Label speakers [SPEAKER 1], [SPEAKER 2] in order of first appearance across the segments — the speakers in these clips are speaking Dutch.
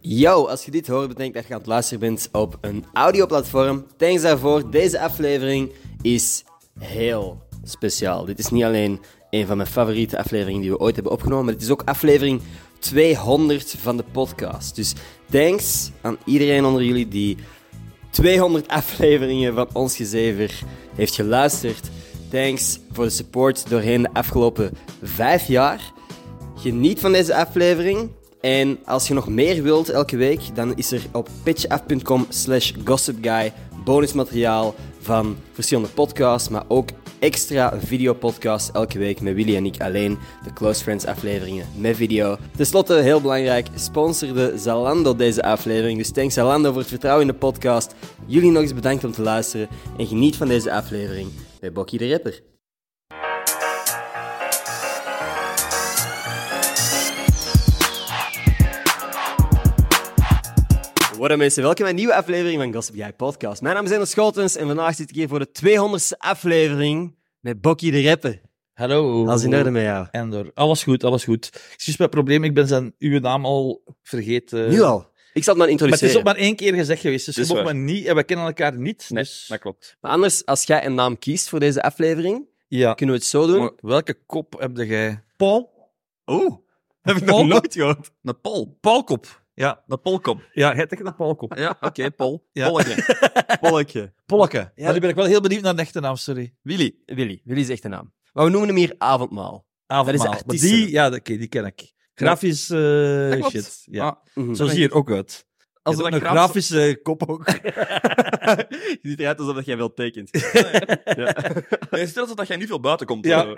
[SPEAKER 1] Yo, als je dit hoort, betekent dat je aan het luisteren bent op een audioplatform. Thanks daarvoor. Deze aflevering is heel speciaal. Dit is niet alleen een van mijn favoriete afleveringen die we ooit hebben opgenomen, maar het is ook aflevering 200 van de podcast. Dus thanks aan iedereen onder jullie die 200 afleveringen van Ons Gezever heeft geluisterd. Thanks voor de support doorheen de afgelopen 5 jaar. Geniet van deze aflevering. En als je nog meer wilt elke week, dan is er op pitchaf.com slash gossipguy bonusmateriaal van verschillende podcasts, maar ook extra videopodcasts elke week met Willy en ik alleen. De Close Friends afleveringen met video. Ten slotte, heel belangrijk, sponsorde Zalando deze aflevering. Dus thanks Zalando voor het vertrouwen in de podcast. Jullie nog eens bedankt om te luisteren en geniet van deze aflevering bij Bokkie de Rapper. Wat mensen, welkom bij een nieuwe aflevering van Gossip Guy Podcast. Mijn naam is Ender Schotens en vandaag zit ik hier voor de 200ste aflevering met Bokkie de Rapper.
[SPEAKER 2] Hallo.
[SPEAKER 1] Als in orde met jou.
[SPEAKER 2] Endor. Alles goed, alles goed. Excuus mijn probleem, ik ben zijn uw naam al vergeten.
[SPEAKER 1] Nu al. Ik zal het maar
[SPEAKER 2] Maar het
[SPEAKER 1] introduceren.
[SPEAKER 2] is ook
[SPEAKER 1] Maar,
[SPEAKER 2] maar één keer gezegd geweest, dus
[SPEAKER 3] Dat
[SPEAKER 2] je
[SPEAKER 3] is
[SPEAKER 2] mocht me
[SPEAKER 3] waar.
[SPEAKER 2] niet en we kennen elkaar niet.
[SPEAKER 3] Nee,
[SPEAKER 2] dus...
[SPEAKER 3] dat klopt.
[SPEAKER 1] anders, als jij een naam kiest voor deze aflevering,
[SPEAKER 2] Ja.
[SPEAKER 1] kunnen we het zo doen.
[SPEAKER 3] Maar-
[SPEAKER 2] Welke kop heb jij?
[SPEAKER 3] Paul? Oeh, heb ik
[SPEAKER 2] Paul?
[SPEAKER 3] nog nooit gehoord. Een Paul. Paulkop. Ja, een Paulkop.
[SPEAKER 2] Ja, jij tegen een palkop.
[SPEAKER 3] Ja, oké, Paul.
[SPEAKER 2] Ja.
[SPEAKER 3] Polletje.
[SPEAKER 1] Polletje.
[SPEAKER 2] Polke.
[SPEAKER 1] Ja.
[SPEAKER 2] Maar nu ben ik wel heel benieuwd naar de echte naam, sorry.
[SPEAKER 3] Willy.
[SPEAKER 1] Willy. Willy is echt de naam. Maar we noemen hem hier Avondmaal.
[SPEAKER 2] Avondmaal.
[SPEAKER 1] artiest,
[SPEAKER 2] Maar die,
[SPEAKER 1] hè?
[SPEAKER 2] ja, oké, die ken ik. Grafisch eh,
[SPEAKER 3] Dat klopt.
[SPEAKER 2] shit. Ja.
[SPEAKER 3] Ah,
[SPEAKER 1] Mhm.
[SPEAKER 2] Zo zie je er ook uit.
[SPEAKER 3] als
[SPEAKER 2] Als
[SPEAKER 3] er
[SPEAKER 2] een
[SPEAKER 3] een graaf...
[SPEAKER 2] grafische kop ook.
[SPEAKER 3] Je ziet eruit alsof jij veel tekent. ja. Stel dat jij niet veel buiten komt.
[SPEAKER 2] Ja.
[SPEAKER 3] hoor.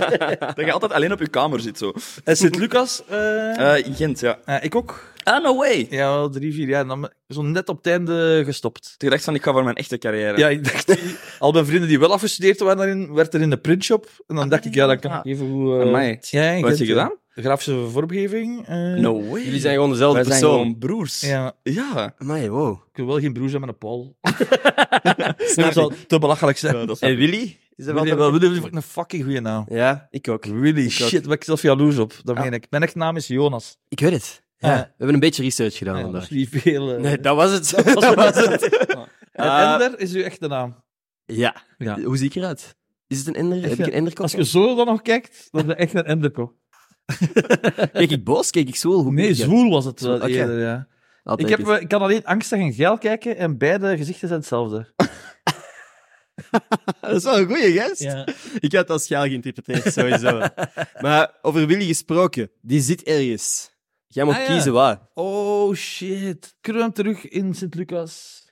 [SPEAKER 3] dat je altijd alleen op je kamer zit. Zo.
[SPEAKER 2] En Sint-Lucas? eh,
[SPEAKER 3] Eh, Gent, ja.
[SPEAKER 2] eh, ik ook.
[SPEAKER 3] Ah, no way. Ik
[SPEAKER 2] Ja, wel drie, vier jaar. En Dan zo net op het einde gestopt.
[SPEAKER 3] dacht van, ik ga voor mijn echte carrière.
[SPEAKER 2] Ja, ik dacht, al mijn vrienden die wel afgestudeerd waren daarin, werd er in de printshop. En dan dacht ik, ja, dat kan ik
[SPEAKER 3] Ah.
[SPEAKER 2] even goed... eh,
[SPEAKER 3] Amai.
[SPEAKER 2] Ja, ik
[SPEAKER 3] Wat heb je
[SPEAKER 2] het,
[SPEAKER 3] gedaan?
[SPEAKER 2] eh, Grafische vormgeving. eh,
[SPEAKER 3] No way.
[SPEAKER 1] Jullie zijn gewoon dezelfde
[SPEAKER 3] Wij zijn
[SPEAKER 1] persoon.
[SPEAKER 3] gewoon broers.
[SPEAKER 2] Ja,
[SPEAKER 3] Ja.
[SPEAKER 1] Amai, wow.
[SPEAKER 2] ik wil wel geen broer zijn met een Paul.
[SPEAKER 1] Snap
[SPEAKER 2] Dat
[SPEAKER 1] ik.
[SPEAKER 2] zou te belachelijk zijn.
[SPEAKER 3] Ja, dat is-
[SPEAKER 1] En Willy? Is dat
[SPEAKER 2] Willy,
[SPEAKER 1] wel...
[SPEAKER 2] wel, Willy vind ik een fucking goede naam.
[SPEAKER 1] Ja, ik ook.
[SPEAKER 2] Really?
[SPEAKER 1] Ik ook.
[SPEAKER 2] Shit, ben ik zelf jaloers op. Dat
[SPEAKER 1] Ja.
[SPEAKER 2] meen ik. Mijn echte naam is Jonas.
[SPEAKER 1] Ik weet het. Ja.
[SPEAKER 2] Ja.
[SPEAKER 1] We hebben een beetje research gedaan
[SPEAKER 2] Ja, dat
[SPEAKER 1] vandaag.
[SPEAKER 2] is niet veel... eh.
[SPEAKER 1] Ah, Nee, dat was het. Dat was het.
[SPEAKER 2] En
[SPEAKER 1] Ah.
[SPEAKER 2] Ender is uw echte naam.
[SPEAKER 1] Ja.
[SPEAKER 2] Ja.
[SPEAKER 1] Hoe zie ik eruit? Is het een ender? Heb ik een enderkop?
[SPEAKER 2] Als je zo dan nog kijkt, dan ben je echt naar Ender komen.
[SPEAKER 1] Keek ik boos? Keek ik zoel? Hoe
[SPEAKER 2] Nee,
[SPEAKER 1] keek ik?
[SPEAKER 2] zwoel was het wel
[SPEAKER 1] Oké.
[SPEAKER 2] eerder, ja.
[SPEAKER 1] Altijd
[SPEAKER 2] Ik, heb,
[SPEAKER 1] iets.
[SPEAKER 2] eh, ik kan alleen angstig en geil kijken en beide gezichten zijn hetzelfde.
[SPEAKER 1] Dat is wel een goeie gest.
[SPEAKER 2] Ja.
[SPEAKER 1] Ik had dat schaal geïnterpreteerd, sowieso. maar over Willy gesproken, die zit ergens. Jij moet
[SPEAKER 2] Ah, ja.
[SPEAKER 1] kiezen waar.
[SPEAKER 2] Oh shit. Kunnen we hem terug in Sint-Lucas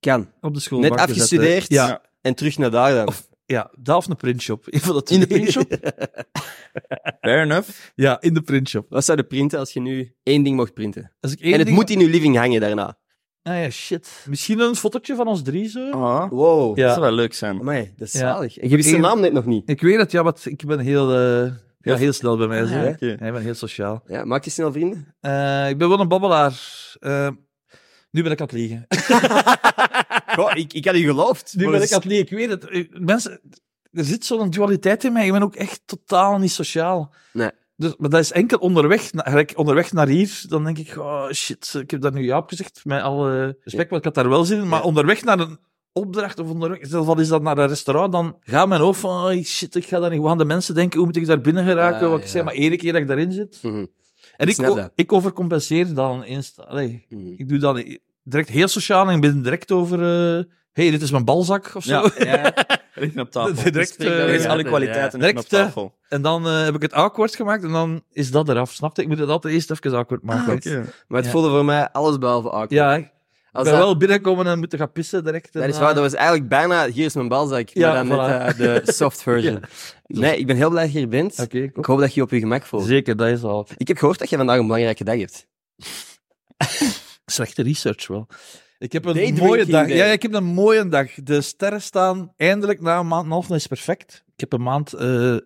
[SPEAKER 1] Kan.
[SPEAKER 2] op de school?
[SPEAKER 1] Net
[SPEAKER 2] wachten zetten?
[SPEAKER 1] afgestudeerd
[SPEAKER 2] Ja,
[SPEAKER 1] en terug naar daar dan.
[SPEAKER 2] ja, daar of een printshop. Een van de
[SPEAKER 1] In de
[SPEAKER 2] twee.
[SPEAKER 1] printshop?
[SPEAKER 3] Fair enough.
[SPEAKER 2] Ja, in de printshop.
[SPEAKER 1] Wat zou je printen als je nu één ding mocht printen?
[SPEAKER 2] Als ik één
[SPEAKER 1] en het
[SPEAKER 2] ding-
[SPEAKER 1] moet in je living hangen daarna.
[SPEAKER 2] Ah ja, shit. Oh. Misschien een fotootje van ons drie zo?
[SPEAKER 3] Ah,
[SPEAKER 1] Wow.
[SPEAKER 2] Ja.
[SPEAKER 3] Dat zou wel leuk zijn.
[SPEAKER 1] Amai, dat is
[SPEAKER 2] Ja.
[SPEAKER 1] zalig. En je wist de
[SPEAKER 2] Eén-
[SPEAKER 1] naam net nog niet.
[SPEAKER 2] Ik weet het, ja, want ik ben heel, eh, ja, heel snel bij mij. Zo,
[SPEAKER 1] Ah,
[SPEAKER 2] hè.
[SPEAKER 3] oké.
[SPEAKER 2] Ja, ik ben heel sociaal.
[SPEAKER 1] Ja, maak je snel vrienden?
[SPEAKER 2] Eh, ik ben wel een babbelaar. Eh, nu ben ik aan het liegen.
[SPEAKER 1] Goh, ik, ik had u geloofd.
[SPEAKER 2] Nu
[SPEAKER 1] maar
[SPEAKER 2] ben
[SPEAKER 1] dat
[SPEAKER 2] ik aan het liegen. Ik weet het. Eh, Mensen, er zit zo'n dualiteit in mij. Ik ben ook echt totaal niet sociaal.
[SPEAKER 1] Nee.
[SPEAKER 2] Dus, maar dat is enkel onderweg, na- gelijk onderweg naar hier. Dan denk ik, oh shit, ik heb dat nu ja op gezegd. Met alle respect, want ik had daar wel zin in. Maar
[SPEAKER 1] Ja. onderweg
[SPEAKER 2] onderweg naar een opdracht of onderweg, zelfs al is dat naar een restaurant, dan gaat mijn hoofd van, oh shit, ik ga daar niet. Hoe gaan de mensen denken? Hoe moet ik daar binnen geraken?
[SPEAKER 1] Ja,
[SPEAKER 2] Wat ik
[SPEAKER 1] Ah, ja.
[SPEAKER 2] zeg, maar één keer dat ik daarin zit.
[SPEAKER 1] Mhm.
[SPEAKER 2] En ik,
[SPEAKER 1] snap
[SPEAKER 2] o-
[SPEAKER 1] dat.
[SPEAKER 2] ik overcompenseer dan insta. Allee,
[SPEAKER 1] Mhm.
[SPEAKER 2] ik doe dan direct heel sociaal en ik ben direct over. eh, hey, dit is mijn balzak of zo.
[SPEAKER 3] Ja. ja. Richting op tafel.
[SPEAKER 2] Direct, eh,
[SPEAKER 3] Er is
[SPEAKER 1] Ja,
[SPEAKER 3] alle
[SPEAKER 1] ja.
[SPEAKER 3] kwaliteiten
[SPEAKER 2] Direct,
[SPEAKER 3] op
[SPEAKER 2] eh,
[SPEAKER 3] tafel.
[SPEAKER 2] En dan eh, heb ik het awkward gemaakt en dan is dat eraf. Snap je? Ik moet het altijd eerst even awkward
[SPEAKER 3] ah,
[SPEAKER 2] maken.
[SPEAKER 1] Ah, Maar het
[SPEAKER 2] Ja.
[SPEAKER 1] voelde voor mij alles behalve awkward.
[SPEAKER 2] Ja, ik
[SPEAKER 1] Als
[SPEAKER 2] ben
[SPEAKER 1] dat-
[SPEAKER 2] wel binnenkomen en moeten gaan pissen direct.
[SPEAKER 1] Dat
[SPEAKER 2] en,
[SPEAKER 1] is waar,
[SPEAKER 2] eh,
[SPEAKER 1] dat was eigenlijk bijna, hier is mijn balzak,
[SPEAKER 2] Ja,
[SPEAKER 1] maar dan net
[SPEAKER 2] voilà.
[SPEAKER 1] eh, de soft version. Nee, ik ben heel blij dat je hier bent.
[SPEAKER 2] Oké,
[SPEAKER 1] Ik
[SPEAKER 2] cool.
[SPEAKER 1] hoop dat je je op je gemak voelt.
[SPEAKER 2] Zeker, dat is al.
[SPEAKER 1] Ik heb gehoord dat je vandaag een belangrijke dag hebt.
[SPEAKER 2] Slechte research wel. Ik heb een
[SPEAKER 1] Daydrinking
[SPEAKER 2] mooie dag.
[SPEAKER 1] day.
[SPEAKER 2] Ja, ik heb een mooie dag. De sterren staan eindelijk na een maand en een half. Dat is perfect. Ik heb een maand eh,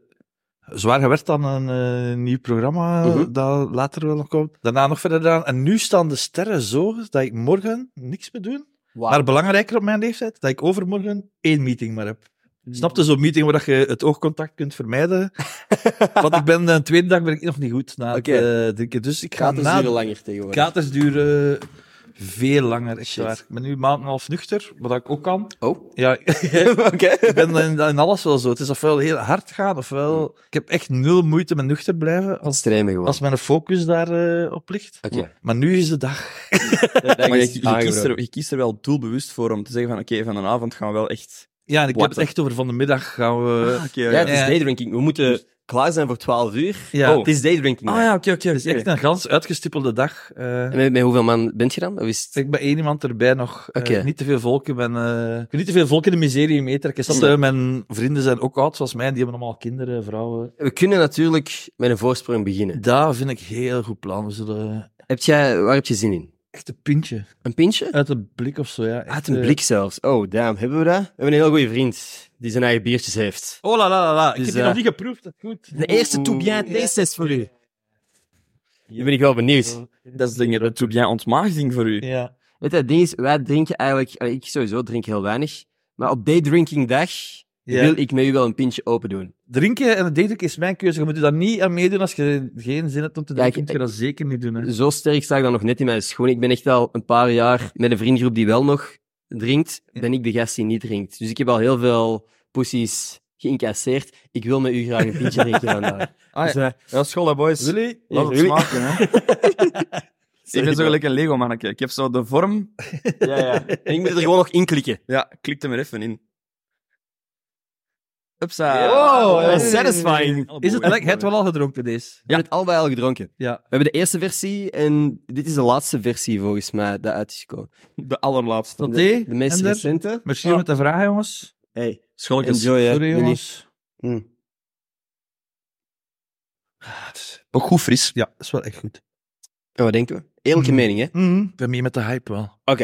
[SPEAKER 2] zwaar gewerkt aan een eh, nieuw programma
[SPEAKER 1] Mhm.
[SPEAKER 2] dat later wel nog komt. Daarna nog verder gedaan. En nu staan de sterren zo dat ik morgen niks meer doe. Maar belangrijker op mijn leeftijd, dat ik overmorgen één meeting maar heb. Snap je zo'n meeting waar dat je het oogcontact kunt vermijden? Want ik ben de tweede dag ben ik nog niet goed na het
[SPEAKER 1] Oké.
[SPEAKER 2] eh, drinken. Dus ik ga
[SPEAKER 1] Gaat het
[SPEAKER 2] na...
[SPEAKER 1] duren langer tegenwoordig.
[SPEAKER 2] Katers duren veel langer, echt
[SPEAKER 1] Shit.
[SPEAKER 2] waar. Ik ben nu een maand en een half nuchter, wat ik ook kan.
[SPEAKER 1] Oh,
[SPEAKER 2] Ja, ik
[SPEAKER 1] oké.
[SPEAKER 2] ben in, in alles wel zo. Het is ofwel heel hard gaan, ofwel... Ik heb echt nul moeite met nuchter blijven, als,
[SPEAKER 1] Streamen gewoon.
[SPEAKER 2] als mijn focus daarop op ligt.
[SPEAKER 1] Oké.
[SPEAKER 2] Maar nu is de dag.
[SPEAKER 3] maar je,
[SPEAKER 1] is
[SPEAKER 3] je kiest
[SPEAKER 1] aangebroken.
[SPEAKER 3] er, je kiest er wel doelbewust voor om te zeggen van oké, van een avond gaan we wel echt... eh,
[SPEAKER 2] Ja, en ik heb
[SPEAKER 3] Water.
[SPEAKER 2] het echt over van de middag gaan we...
[SPEAKER 3] Ah, oké,
[SPEAKER 1] Ja, het is
[SPEAKER 2] Ja.
[SPEAKER 1] daydrinking. We moeten klaar zijn voor 12 uur.
[SPEAKER 2] Ja.
[SPEAKER 1] Oh, het is daydrinking.
[SPEAKER 3] Ah ja, oké, oké.
[SPEAKER 2] Het is echt een gans uitgestippelde dag. eh.
[SPEAKER 1] En met, met hoeveel man bent je dan? Of is het-
[SPEAKER 2] Ik ben één iemand erbij nog. Eh,
[SPEAKER 1] Oké.
[SPEAKER 2] niet te veel volk. Ik ben, eh, ik wil niet te veel volk in de miserie meetrekken. Snap je? Mijn vrienden zijn ook oud zoals mij. en Die hebben allemaal kinderen, vrouwen.
[SPEAKER 1] We kunnen natuurlijk met een voorsprong beginnen.
[SPEAKER 2] Daar vind ik heel goed plan. We zullen
[SPEAKER 1] Heb jij, waar heb je zin in?
[SPEAKER 2] echt een pintje.
[SPEAKER 1] Een pintje?
[SPEAKER 2] Uit een blik of zo, ja.
[SPEAKER 1] Uit
[SPEAKER 2] Echt,
[SPEAKER 1] een
[SPEAKER 2] eh,
[SPEAKER 1] blik zelfs. Oh, damn. Hebben we dat? We hebben een heel goede vriend die zijn eigen biertjes heeft.
[SPEAKER 2] Oh la la la la. Ik
[SPEAKER 1] Dus,
[SPEAKER 2] heb die
[SPEAKER 1] eh,
[SPEAKER 2] nog niet geproefd. Dat is goed.
[SPEAKER 1] De eerste tout bien test voor u. Hier ben ik wel
[SPEAKER 2] dus,
[SPEAKER 1] benieuwd.
[SPEAKER 3] Dat is denk ik een tout bien ontmaagding voor u.
[SPEAKER 2] Ja.
[SPEAKER 1] Weet je, het ding is, wij drinken eigenlijk... allee, Ik sowieso drink heel weinig. Maar op daydrinking dag
[SPEAKER 2] Ja.
[SPEAKER 1] wil ik met u wel een pintje open doen.
[SPEAKER 2] Drinken en het daten is mijn keuze. Je moet je daar niet aan meedoen als je geen zin hebt om te drinken.
[SPEAKER 1] Kijk,
[SPEAKER 2] moet je dat zeker niet doen. Hè.
[SPEAKER 1] Zo sterk sta ik dan nog net in mijn schoenen. Ik ben echt al een paar jaar met een vriendengroep die wel nog drinkt, ben ik de gast die niet drinkt. Dus ik heb al heel veel poesies geïncasseerd. Ik wil met u graag een pintje drinken vandaag.
[SPEAKER 2] Dus,
[SPEAKER 3] Ah,
[SPEAKER 2] eh,
[SPEAKER 3] ja. ja, school, hè, boys.
[SPEAKER 2] Willy?
[SPEAKER 3] Laat het
[SPEAKER 1] Jullie-
[SPEAKER 3] smaken, hè. ik ben zo gelijk een Lego mannetje. Ik heb zo de vorm.
[SPEAKER 1] Ja, ja. En ik moet er gewoon nog in klikken.
[SPEAKER 3] Ja, klik er maar even in. Upsa.
[SPEAKER 1] Wow,
[SPEAKER 2] dat is
[SPEAKER 1] satisfying.
[SPEAKER 2] Is het lekker? Het wel al gedronken, deze?
[SPEAKER 1] We hebben het allebei al gedronken.
[SPEAKER 2] Ja.
[SPEAKER 1] We hebben de eerste versie en dit is de laatste versie volgens mij dat uit is gekomen.
[SPEAKER 3] De allerlaatste.
[SPEAKER 2] Tot
[SPEAKER 1] De,
[SPEAKER 2] thee?
[SPEAKER 1] de meest
[SPEAKER 2] En er?
[SPEAKER 1] recente.
[SPEAKER 2] Merci
[SPEAKER 1] Ah.
[SPEAKER 2] met de vraag, jongens.
[SPEAKER 1] Hey,
[SPEAKER 3] Schoolkens.
[SPEAKER 1] enjoy, hè.
[SPEAKER 2] Sorry,
[SPEAKER 1] Jullie.
[SPEAKER 2] jongens.
[SPEAKER 1] Mm.
[SPEAKER 3] Ook goed fris.
[SPEAKER 2] Ja, is wel echt goed.
[SPEAKER 1] En Oh, wat denken we? Eerlijke
[SPEAKER 3] Hmm.
[SPEAKER 2] Mm.
[SPEAKER 1] mening, hè? Oké.
[SPEAKER 2] Ik ben mee met de hype wel.
[SPEAKER 1] Het,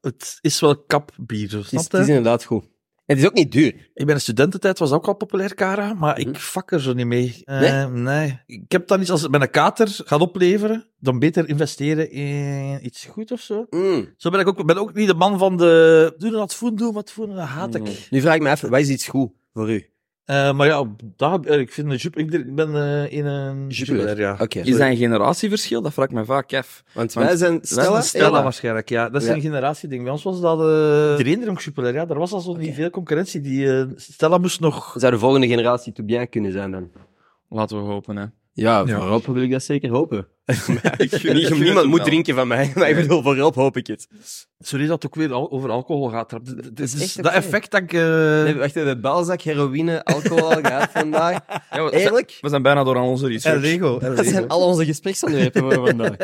[SPEAKER 2] Het is wel kapbier, zo,
[SPEAKER 1] is-
[SPEAKER 2] snap
[SPEAKER 1] het is
[SPEAKER 2] je?
[SPEAKER 1] inderdaad goed. En het is ook niet duur.
[SPEAKER 2] Ik ben in studententijd, was dat ook al populair, Cara, maar
[SPEAKER 1] Mhm.
[SPEAKER 2] ik vak er zo niet mee. Eh,
[SPEAKER 1] Nee?
[SPEAKER 2] nee. Ik heb dan iets, als het met een kater gaat opleveren, dan beter investeren in iets goed of zo.
[SPEAKER 1] Mm.
[SPEAKER 2] Zo ben ik ook, ben ook niet de man van de, doe dat voen, doe wat voen, dat haat ik.
[SPEAKER 3] Mhm.
[SPEAKER 1] Nu vraag ik me even, wat is iets goed voor u?
[SPEAKER 2] Eh, maar ja, daar, eh, ik vind een jupe, ik, ik ben eh, in een
[SPEAKER 1] Jupiler.
[SPEAKER 2] jupiler, ja.
[SPEAKER 1] Oké.
[SPEAKER 3] Is dat een generatieverschil? Dat vraag ik me vaak af.
[SPEAKER 1] Want
[SPEAKER 3] Want
[SPEAKER 1] wij zijn
[SPEAKER 3] zijn
[SPEAKER 1] Stella,
[SPEAKER 3] Stella.
[SPEAKER 2] Stella
[SPEAKER 1] Ella.
[SPEAKER 2] waarschijnlijk, ja. Dat is
[SPEAKER 1] Ja.
[SPEAKER 2] een generatieding. Bij ons was dat... eh Iedereen dronk Jupiler, ja. Er was al zo niet veel concurrentie. Die, eh, Stella moest nog...
[SPEAKER 1] Zou de volgende generatie tout bien kunnen zijn dan?
[SPEAKER 3] Laten we hopen, hè.
[SPEAKER 1] Ja,
[SPEAKER 2] Ja.
[SPEAKER 1] voor Rob wil ik dat zeker hopen.
[SPEAKER 3] Ik gun- ik gun het
[SPEAKER 1] niemand
[SPEAKER 3] hem
[SPEAKER 1] moet
[SPEAKER 3] wel.
[SPEAKER 1] drinken van mij, maar ik bedoel, voor Rob hoop ik het.
[SPEAKER 2] Sorry dat het ook weer al- over alcohol gaat. Dat, dat,
[SPEAKER 1] is
[SPEAKER 2] is
[SPEAKER 1] echt
[SPEAKER 2] dat
[SPEAKER 1] oké.
[SPEAKER 2] effect dat ik... eh,
[SPEAKER 1] We hebben echt de balzak, heroïne, alcohol gehad vandaag.
[SPEAKER 3] Ja, we,
[SPEAKER 1] Eerlijk,
[SPEAKER 3] we zijn bijna door aan onze research.
[SPEAKER 2] en Lego. en
[SPEAKER 1] dat zijn
[SPEAKER 2] Lego.
[SPEAKER 1] al onze gespreksonderwerpen voor vandaag.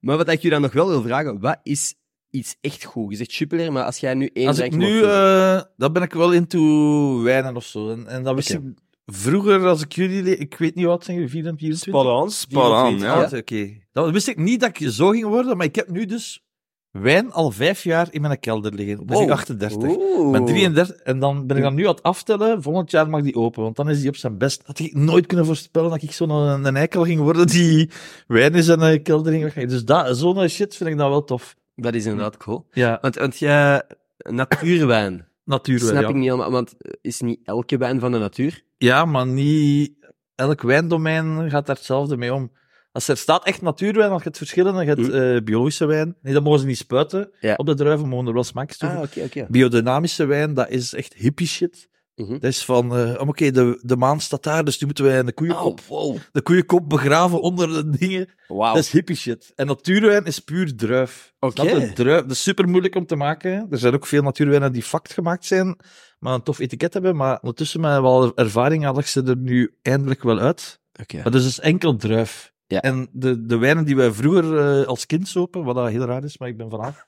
[SPEAKER 1] Maar wat ik je dan nog wel wil vragen, wat is iets echt goed? Je zegt Jupiler, maar als jij nu één
[SPEAKER 2] Als ik
[SPEAKER 1] drank
[SPEAKER 2] nu...
[SPEAKER 1] mocht doen-
[SPEAKER 2] eh dan ben ik wel into wijnen of zo. En, en dat wist
[SPEAKER 1] Oké.
[SPEAKER 2] ik vroeger, als ik jullie... le- Ik weet niet wat, zijn jullie 24?
[SPEAKER 3] Spot on, spot on, ja.
[SPEAKER 2] Ah, Oké. Dan wist ik niet dat ik zo ging worden, maar ik heb nu dus wijn al vijf jaar in mijn kelder liggen. Ben
[SPEAKER 1] Wow.
[SPEAKER 2] ik 38.
[SPEAKER 1] Oh. Oeh.
[SPEAKER 2] Met 33, en dan ben ik dan nu aan het aftellen. Volgend jaar mag die open, want dan is die op zijn best. Had ik nooit kunnen voorspellen dat ik zo'n een, een eikel ging worden die wijn is en een kelder ging weggeven. Dus dat, zo'n shit vind ik dan wel tof.
[SPEAKER 1] Dat is inderdaad cool.
[SPEAKER 2] Ja,
[SPEAKER 1] Want, want jij, natuurwijn.
[SPEAKER 2] natuurwijn.
[SPEAKER 1] Snap
[SPEAKER 2] ja.
[SPEAKER 1] ik niet helemaal, want eh, is niet elke wijn van de natuur?
[SPEAKER 2] Ja, maar niet elk wijndomein gaat daar hetzelfde mee om. Als er staat echt natuurwijn, dan je het verschillende, je hebt
[SPEAKER 1] Mm.
[SPEAKER 2] eh, biologische wijn. Nee, dat mogen ze niet spuiten.
[SPEAKER 1] Ja.
[SPEAKER 2] Op de druiven mogen er wel smaakjes toe.
[SPEAKER 1] oké, oké.
[SPEAKER 2] Biodynamische wijn, dat is echt hippie shit.
[SPEAKER 1] Mhm.
[SPEAKER 2] Dat is van, eh, oh, oké, de, de maan staat daar, dus nu moeten wij
[SPEAKER 1] Ah,
[SPEAKER 2] de
[SPEAKER 3] Oh,
[SPEAKER 2] koeien op.
[SPEAKER 1] wow.
[SPEAKER 2] de koeienkop begraven onder de dingen.
[SPEAKER 1] Wauw.
[SPEAKER 3] Dus-
[SPEAKER 2] Dat is hippie shit. En natuurwijn is puur druif.
[SPEAKER 1] Oké.
[SPEAKER 2] Snap je? Druif, dat is super moeilijk om te maken. Er zijn ook veel natuurwijnen die fact gemaakt zijn, maar een tof etiket hebben. Maar ondertussen met wel ervaring haal ik ze er nu eindelijk wel uit.
[SPEAKER 1] Oké.
[SPEAKER 2] Maar dus het is enkel druif.
[SPEAKER 1] Ja.
[SPEAKER 2] En de, de wijnen die wij vroeger eh, als kind zopen, wat dat heel raar is, maar ik ben vanaf.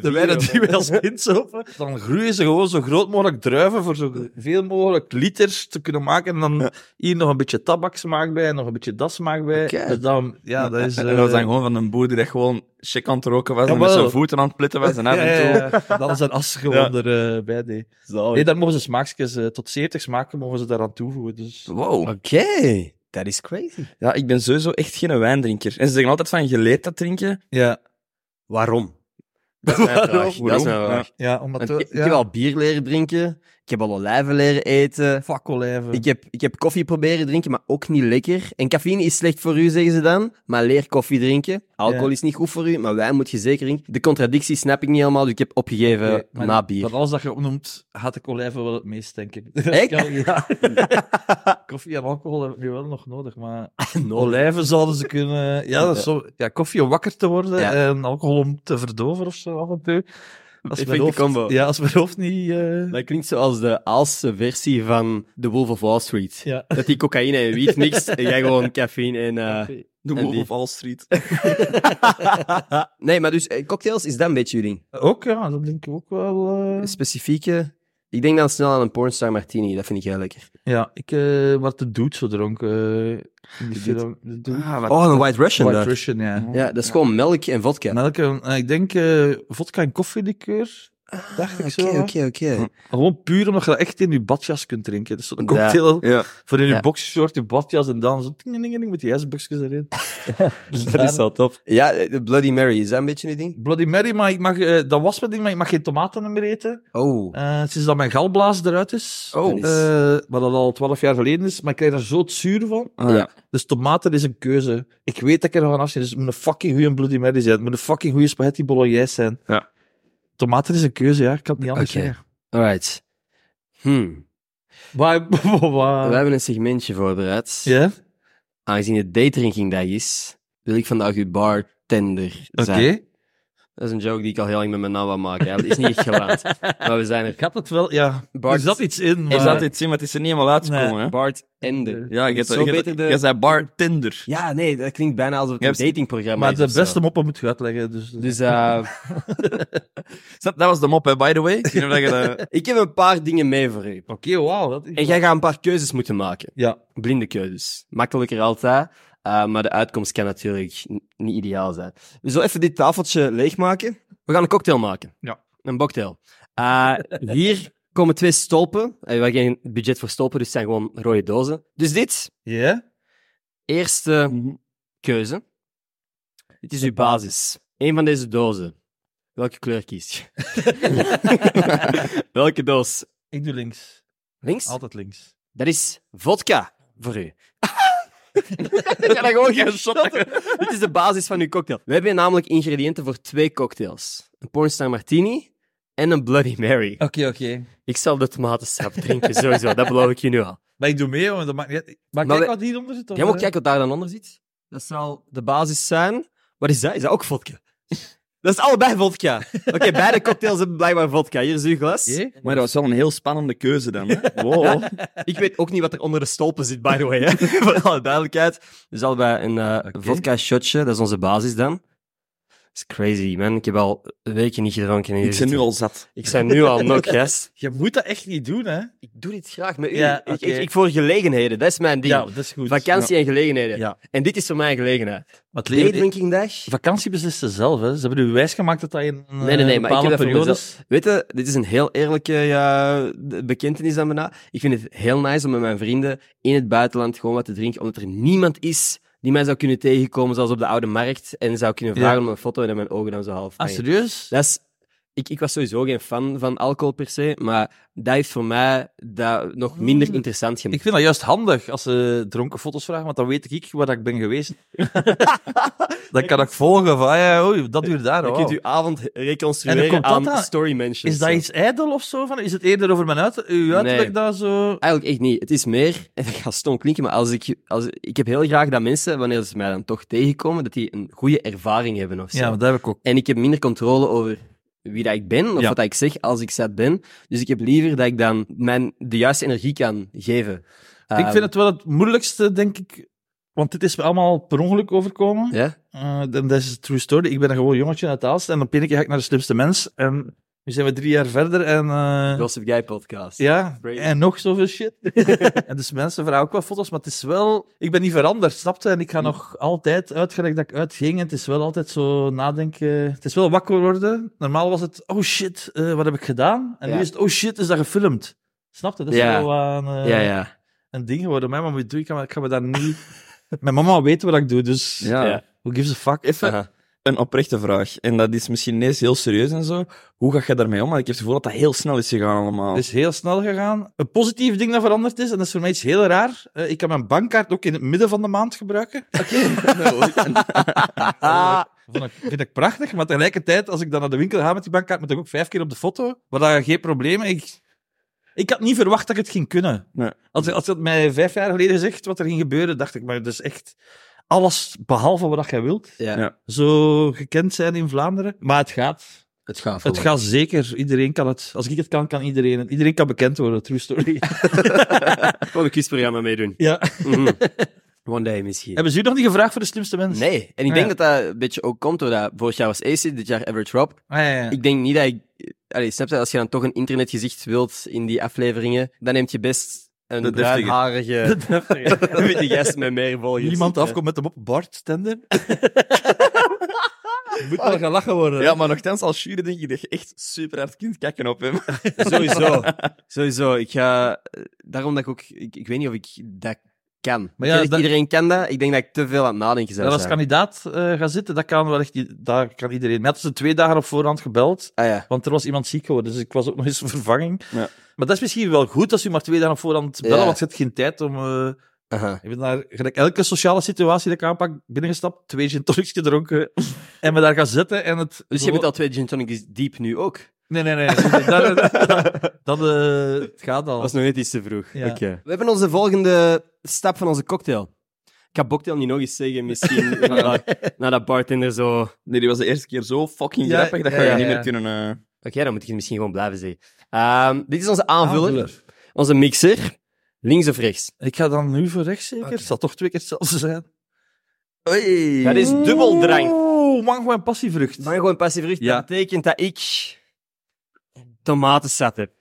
[SPEAKER 2] De wijnen die wij als kind zopen, dan groeien ze gewoon zo groot mogelijk druiven voor zo veel mogelijk liters te kunnen maken. En dan hier nog een beetje tabaksmaak bij, nog een beetje dassmaak bij.
[SPEAKER 1] Oké.
[SPEAKER 2] Dus dan, ja, dat is...
[SPEAKER 3] En
[SPEAKER 2] eh,
[SPEAKER 3] dat zijn gewoon van een boer die echt gewoon chic aan het roken was en met
[SPEAKER 2] Jawel.
[SPEAKER 3] zijn voeten aan het plitten was en af
[SPEAKER 2] ja,
[SPEAKER 3] en toe.
[SPEAKER 2] ja, ja. Dan is een as gewoon erbij. nee. Nee, daar mogen ze smaakjes, eh, tot 70 smaken mogen ze daaraan toevoegen. Dus.
[SPEAKER 3] Wow.
[SPEAKER 1] Oké. Dat is crazy.
[SPEAKER 3] Ja, ik ben sowieso echt geen wijndrinker. En ze zeggen altijd van, je leert dat drinken.
[SPEAKER 2] Ja.
[SPEAKER 1] Waarom? Dat is mijn
[SPEAKER 2] Waarom?
[SPEAKER 1] vraag. Dat is mijn
[SPEAKER 3] Waarom?
[SPEAKER 1] vraag.
[SPEAKER 2] Ja, omdat...
[SPEAKER 1] Want
[SPEAKER 2] we-
[SPEAKER 1] ik, ik
[SPEAKER 2] ja,
[SPEAKER 1] heb al bier leren drinken. Ik heb al olijven leren eten.
[SPEAKER 2] fakkelolijven.
[SPEAKER 1] Ik heb, ik heb koffie proberen drinken, maar ook niet lekker. En cafeïne is slecht voor u, zeggen ze dan. Maar leer koffie drinken. Alcohol
[SPEAKER 2] Ja.
[SPEAKER 1] is niet goed voor u, maar wijn moet je zeker drinken. De contradictie snap ik niet helemaal, dus ik heb opgegeven
[SPEAKER 2] Nee, maar
[SPEAKER 1] na bier.
[SPEAKER 2] Van alles dat je opnoemt, had ik olijven wel het meest, denk ik.
[SPEAKER 1] Echt?
[SPEAKER 2] Ja. koffie en alcohol heb ik nu wel nog nodig, maar
[SPEAKER 1] No.
[SPEAKER 2] olijven zouden ze kunnen... Ja, dat is zo... ja koffie om wakker te worden
[SPEAKER 1] Ja.
[SPEAKER 2] en alcohol om te verdoven of zo af en toe. Als
[SPEAKER 1] Perfecte
[SPEAKER 2] mijn hoofd,
[SPEAKER 1] combo.
[SPEAKER 2] Ja, als mijn hoofd niet... eh,
[SPEAKER 1] Dat klinkt zoals de Aalse versie van The Wolf of Wall Street.
[SPEAKER 2] Ja.
[SPEAKER 1] Dat die cocaïne en wiet mixt en jij gewoon cafeïne en... eh,
[SPEAKER 3] De
[SPEAKER 1] En
[SPEAKER 3] Wolf
[SPEAKER 1] die-
[SPEAKER 3] of Wall Street.
[SPEAKER 1] Nee, maar dus eh, cocktails is dan een beetje jullie.
[SPEAKER 2] Ook, ja, dat denk ik ook wel... eh.
[SPEAKER 1] Specifieke... Ik denk dan snel aan een pornstar martini, dat vind ik heel lekker.
[SPEAKER 2] Ja, ik eh wat de dude zo dronk. eh, in die film. De dude.
[SPEAKER 1] Oh, een White Russian
[SPEAKER 2] White
[SPEAKER 1] daar. Nou,
[SPEAKER 2] Russian, ja.
[SPEAKER 1] Ja, dat is gewoon melk en vodka.
[SPEAKER 2] En elke, eh, ik denk eh vodka en koffielikeur, dacht ik zo.
[SPEAKER 1] Ah, Oké,
[SPEAKER 2] hè.
[SPEAKER 1] oké, oké.
[SPEAKER 2] Gewoon puur omdat je dat echt in je badjas kunt drinken. Dus zo'n
[SPEAKER 1] Ja.
[SPEAKER 2] cocktail
[SPEAKER 3] Ja.
[SPEAKER 2] voor in je
[SPEAKER 1] Ja.
[SPEAKER 2] boxshort, je badjas en dan zo tingelingeling met die ijsbuksjes erin.
[SPEAKER 3] Dat is wel tof.
[SPEAKER 1] Ja, eh, de Bloody Mary, is dat een beetje een ding?
[SPEAKER 2] Bloody Mary, maar ik mag, eh, dat was mijn ding, maar ik mag geen tomaten meer eten.
[SPEAKER 1] Oh.
[SPEAKER 2] Eh, sinds dat mijn galblaas eruit is.
[SPEAKER 1] Oh.
[SPEAKER 2] Eh, wat dat al twaalf jaar geleden is. Maar ik krijg daar zo het zuur van.
[SPEAKER 1] Ah, ja.
[SPEAKER 2] Dus tomaten is een keuze. Ik weet dat ik er nog aan afzien. Dus het moet een fucking goede Bloody Mary zijn. Het moet een fucking goede spaghetti bolognese zijn.
[SPEAKER 3] Ja.
[SPEAKER 2] Tomaten is een keuze, ja. Ik kan het niet anders
[SPEAKER 1] Oké.
[SPEAKER 2] zeggen.
[SPEAKER 1] Alright. Hmm.
[SPEAKER 2] Waar-
[SPEAKER 1] We
[SPEAKER 2] waar-
[SPEAKER 1] hebben een segmentje voorbereid.
[SPEAKER 2] Ja?
[SPEAKER 1] Aangezien het daytrinkingdag is, wil ik vandaag uw bartender
[SPEAKER 2] Oké.
[SPEAKER 1] zijn. Dat is een joke die ik al heel lang met mijn naam wil maken. hè. Dat is niet echt gewaand. maar we zijn er.
[SPEAKER 2] Ik had het wel, ja.
[SPEAKER 1] Bart-
[SPEAKER 2] Er zat iets in, maar...
[SPEAKER 3] Is dat dit zin, maar het is er niet helemaal uitgekomen.
[SPEAKER 2] Nee.
[SPEAKER 3] hè?
[SPEAKER 1] Bartender.
[SPEAKER 3] Ja, je
[SPEAKER 1] Zo beter de-
[SPEAKER 3] de... zei bartender.
[SPEAKER 1] Ja, nee, dat klinkt bijna alsof het
[SPEAKER 3] Je
[SPEAKER 1] een
[SPEAKER 3] hebt-
[SPEAKER 1] datingprogramma
[SPEAKER 2] Maar
[SPEAKER 1] is.
[SPEAKER 2] de
[SPEAKER 1] of zo.
[SPEAKER 2] beste moppen moet je uitleggen, dus...
[SPEAKER 1] Dus eh,
[SPEAKER 3] Snap, Dat was de mop, hè, by the way. Ik weet niet of dat je dat-
[SPEAKER 1] Eh, ik heb een paar dingen mee voor u.
[SPEAKER 2] Oké, wauw. dat is-
[SPEAKER 1] En jij gaat een paar keuzes moeten maken.
[SPEAKER 2] Ja.
[SPEAKER 1] blinde keuzes. Makkelijker altijd, eh, maar de uitkomst kan natuurlijk n- niet ideaal zijn. We zullen even dit tafeltje leegmaken. We gaan een cocktail maken.
[SPEAKER 2] Ja.
[SPEAKER 1] Een cocktail. hier komen twee stolpen. Eh, We hebben geen budget voor stolpen, dus het zijn gewoon rode dozen. Dus dit,
[SPEAKER 2] Ja?
[SPEAKER 1] eerste keuze. Dit is uw basis. Eén van deze dozen. Welke kleur kies je? Welke doos?
[SPEAKER 2] Ik doe links.
[SPEAKER 1] Links?
[SPEAKER 2] Altijd links.
[SPEAKER 1] Dat is vodka voor u. Ik ga dat gewoon gaan shotten. Dit is de basis van uw cocktail. We hebben hier namelijk ingrediënten voor twee cocktails. Een pornstar martini en een Bloody Mary.
[SPEAKER 2] Oké, oké.
[SPEAKER 1] Ik zal de tomatensap drinken, sowieso. Dat beloof ik je nu al.
[SPEAKER 2] Maar ik doe mee, want dat maakt niet uit. Maar,
[SPEAKER 1] Maar
[SPEAKER 2] kijk
[SPEAKER 1] we-
[SPEAKER 2] wat hieronder zit. of,
[SPEAKER 1] Jij moet
[SPEAKER 2] eh?
[SPEAKER 1] kijken wat daar dan onder zit. Dat zal de basis zijn. Wat is dat? Is dat ook vodka? Dat is allebei vodka. Oké, beide cocktails hebben blijkbaar vodka. Hier is uw glas.
[SPEAKER 2] Oké.
[SPEAKER 3] Maar dat was wel een heel spannende keuze dan. Hè? Wow.
[SPEAKER 1] Ik weet ook niet wat er onder de stolpen zit, by the way. Hè? Voor alle duidelijkheid. Dus allebei een eh,
[SPEAKER 2] Oké.
[SPEAKER 1] vodka-shotje, dat is onze basis dan. Dat is crazy, man. Ik heb al weken niet gedronken. en hier
[SPEAKER 3] Ik ben
[SPEAKER 1] zit-
[SPEAKER 3] nu al zat.
[SPEAKER 1] Ik ben nu al nog, yes.
[SPEAKER 2] Je moet dat echt niet doen, hè?
[SPEAKER 1] Ik doe dit graag met u.
[SPEAKER 2] Ja,
[SPEAKER 1] Ik-
[SPEAKER 2] oké.
[SPEAKER 1] ik, ik voor gelegenheden, dat is mijn ding.
[SPEAKER 2] Ja, dat is goed.
[SPEAKER 1] Vakantie en gelegenheden.
[SPEAKER 2] Ja. Ja.
[SPEAKER 1] En dit is voor mij een gelegenheid.
[SPEAKER 2] Maar het leven-
[SPEAKER 1] Daydrinkingdag.
[SPEAKER 2] Vakantie beslist ze zelf, hè. Ze hebben u wijsgemaakt dat dat in eh,
[SPEAKER 1] nee, nee, maar ik
[SPEAKER 2] bepaalde
[SPEAKER 1] heb dat voor
[SPEAKER 2] periodes...
[SPEAKER 1] Weet je, dit is een heel eerlijke ja, de- bekentenis aan bijna. Ik vind het heel nice om met mijn vrienden in het buitenland gewoon wat te drinken, omdat er niemand is die mij zou kunnen tegenkomen, zoals op de oude markt, en zou kunnen vragen
[SPEAKER 2] Ja.
[SPEAKER 1] om een foto en dan mijn ogen dan zo half.
[SPEAKER 2] Ah,
[SPEAKER 1] hangen.
[SPEAKER 2] serieus?
[SPEAKER 1] dat is, ik, ik was sowieso geen fan van alcohol per se, maar dat heeft voor mij dat nog minder
[SPEAKER 2] Mm.
[SPEAKER 1] interessant gemaakt.
[SPEAKER 2] Ik vind dat juist handig als ze dronken foto's vragen, want dan weet ik waar dat ik ben geweest. dan kan ik volgen van, ah ja, oei, dat duurt daar,
[SPEAKER 1] Je
[SPEAKER 2] wauw.
[SPEAKER 1] kunt uw avond
[SPEAKER 2] En
[SPEAKER 1] reconstrueren
[SPEAKER 2] dan komt
[SPEAKER 1] aan
[SPEAKER 2] dat aan-
[SPEAKER 1] story mentions.
[SPEAKER 2] Is dat
[SPEAKER 1] zo.
[SPEAKER 2] iets ijdel of zo? Van? Is het eerder over mijn uit uw uiterlijk
[SPEAKER 1] Nee.
[SPEAKER 2] dat zo...
[SPEAKER 1] Eigenlijk echt niet. Het is meer, en dat gaat stom klinken, maar als ik, als, ik heb heel graag dat mensen, wanneer ze mij dan toch tegenkomen, dat die een goede ervaring hebben of zo.
[SPEAKER 2] Ja, maar dat heb ik ook.
[SPEAKER 1] En ik heb minder controle over wie dat ik ben, of
[SPEAKER 2] Ja.
[SPEAKER 1] wat dat ik zeg als ik zat ben. Dus ik heb liever dat ik dan mijn, de juiste energie kan geven.
[SPEAKER 2] ik
[SPEAKER 1] Ehm,
[SPEAKER 2] vind het wel het moeilijkste, denk ik... Want dit is me allemaal per ongeluk overkomen.
[SPEAKER 1] Ehm, Ja?
[SPEAKER 2] Eh, dan- dat is een true story. Ik ben een gewoon jongetje uit Aalst en op een keer ga ik naar de slimste mens. En nu zijn we drie jaar verder en... eh,
[SPEAKER 1] Gossip Guy podcast.
[SPEAKER 2] Ja,
[SPEAKER 1] Brady.
[SPEAKER 2] en nog zoveel shit. en dus mensen vragen ook wel foto's, maar het is wel... Ik ben niet veranderd, snapte? En ik
[SPEAKER 1] Mm.
[SPEAKER 2] ga nog altijd uitgelegd dat ik uitging. En het is wel altijd zo nadenken. Het is wel wakker worden. Normaal was het, oh shit, eh, wat heb ik gedaan? En
[SPEAKER 1] Ja.
[SPEAKER 2] nu is het, oh shit, is dat gefilmd? Snapte? Dat is
[SPEAKER 1] Ja.
[SPEAKER 2] wel een, eh,
[SPEAKER 1] ja, ja.
[SPEAKER 2] een ding geworden. Mijn mama, wat doe ik? Ik ga me daar niet... Mijn mama weet wat ik doe, dus
[SPEAKER 3] Ja.
[SPEAKER 1] Ja.
[SPEAKER 2] who gives a fuck? Eh,
[SPEAKER 3] Even
[SPEAKER 1] Aha.
[SPEAKER 3] een oprechte vraag. En dat is misschien niet eens heel serieus en zo. Hoe ga je daarmee om? Want ik heb het gevoel dat dat heel snel is gegaan allemaal.
[SPEAKER 2] Het is heel snel gegaan. Een positief ding dat veranderd is, en dat is voor mij iets heel raar. eh, ik kan mijn bankkaart ook in het midden van de maand gebruiken.
[SPEAKER 1] Ah.
[SPEAKER 2] Vond ik, vind ik prachtig, maar tegelijkertijd, als ik dan naar de winkel ga met die bankkaart, moet ik ook vijf keer op de foto. Waar dat geen probleem ik, ik had niet verwacht dat ik het ging kunnen.
[SPEAKER 3] Nee.
[SPEAKER 2] Als, als je het mij vijf jaar geleden gezegd wat er ging gebeuren, dacht ik, maar dat is echt alles behalve wat jij wilt.
[SPEAKER 1] Ja,
[SPEAKER 3] Ja.
[SPEAKER 2] Zo gekend zijn in Vlaanderen. Maar het gaat.
[SPEAKER 1] het gaat voor
[SPEAKER 2] Het gaat zeker. Iedereen kan het. Als ik het kan, kan iedereen het. Iedereen kan bekend worden. True story.
[SPEAKER 1] Gewoon een quizprogramma meedoen.
[SPEAKER 2] ja.
[SPEAKER 1] Mhm. One day misschien.
[SPEAKER 2] Hebben ze u nog niet gevraagd voor de slimste mens?
[SPEAKER 1] Nee, en ik denk
[SPEAKER 2] Ja.
[SPEAKER 1] dat dat een beetje ook komt doordat vorig jaar was AC, dit jaar Average Rob.
[SPEAKER 2] Ah, ja, ja.
[SPEAKER 1] Ik denk niet dat ik... Allee, snap je, als je dan toch een internetgezicht wilt in die afleveringen, dan neemt je best een
[SPEAKER 3] De deftige.
[SPEAKER 1] bruinharige... witte gast met meer volgers.
[SPEAKER 2] Niemand
[SPEAKER 1] Ja.
[SPEAKER 2] afkomt met hem op Bart tender. Moet wel gaan lachen worden.
[SPEAKER 3] Ja, maar nogthans, als jury denk ik dat je echt super hard kunt kakken op hem.
[SPEAKER 1] Sowieso. Sowieso. Ik ga... eh, Daarom dat ik ook... Ik, ik weet niet of ik dat kan.
[SPEAKER 2] Maar
[SPEAKER 1] Maar
[SPEAKER 2] ja, dat-
[SPEAKER 1] Iedereen kan dat. Ik denk dat ik te veel aan het nadenken
[SPEAKER 2] Dat
[SPEAKER 1] zou
[SPEAKER 2] als
[SPEAKER 1] zijn.
[SPEAKER 2] kandidaat eh gaan zitten, dat kan wel echt, i- daar kan iedereen. Mij hadden ze twee dagen op voorhand gebeld,
[SPEAKER 1] Ah ja.
[SPEAKER 2] want er was iemand ziek geworden, dus ik was ook nog eens een vervanging.
[SPEAKER 3] Ja.
[SPEAKER 2] Maar dat is misschien wel goed als u maar twee dagen op voorhand bellen,
[SPEAKER 1] Ja.
[SPEAKER 2] want je hebt geen tijd om... eh
[SPEAKER 1] Aha. Dus
[SPEAKER 2] ik ben daar, gelijk elke sociale situatie dat ik aanpak, binnengestapt, twee gin tonics gedronken en me daar gaan zitten en het...
[SPEAKER 1] Dus je bent al twee gin tonics diep nu ook.
[SPEAKER 2] Nee, nee, nee. nee. dat, dat, dat, eh, het gaat al.
[SPEAKER 1] nog net iets te vroeg.
[SPEAKER 2] Ja.
[SPEAKER 1] We hebben onze volgende stap van onze cocktail. Ik ga cocktail niet nog eens zeggen, misschien. nadat, nadat bartender zo... Oké,
[SPEAKER 3] Nee, die was de eerste keer zo fucking
[SPEAKER 2] Ja,
[SPEAKER 3] grappig dat
[SPEAKER 2] ja,
[SPEAKER 3] ga je
[SPEAKER 2] ja,
[SPEAKER 3] niet
[SPEAKER 2] ja.
[SPEAKER 3] meer kunnen... eh,
[SPEAKER 1] dan moet ik het misschien gewoon blijven zeggen. Ehm, dit is onze aanvuller,
[SPEAKER 2] Aanvuller.
[SPEAKER 1] onze mixer. Links of rechts?
[SPEAKER 2] Ik ga dan nu voor rechts zeker. Het zal toch twee keer hetzelfde zijn.
[SPEAKER 3] Oei.
[SPEAKER 1] Dat is dubbeldrang.
[SPEAKER 2] Oeh, mango en passievrucht.
[SPEAKER 1] Maar gewoon passief vrucht,
[SPEAKER 2] Ja.
[SPEAKER 1] dat betekent dat ik tomatensap heb.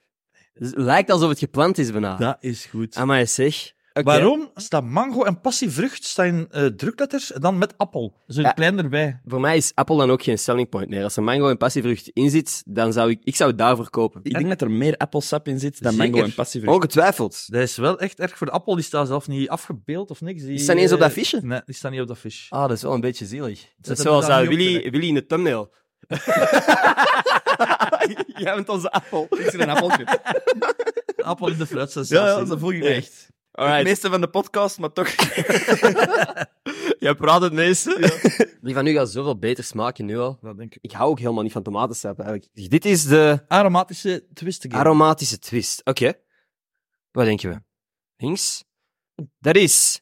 [SPEAKER 1] Dus het lijkt alsof het geplant is bijna.
[SPEAKER 2] Dat is goed.
[SPEAKER 1] Amai zeg. Oké.
[SPEAKER 2] Waarom staat mango en passievrucht zijn eh drukletters en dan met appel? Zo'n
[SPEAKER 1] Ja.
[SPEAKER 2] klein erbij.
[SPEAKER 1] Voor mij is appel dan ook geen selling point meer. Als er mango en passievrucht in zit, dan zou ik... Ik zou het daarvoor kopen.
[SPEAKER 3] Ik denk dat er meer appelsap in zit dan mango
[SPEAKER 1] Zeker.
[SPEAKER 3] en passievrucht.
[SPEAKER 1] Ongetwijfd.
[SPEAKER 2] Dat is wel echt erg voor de appel. Die staat zelf niet afgebeeld of niks. Die,
[SPEAKER 1] Die staan niet eens op dat
[SPEAKER 2] eh,
[SPEAKER 1] fiche?
[SPEAKER 2] Nee, die staan niet op dat fiche.
[SPEAKER 1] Ah, dat is wel een beetje zielig. Dat
[SPEAKER 2] Zet
[SPEAKER 1] is
[SPEAKER 2] hem
[SPEAKER 1] zoals
[SPEAKER 2] daar
[SPEAKER 1] eh,
[SPEAKER 2] niet op,
[SPEAKER 1] Willy,
[SPEAKER 2] zeg.
[SPEAKER 1] Willy in de thumbnail. Jij bent onze appel.
[SPEAKER 3] Ik zie een appeltje.
[SPEAKER 2] De appel in de fruitsensatie.
[SPEAKER 3] Ja, ja, dat voel ik me echt.
[SPEAKER 1] Alright.
[SPEAKER 3] Het meeste van de podcast, maar toch...
[SPEAKER 1] Jij praat het meeste. Die van nu gaat zoveel beter smaken nu al.
[SPEAKER 2] Dat denk ik.
[SPEAKER 1] Ik hou ook helemaal niet van tomatensap eigenlijk. Dus Dit is de
[SPEAKER 2] Aromatische twisten.
[SPEAKER 1] aromatische twist. Oké. Wat denken we? Links? Dat is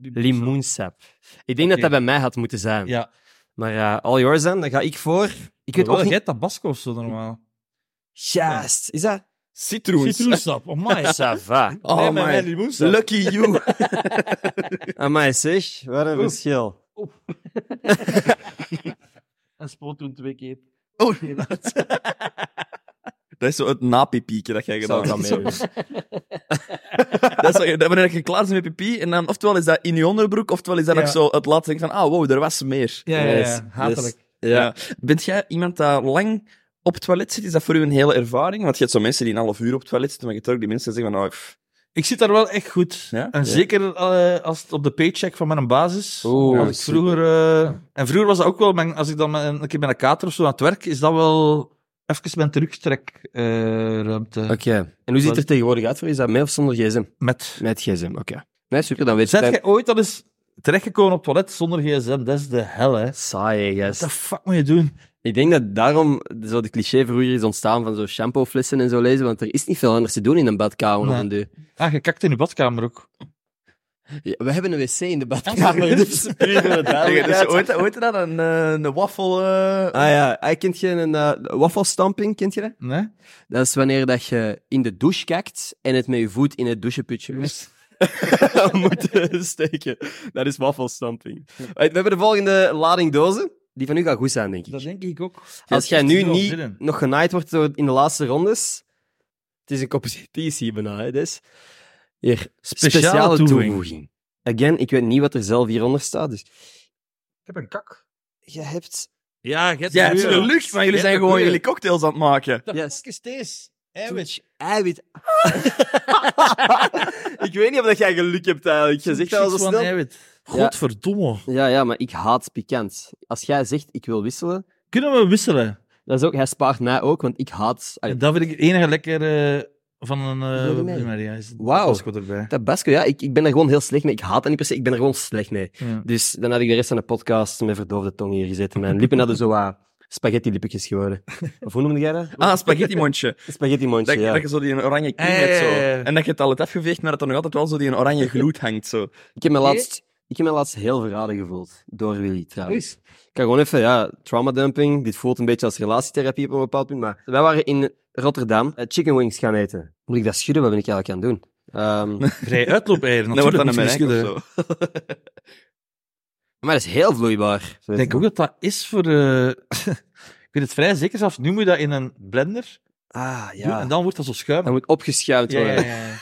[SPEAKER 1] limoensap. Ik denk dat
[SPEAKER 2] Oké.
[SPEAKER 1] dat bij mij had moeten zijn.
[SPEAKER 2] Ja.
[SPEAKER 1] Maar eh, all yours dan, dan ga ik voor. Ik weet ook
[SPEAKER 2] Wel,
[SPEAKER 1] niet...
[SPEAKER 2] jij tabasco of zo normaal.
[SPEAKER 1] Juist. Is dat?
[SPEAKER 3] Citroens.
[SPEAKER 2] Citroensap, oh my.
[SPEAKER 1] Ça va.
[SPEAKER 3] Oh,
[SPEAKER 2] nee, maar
[SPEAKER 3] man.
[SPEAKER 2] mijn limoensap.
[SPEAKER 3] Lucky you.
[SPEAKER 1] Amai zeg, wat een verschil.
[SPEAKER 2] En spoot toen twee keer.
[SPEAKER 3] Oh, nee, dat... dat is zo het napipiekje dat jij
[SPEAKER 1] Ik zou
[SPEAKER 3] gedaan
[SPEAKER 1] het wel
[SPEAKER 3] hebt.
[SPEAKER 1] meedoen.
[SPEAKER 3] Dat is zo- dat wanneer je klaar bent met pipi, en dan oftewel is dat in je onderbroek, oftewel is dat
[SPEAKER 2] Ja.
[SPEAKER 3] nog zo het laatste denk van, ah, wow, er was meer.
[SPEAKER 2] Ja, ja,
[SPEAKER 1] Yes,
[SPEAKER 2] ja. Hatelijk.
[SPEAKER 1] yes. Ja.
[SPEAKER 3] Bent jij iemand dat lang op het toilet zit? Is dat voor u een hele ervaring? Want je hebt zo mensen die een half uur op het toilet zitten, maar je hebt ook die mensen die zeggen van, oh, pff,
[SPEAKER 2] Ik zit daar wel echt goed.
[SPEAKER 3] Ja?
[SPEAKER 2] En
[SPEAKER 3] Ja.
[SPEAKER 2] zeker eh, als het op de paycheck van mijn basis.
[SPEAKER 1] Oeh,
[SPEAKER 2] Als ik vroeger, eh, en vroeger was dat ook wel, mijn, als ik dan met, een keer met een kater of zo aan het werk, is dat wel even mijn eh, terugtrekruimte.
[SPEAKER 1] Oké. En hoe ziet het er tegenwoordig uit voor je? Is dat met of zonder gsm?
[SPEAKER 2] Met.
[SPEAKER 1] Met gsm, oké. Nee, super, dan weet je
[SPEAKER 2] Zet jij ooit al eens terechtgekomen op het toilet zonder gsm? Dat is de hel, hè.
[SPEAKER 1] Saai,
[SPEAKER 2] Wat de
[SPEAKER 1] yes.
[SPEAKER 2] fuck moet je doen?
[SPEAKER 1] Ik denk dat daarom zo de cliché vroeger is ontstaan van zo shampooflessen en zo lezen, want er is niet veel anders te doen in een badkamer
[SPEAKER 2] Nee.
[SPEAKER 1] op een deur.
[SPEAKER 2] Ah, je kakt in je badkamer ook.
[SPEAKER 1] Ja, we hebben een wc in de badkamer, dus puur voor de
[SPEAKER 3] Zeg, dus
[SPEAKER 1] duidelijkheid.
[SPEAKER 3] ooit, ooit dat een, eh, een waffel... eh,
[SPEAKER 1] Ah ja, hij kent je een eh, waffelstamping, kent je dat?
[SPEAKER 2] Nee?
[SPEAKER 1] Dat is wanneer dat je in de douche kijkt en het met je voet in het doucheputje moet eh, steken. Dat is waffelstamping. Right, We hebben de volgende lading dozen. Die van u gaat goed zijn, denk ik.
[SPEAKER 2] Dat denk ik ook.
[SPEAKER 1] Als jij
[SPEAKER 2] Het is
[SPEAKER 1] nu
[SPEAKER 2] wel
[SPEAKER 1] niet
[SPEAKER 2] zinnen.
[SPEAKER 1] nog genaaid wordt door in de laatste rondes... Het is een competitie bijna, hè, dus... Hier, speciale,
[SPEAKER 2] Speciale
[SPEAKER 1] toevoeging.
[SPEAKER 2] toevoeging.
[SPEAKER 1] Again, ik weet niet wat er zelf hieronder staat, dus...
[SPEAKER 2] Ik heb een kak.
[SPEAKER 1] Je hebt...
[SPEAKER 2] Ja, je hebt
[SPEAKER 3] Ja,
[SPEAKER 2] een
[SPEAKER 3] het is
[SPEAKER 2] kleur.
[SPEAKER 3] een lucht, maar jullie
[SPEAKER 2] Ja,
[SPEAKER 3] zijn
[SPEAKER 2] de
[SPEAKER 3] gewoon
[SPEAKER 2] kleur.
[SPEAKER 3] jullie cocktails aan het maken.
[SPEAKER 2] What the
[SPEAKER 1] Yes.
[SPEAKER 2] fuck is deze?
[SPEAKER 1] Eiwit. Eiwit. ik weet niet of dat jij geluk hebt, eigenlijk. Je zegt dat al zo snel.
[SPEAKER 2] eiwit. Godverdomme.
[SPEAKER 1] Ja, ja, maar ik haat pikant. Als jij zegt, ik wil wisselen,
[SPEAKER 2] Kunnen we wisselen?
[SPEAKER 1] dat is ook, hij spaart mij ook, want ik haat... Allee,
[SPEAKER 2] Dat vind ik het enige lekker eh, van een...
[SPEAKER 1] Wilde
[SPEAKER 2] eh
[SPEAKER 1] mee.
[SPEAKER 2] primaria is
[SPEAKER 1] Wauw.
[SPEAKER 2] Dat is goed erbij.
[SPEAKER 1] Tabasco, ja, ik, ik ben er gewoon heel slecht mee. Ik haat dat niet per se, ik ben er gewoon slecht mee.
[SPEAKER 2] Ja.
[SPEAKER 1] Dus dan had ik de rest van de podcast met verdoofde tong hier gezeten. Mijn lippen hadden dus zo wat spaghetti-lippetjes geworden. Of hoe noemde jij dat?
[SPEAKER 3] Ah, spaghetti-mondje.
[SPEAKER 1] Spaghetti-mondje,
[SPEAKER 3] Dat,
[SPEAKER 1] ja.
[SPEAKER 3] dat je zo die oranje kiem
[SPEAKER 2] Ja, ja,
[SPEAKER 3] hebt. Zo.
[SPEAKER 2] ja, ja.
[SPEAKER 3] En dat je het al hebt afgeveegd, maar dat er nog altijd wel zo die oranje gloed hangt. Zo.
[SPEAKER 1] Ik heb me laatst, ik heb me laatst heel verraden gevoeld. Door Willy, trouwens.
[SPEAKER 2] Oei.
[SPEAKER 1] Ik kan gewoon even, ja, traumadumping. Dit voelt een beetje als relatietherapie op een bepaald punt. Maar wij waren in Rotterdam eh, chicken wings gaan eten. Moet ik dat schudden? Wat ben ik eigenlijk aan het doen? Ehm,
[SPEAKER 2] Vrij uitloop-eieren.
[SPEAKER 3] Dan wordt dat
[SPEAKER 2] natuurlijk,
[SPEAKER 3] een
[SPEAKER 2] moet je
[SPEAKER 3] merk of
[SPEAKER 2] schudden.
[SPEAKER 3] zo.
[SPEAKER 1] maar dat is heel vloeibaar.
[SPEAKER 2] Ik denk ook dat dat is voor... eh, ik weet het vrij zeker, zelfs nu moet je dat in een blender
[SPEAKER 1] Ah,
[SPEAKER 2] doen
[SPEAKER 1] ja.
[SPEAKER 2] en dan wordt dat zo schuim.
[SPEAKER 1] Dat moet opgeschuimd
[SPEAKER 2] Ja,
[SPEAKER 1] worden.
[SPEAKER 2] ja, ja.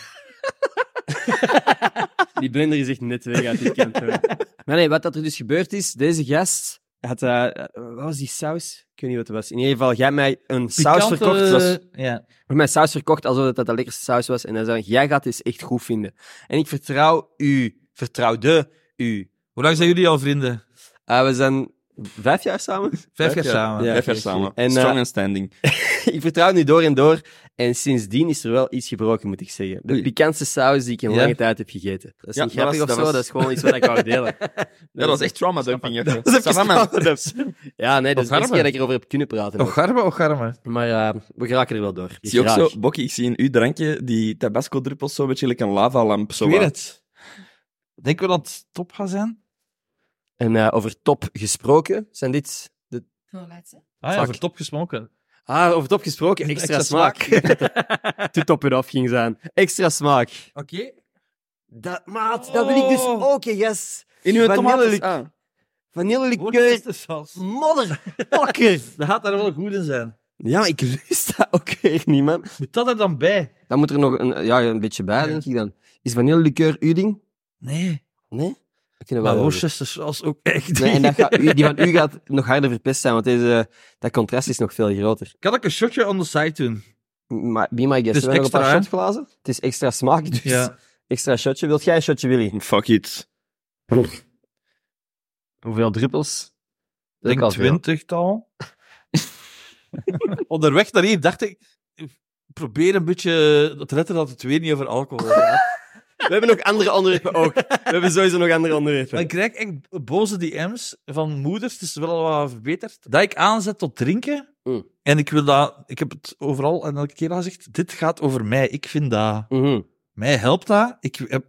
[SPEAKER 1] Die blender is echt net weg uit die kant. maar nee, wat dat er dus gebeurd is, deze gast had... eh, eh, wat was die saus? Ik weet niet wat het was. In ieder geval, jij hebt mij een saus
[SPEAKER 2] Pikante-
[SPEAKER 1] verkocht. zoals-
[SPEAKER 2] Ja.
[SPEAKER 1] Je hebt mij saus verkocht alsof dat de lekkerste saus was. En dan zei ik, jij gaat dit echt goed vinden. En ik vertrouw u. Vertrouwde u.
[SPEAKER 2] Hoe lang zijn jullie al vrienden?
[SPEAKER 1] Eh, we zijn vijf jaar samen.
[SPEAKER 2] Vijf
[SPEAKER 3] jaar
[SPEAKER 2] jaar samen.
[SPEAKER 1] Ja,
[SPEAKER 3] Even
[SPEAKER 1] oké.
[SPEAKER 3] samen.
[SPEAKER 1] En,
[SPEAKER 3] Strong
[SPEAKER 1] eh,
[SPEAKER 3] and standing.
[SPEAKER 1] ik vertrouw nu door en door. En sindsdien is er wel iets gebroken, moet ik zeggen. De
[SPEAKER 3] Oei.
[SPEAKER 1] pikantste saus die ik in
[SPEAKER 2] Ja.
[SPEAKER 1] lange tijd heb gegeten. Dat is
[SPEAKER 3] Ja,
[SPEAKER 1] niet
[SPEAKER 3] dat
[SPEAKER 1] grappig
[SPEAKER 3] was-
[SPEAKER 1] of
[SPEAKER 3] dat
[SPEAKER 1] zo,
[SPEAKER 3] was-
[SPEAKER 1] dat is gewoon iets wat ik wou delen. Dus-
[SPEAKER 3] Ja, dat is echt trauma dumping. Dat
[SPEAKER 1] is even Ja, nee, dat is de
[SPEAKER 2] Ocharme.
[SPEAKER 1] eerste keer dat ik erover heb kunnen praten. ook.
[SPEAKER 2] Ocharme, ocharme.
[SPEAKER 1] Maar eh, we geraken er wel door.
[SPEAKER 3] Zie je ook
[SPEAKER 1] Graag.
[SPEAKER 3] zo, Bokkie, ik zie in uw drankje die tabasco-druppels zo een beetje like een lavalamp. Zo
[SPEAKER 2] Ik weet
[SPEAKER 3] wat.
[SPEAKER 2] het. Denken we dat het top gaat zijn?
[SPEAKER 1] En eh, over top gesproken, zijn dit... De...
[SPEAKER 2] Ah
[SPEAKER 1] Fuck.
[SPEAKER 2] voor top gesmoken.
[SPEAKER 1] Ah, over top gesproken, extra,
[SPEAKER 2] Extra
[SPEAKER 1] smaak. Te top en af ging zijn. Extra smaak.
[SPEAKER 2] Oké.
[SPEAKER 1] Dat, maat, dat wil ik dus
[SPEAKER 2] Oh.
[SPEAKER 1] ook, hè, yes.
[SPEAKER 3] In uw
[SPEAKER 1] Vanillelik-
[SPEAKER 3] tomaten. Ah.
[SPEAKER 1] Vanillelikeur, motherfucker.
[SPEAKER 2] Dat gaat daar wel goed in zijn.
[SPEAKER 1] ja, maar ik lust dat ook weer niet, man.
[SPEAKER 2] Moet dat er dan bij?
[SPEAKER 1] Dan moet er nog een, ja, een beetje bij, denk ik dan. Is vanillelikeur uw ding?
[SPEAKER 2] Nee.
[SPEAKER 1] Nee? Ik vind het
[SPEAKER 2] Maar
[SPEAKER 1] wel leuk.
[SPEAKER 2] Worcester saus ook echt
[SPEAKER 1] Nee,
[SPEAKER 2] niet.
[SPEAKER 1] en dat gaat, u- die van u gaat nog harder verpest zijn, want deze, dat contrast is nog veel groter.
[SPEAKER 2] Kan ik een shotje on the side doen?
[SPEAKER 1] Maar be my guest,
[SPEAKER 2] Het is
[SPEAKER 1] we hebben nog een paar
[SPEAKER 2] extra, hè?
[SPEAKER 1] shotglazen. Het is extra smaak, dus extra shotje. Wilt jij een shotje, Willy?
[SPEAKER 3] Fuck it.
[SPEAKER 1] Hoeveel druppels?
[SPEAKER 2] Ik denk twintigtal. Onderweg naar hier dacht ik, probeer een beetje te letten dat het weer niet over alcohol gaat.
[SPEAKER 1] We hebben nog andere onderwerpen
[SPEAKER 3] Oh,
[SPEAKER 1] ook. We hebben sowieso nog andere onderwerpen.
[SPEAKER 2] Maar ik krijg echt boze DM's van moeders, het is wel wat verbeterd, dat ik aanzet tot drinken.
[SPEAKER 1] Mm.
[SPEAKER 2] En ik wil dat, ik heb het overal en elke keer al gezegd, dit gaat over mij, ik vind dat...
[SPEAKER 1] Mhm.
[SPEAKER 2] Mij helpt dat. Ik heb-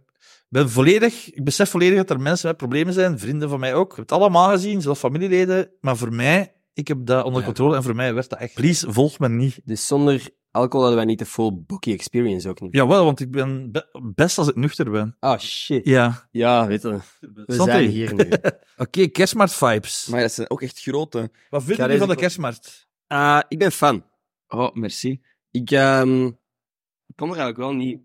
[SPEAKER 2] ben volledig, ik besef volledig dat er mensen met problemen zijn, vrienden van mij ook. Ik heb het allemaal gezien, zelfs familieleden. Maar voor mij, ik heb dat onder
[SPEAKER 1] Ja.
[SPEAKER 2] controle en voor mij werd dat echt. Please, volg me niet.
[SPEAKER 1] Dus zonder alcohol hadden wij niet de full bookie experience ook niet.
[SPEAKER 2] Jawel, want ik ben be- best als ik nuchter ben.
[SPEAKER 1] Ah, shit.
[SPEAKER 2] Ja.
[SPEAKER 1] Ja, weet je. We
[SPEAKER 2] Santé.
[SPEAKER 1] zijn hier nu.
[SPEAKER 2] Oké, kerstmarkt vibes.
[SPEAKER 3] Maar dat zijn ook echt grote.
[SPEAKER 2] Wat
[SPEAKER 1] Ga
[SPEAKER 2] vind je
[SPEAKER 1] deze
[SPEAKER 2] van de
[SPEAKER 1] ko-
[SPEAKER 2] kerstmarkt?
[SPEAKER 1] Eh, ik ben fan.
[SPEAKER 3] Oh, merci.
[SPEAKER 1] Ik ehm, ik kom er eigenlijk wel niet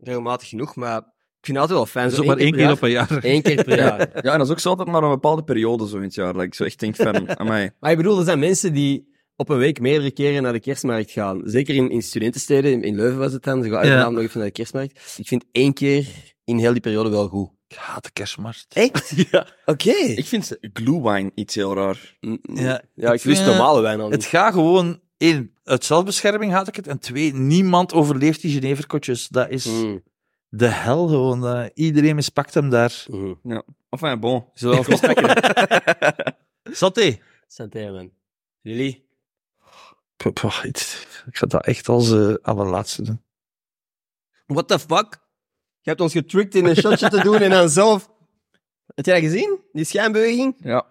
[SPEAKER 1] regelmatig genoeg, maar ik vind het altijd wel fijn.
[SPEAKER 2] Dat is Dus ook maar één keer op een jaar.
[SPEAKER 1] Eén keer per jaar.
[SPEAKER 3] Ja, en dat is ook zo altijd maar een bepaalde periode zo in het jaar. Dat ik zo echt denk van, amai.
[SPEAKER 1] Maar ik bedoel, er zijn mensen die op een week meerdere keren naar de kerstmarkt gaan. Zeker in, in studentensteden, in, in Leuven was het dan. Ze gaan elke
[SPEAKER 2] Ja.
[SPEAKER 1] avond nog even naar de kerstmarkt. Ik vind één keer in heel die periode wel goed.
[SPEAKER 2] Ik haat de kerstmarkt.
[SPEAKER 1] Echt?
[SPEAKER 2] Ja.
[SPEAKER 1] Oké.
[SPEAKER 3] Ik vind glue wine iets heel raar.
[SPEAKER 1] Mm, mm.
[SPEAKER 2] Ja,
[SPEAKER 1] Ja, ik
[SPEAKER 2] ik vind- eh,
[SPEAKER 1] lust normale wijn al
[SPEAKER 2] Het
[SPEAKER 1] niet.
[SPEAKER 2] gaat gewoon... één, uit zelfbescherming haat ik het. En twee, niemand overleeft die Geneverkotjes. Dat is...
[SPEAKER 1] Mm,
[SPEAKER 2] de hel gewoon. eh, iedereen mispakt hem daar.
[SPEAKER 1] mm.
[SPEAKER 3] Enfin, bon.
[SPEAKER 1] Zowel voor spekken.
[SPEAKER 2] Saté.
[SPEAKER 1] Santé, man. Jullie?
[SPEAKER 2] Puh, puh, het- Ik ga dat echt als eh allerlaatste doen.
[SPEAKER 1] What the fuck? Je hebt ons getricked in een shotje te doen en dan zelf... Heb jij dat gezien? Die schijnbeweging?
[SPEAKER 3] Ja.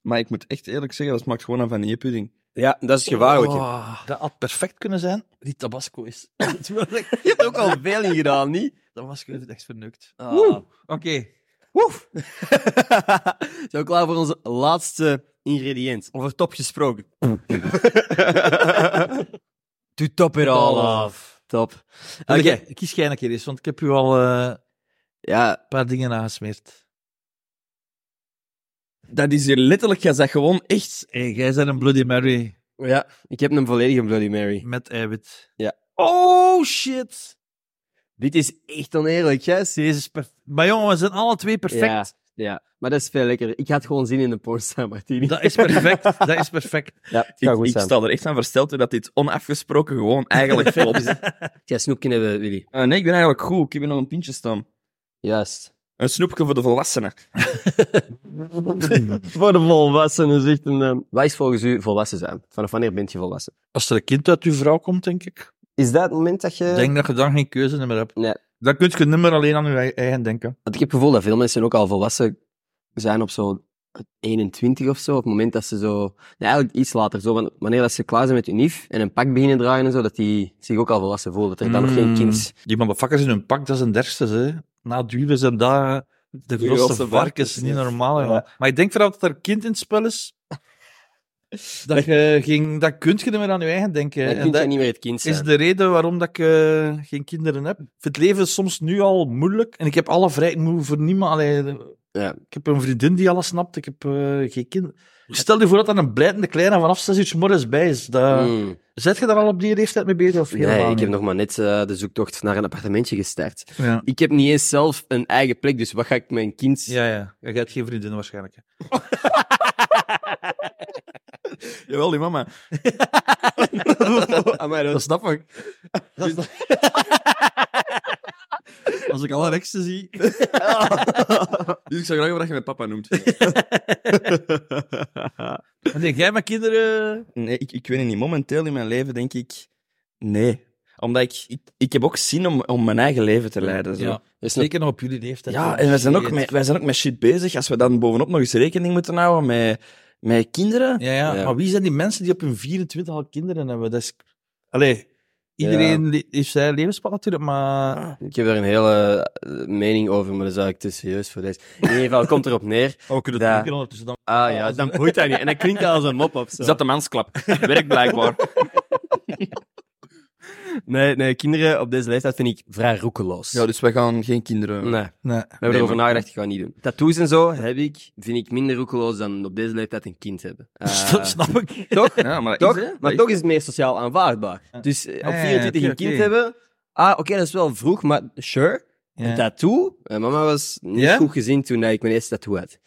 [SPEAKER 3] Maar ik moet echt eerlijk zeggen, dat smaakt gewoon aan vanillepudding.
[SPEAKER 1] Ja, dat is
[SPEAKER 3] Ah,
[SPEAKER 1] gevaarlijk.
[SPEAKER 2] Oh, dat had perfect kunnen zijn. Die tabasco is.
[SPEAKER 1] Je hebt ook al veel in gedaan, niet?
[SPEAKER 2] tabasco is echt verneukt.
[SPEAKER 1] Ah.
[SPEAKER 2] Oké.
[SPEAKER 1] Woef! Zijn we klaar voor onze laatste ingrediënt? Over top gesproken. To top it all off. Top. Oké.
[SPEAKER 2] Oké, Kies jij een keer eens, want ik heb u al eh,
[SPEAKER 1] Ja,
[SPEAKER 2] een paar dingen aangesmeerd.
[SPEAKER 3] Dat is hier letterlijk, jij zegt gewoon echt...
[SPEAKER 2] Hey, jij bent een Bloody Mary
[SPEAKER 1] ja, ik heb een volledige Bloody Mary.
[SPEAKER 2] met eiwit.
[SPEAKER 1] Ja.
[SPEAKER 2] Oh, shit.
[SPEAKER 1] Dit is echt oneerlijk, yes.
[SPEAKER 2] Deze is perfect. Maar jongen, we zijn alle twee perfect.
[SPEAKER 1] Ja. Ja, maar dat is veel lekkerder. Ik had gewoon zin in een Porsche Martini.
[SPEAKER 2] Dat is perfect. dat is perfect.
[SPEAKER 1] ja, het
[SPEAKER 3] Ik,
[SPEAKER 1] gaat goed
[SPEAKER 3] ik
[SPEAKER 1] zijn.
[SPEAKER 3] sta er echt aan versteld hoe dat dit onafgesproken gewoon eigenlijk klopt.
[SPEAKER 1] Ja, snoepje hebben we, Willy.
[SPEAKER 3] Eh, nee, ik ben eigenlijk goed. Ik heb hier nog een pintje staan.
[SPEAKER 1] Juist.
[SPEAKER 3] Een snoepje voor de volwassenen.
[SPEAKER 1] Voor de volwassenen zegt een... ehm, Wat is volgens u volwassen zijn? Vanaf wanneer bent je volwassen?
[SPEAKER 2] Als er een kind uit uw vrouw komt, denk ik.
[SPEAKER 1] Is dat het moment dat je...
[SPEAKER 2] Ik denk dat je dan geen keuze meer hebt.
[SPEAKER 1] Nee.
[SPEAKER 2] Dan kun je niet meer alleen aan je eigen denken.
[SPEAKER 1] Want ik heb het gevoel dat veel mensen ook al volwassen zijn op zo'n 21 of zo. Op het moment dat ze zo... Nee, eigenlijk iets later. Zo, want wanneer dat ze klaar zijn met hun NIF en een pak beginnen draaien en zo, dat die zich ook al volwassen voelen. Dat er dan nog
[SPEAKER 2] Mm.
[SPEAKER 3] Hmm.
[SPEAKER 1] geen kind...
[SPEAKER 2] Die motherfuckers in hun pak, dat is een derste. Hè. Na duwen zijn daar de grootste
[SPEAKER 3] grootste
[SPEAKER 2] varkens.
[SPEAKER 3] varkens,
[SPEAKER 2] Niet
[SPEAKER 3] ja.
[SPEAKER 2] normaal.
[SPEAKER 3] Ja.
[SPEAKER 2] jongen. Maar ik denk vooral dat er een kind in het spel is. Dat, je geen, dat kun je niet meer aan je eigen denken.
[SPEAKER 1] Dan
[SPEAKER 2] En
[SPEAKER 1] kun
[SPEAKER 2] dat-
[SPEAKER 1] je niet meer het kind zijn.
[SPEAKER 2] is de reden waarom dat ik eh, geen kinderen heb. Ik vind het leven soms nu al moeilijk. En ik heb alle vrijheid. Ik moet voor niemand... Allee, eh,
[SPEAKER 1] Ja.
[SPEAKER 2] Ik heb een vriendin die alles snapt. Ik heb eh, geen kind. Stel je voor dat er een blijtende kleine vanaf 6 uur 's morgens bij is. Dat...
[SPEAKER 1] Mm.
[SPEAKER 2] Zet je daar al op die leeftijd mee bezig? Of helemaal
[SPEAKER 1] Nee, ik
[SPEAKER 2] niet?
[SPEAKER 1] heb nog maar net eh, de zoektocht naar een appartementje gestart.
[SPEAKER 2] Ja.
[SPEAKER 1] Ik heb niet eens zelf een eigen plek, dus wat ga ik mijn kind...
[SPEAKER 2] Ja, ja. Jij hebt geen vriendin waarschijnlijk. hè.
[SPEAKER 3] Jawel, die mama.
[SPEAKER 1] Amai, dat
[SPEAKER 2] Dat snap ik. Dat snap... Als ik alle reksten zie.
[SPEAKER 3] Dus ik zou graag dat je mijn papa noemt.
[SPEAKER 2] Dan denk jij met kinderen...
[SPEAKER 3] Nee, ik, ik weet het niet. Momenteel in mijn leven denk ik nee. Omdat ik, ik, ik heb ook zin om, om mijn eigen leven te leiden. Zo. Ja,
[SPEAKER 1] is nog-
[SPEAKER 2] Zeker nog op jullie leeftijd.
[SPEAKER 3] en wij zijn, ook
[SPEAKER 2] Shit.
[SPEAKER 3] met, wij zijn ook met shit bezig. Als we dan bovenop nog eens rekening moeten houden met, met kinderen.
[SPEAKER 2] Ja, ja,
[SPEAKER 1] Ja.
[SPEAKER 2] maar wie zijn die mensen die op hun 24 al kinderen hebben? Dat is... Allee, iedereen le- heeft zijn levenspad natuurlijk, maar...
[SPEAKER 1] Ik heb daar een hele eh, mening over, maar dat is eigenlijk te serieus voor deze. In ieder geval komt erop neer.
[SPEAKER 2] Oh, we kunnen
[SPEAKER 1] het Ja.
[SPEAKER 2] het
[SPEAKER 1] drinken
[SPEAKER 2] ondertussen dan.
[SPEAKER 1] Ah ja, dan boeit dat niet. En dat klinkt als een mop op zo.
[SPEAKER 3] Is dat de mansklap? Werkt blijkbaar.
[SPEAKER 1] Nee, nee, kinderen op deze leeftijd vind ik vrij roekeloos.
[SPEAKER 3] Ja, dus wij gaan geen kinderen.
[SPEAKER 1] Nee, we hebben
[SPEAKER 2] Nee.
[SPEAKER 1] erover nagedacht, ik ga het niet doen. Tattoos en zo heb ik, vind ik minder roekeloos dan op deze leeftijd een kind hebben. Eh,
[SPEAKER 2] Dat snap ik.
[SPEAKER 1] toch?
[SPEAKER 3] Ja, maar dat
[SPEAKER 1] toch?
[SPEAKER 3] is, hè.
[SPEAKER 1] maar
[SPEAKER 3] Dat
[SPEAKER 1] toch is het meer sociaal aanvaardbaar. Dus eh, op
[SPEAKER 2] Ja, ja,
[SPEAKER 1] 24
[SPEAKER 2] oké,
[SPEAKER 1] een kind
[SPEAKER 2] oké.
[SPEAKER 1] hebben, ah oké, dat is wel vroeg, maar sure. Een tattoo? Eh, mama was niet
[SPEAKER 2] Ja?
[SPEAKER 1] goed gezien toen ik mijn eerste tattoo had.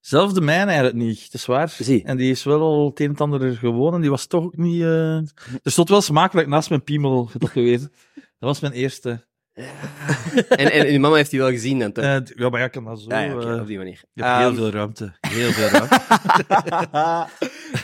[SPEAKER 2] Zelfs de mijne eigenlijk niet, dat is waar.
[SPEAKER 1] Zie.
[SPEAKER 2] En die is wel al het een en ander gewoon en die was toch ook niet... eh, Er stond wel smakelijk naast mijn piemel getatoeëerd. Dat was mijn eerste.
[SPEAKER 1] En, en, en je mama heeft die wel gezien dan toch?
[SPEAKER 2] Eh, d- ja, maar ja, ik kan dat zo...
[SPEAKER 1] Ah, ja, oké,
[SPEAKER 2] eh,
[SPEAKER 1] op die manier.
[SPEAKER 2] je hebt heel
[SPEAKER 1] Ehm,
[SPEAKER 2] veel ruimte. Heel veel ruimte.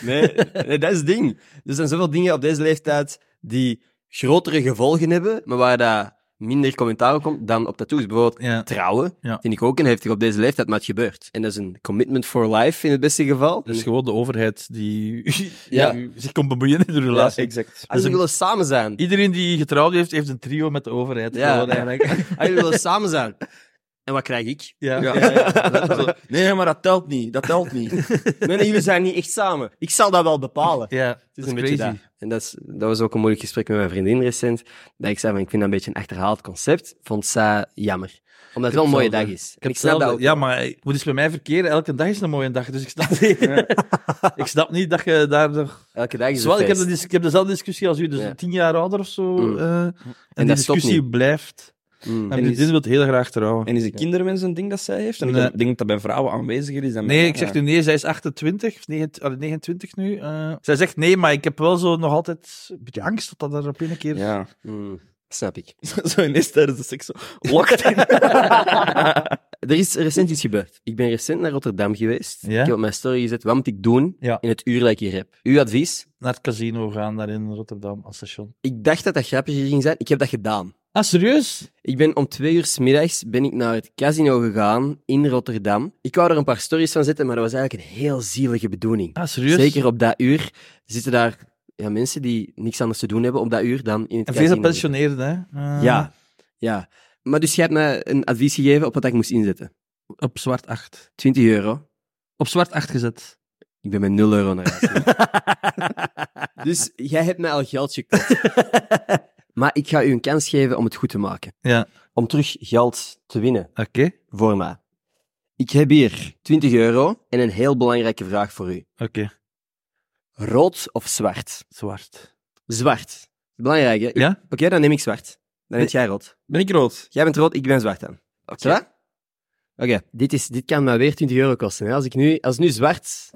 [SPEAKER 1] nee, nee, dat is het ding. Er zijn zoveel dingen op deze leeftijd die grotere gevolgen hebben, maar waar dat minder commentaar op komt dan op tattoos. Bijvoorbeeld
[SPEAKER 2] ja.
[SPEAKER 1] trouwen
[SPEAKER 2] Ja.
[SPEAKER 1] vind ik ook een heftig op deze leeftijd, maar het gebeurt. En dat is een commitment for life in het beste geval.
[SPEAKER 2] Dat is Dus gewoon de overheid die
[SPEAKER 1] Ja.
[SPEAKER 2] die zich komt bemoeien in de
[SPEAKER 3] is-
[SPEAKER 2] relatie. Dus
[SPEAKER 3] Ja, exact.
[SPEAKER 2] Ah,
[SPEAKER 1] Als we ah, willen samen zijn.
[SPEAKER 2] Iedereen die getrouwd heeft, heeft een trio met de overheid.
[SPEAKER 1] Ja.
[SPEAKER 2] Gewoon eigenlijk.
[SPEAKER 1] Als we Ah, willen samen zijn. En wat krijg ik?
[SPEAKER 2] Ja.
[SPEAKER 3] Ja. Zo, Nee, maar dat telt niet. Dat telt niet.
[SPEAKER 1] Nee, nee, jullie zijn niet echt samen. Ik zal dat wel bepalen.
[SPEAKER 2] Ja, het
[SPEAKER 1] Het is een beetje dat. En dat, is, dat was ook een moeilijk gesprek met mijn vriendin recent. Dat ik zei, van, ik vind dat een beetje een achterhaald concept. Vond zij jammer. Omdat het wel een mooie dag
[SPEAKER 2] hetzelfde.
[SPEAKER 1] is.
[SPEAKER 2] Ik
[SPEAKER 1] En
[SPEAKER 2] heb
[SPEAKER 1] ik snap dat ook.
[SPEAKER 2] Ja, maar hey, moet eens bij mij verkeren. Elke dag is een mooie dag, dus ik snap niet. ik snap niet dat je daar nog...
[SPEAKER 1] Elke dag is
[SPEAKER 2] Zowel,
[SPEAKER 1] een
[SPEAKER 2] ik, heb de
[SPEAKER 1] feest.
[SPEAKER 2] dis- ik heb dezelfde discussie als u, dus
[SPEAKER 1] Ja.
[SPEAKER 2] tien jaar ouder of zo.
[SPEAKER 1] Mm.
[SPEAKER 2] eh, en,
[SPEAKER 1] dat
[SPEAKER 2] die
[SPEAKER 1] stopt
[SPEAKER 2] discussie blijft.
[SPEAKER 1] Mm.
[SPEAKER 2] En
[SPEAKER 3] En
[SPEAKER 2] dit
[SPEAKER 3] is-
[SPEAKER 2] wil heel graag trouwen.
[SPEAKER 3] En is een kindermens een ding dat zij heeft? En
[SPEAKER 2] Nee.
[SPEAKER 3] ik denk dat dat bij vrouwen aanweziger is dan bij
[SPEAKER 2] Nee, ik zeg
[SPEAKER 3] mannen.
[SPEAKER 2] nu nee, zij is 28, of 29, allee, 29 nu. eh. zij zegt nee, maar ik heb wel zo nog altijd een beetje angst dat dat er op een keer...
[SPEAKER 3] Ja.
[SPEAKER 1] Mm. Snap ik.
[SPEAKER 3] zo ineens tijdens de seks. zo, Locked in.
[SPEAKER 1] Er is recent iets gebeurd. Ik ben recent naar Rotterdam geweest.
[SPEAKER 2] Ja?
[SPEAKER 1] Ik heb op mijn story gezet, wat moet ik doen
[SPEAKER 2] Ja.
[SPEAKER 1] in het uur dat ik hier heb? Uw advies?
[SPEAKER 2] Naar het casino gaan, daar in Rotterdam, als station.
[SPEAKER 1] Ik dacht dat dat grappig ging zijn. Ik heb dat gedaan.
[SPEAKER 2] Ah, serieus?
[SPEAKER 1] Ik ben om twee uur 's middags ben ik naar het casino gegaan in Rotterdam. Ik wou er een paar stories van zetten, maar dat was eigenlijk een heel zielige bedoeling.
[SPEAKER 2] Ah, serieus?
[SPEAKER 1] Zeker op dat uur zitten daar ja, mensen die niks anders te doen hebben op dat uur dan in het
[SPEAKER 2] En veel
[SPEAKER 1] casino.
[SPEAKER 2] gepensioneerden, hè? Eh,
[SPEAKER 1] Ja, ja. Maar dus jij hebt mij een advies gegeven op wat ik moest inzetten.
[SPEAKER 2] Op zwart 8.
[SPEAKER 1] 20 euro.
[SPEAKER 2] Op zwart 8 gezet.
[SPEAKER 1] Ik ben met 0 euro naar huis. gegaan. dus jij hebt mij al geld gekocht. maar ik ga u een kans geven om het goed te maken.
[SPEAKER 2] Ja.
[SPEAKER 1] Om terug geld te winnen.
[SPEAKER 2] Oké.
[SPEAKER 1] voor mij. Ik heb hier 20 euro en een heel belangrijke vraag voor u.
[SPEAKER 2] Oké.
[SPEAKER 1] Rood of zwart?
[SPEAKER 2] Zwart.
[SPEAKER 1] Zwart. Belangrijk, hè?
[SPEAKER 2] Ja? Eh,
[SPEAKER 1] Oké, dan neem ik zwart. Dan neem jij rood.
[SPEAKER 3] Ben ik rood?
[SPEAKER 1] Jij bent rood, ik ben zwart dan. Oké. dit, is, dit kan maar weer 20 euro kosten. Hè. Als, ik nu, als nu zwart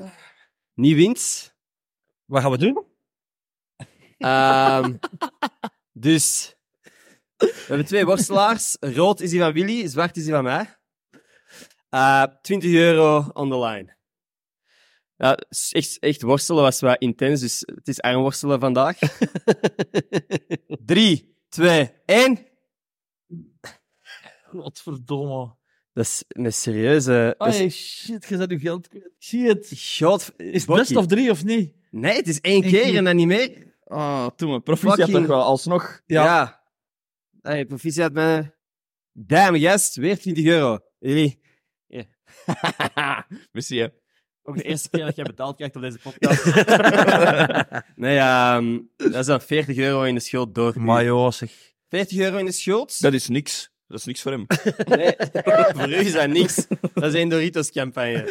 [SPEAKER 1] niet wint.
[SPEAKER 4] Wat gaan we doen?
[SPEAKER 1] ehm, dus we hebben twee worstelaars. Rood is die van Willy, zwart is die van mij. Eh, 20 euro on the line. Ja, s- echt, echt worstelen was wel intens, dus het is armworstelen vandaag. 3, 2, 1.
[SPEAKER 2] Godverdomme. Dus-
[SPEAKER 1] Dat is een serieuze. dat is-
[SPEAKER 2] Ai, shit, je zet je geld kwijt. Shit.
[SPEAKER 1] God,
[SPEAKER 2] Is het best of drie of niet?
[SPEAKER 1] Nee, het is één
[SPEAKER 2] Eén
[SPEAKER 1] keer
[SPEAKER 2] keer.
[SPEAKER 1] en dan niet meer.
[SPEAKER 3] Ah, toen mijn proficiat
[SPEAKER 1] Fucking-
[SPEAKER 3] toch wel, alsnog.
[SPEAKER 1] Ja.
[SPEAKER 2] Ja.
[SPEAKER 1] Hey, proficiat met. Damn, yes, weer 20 euro. Jullie.
[SPEAKER 3] Missie, hè.
[SPEAKER 1] Ook de eerste keer dat jij betaald krijgt op deze podcast. nee, ehm, dat is dan 40 euro in de schuld door.
[SPEAKER 2] Maar joh, zeg.
[SPEAKER 1] 40 euro in de schuld?
[SPEAKER 3] Dat is niks. Dat is niks voor hem.
[SPEAKER 1] Nee, voor u is dat niks. Dat is een Doritos-campagne.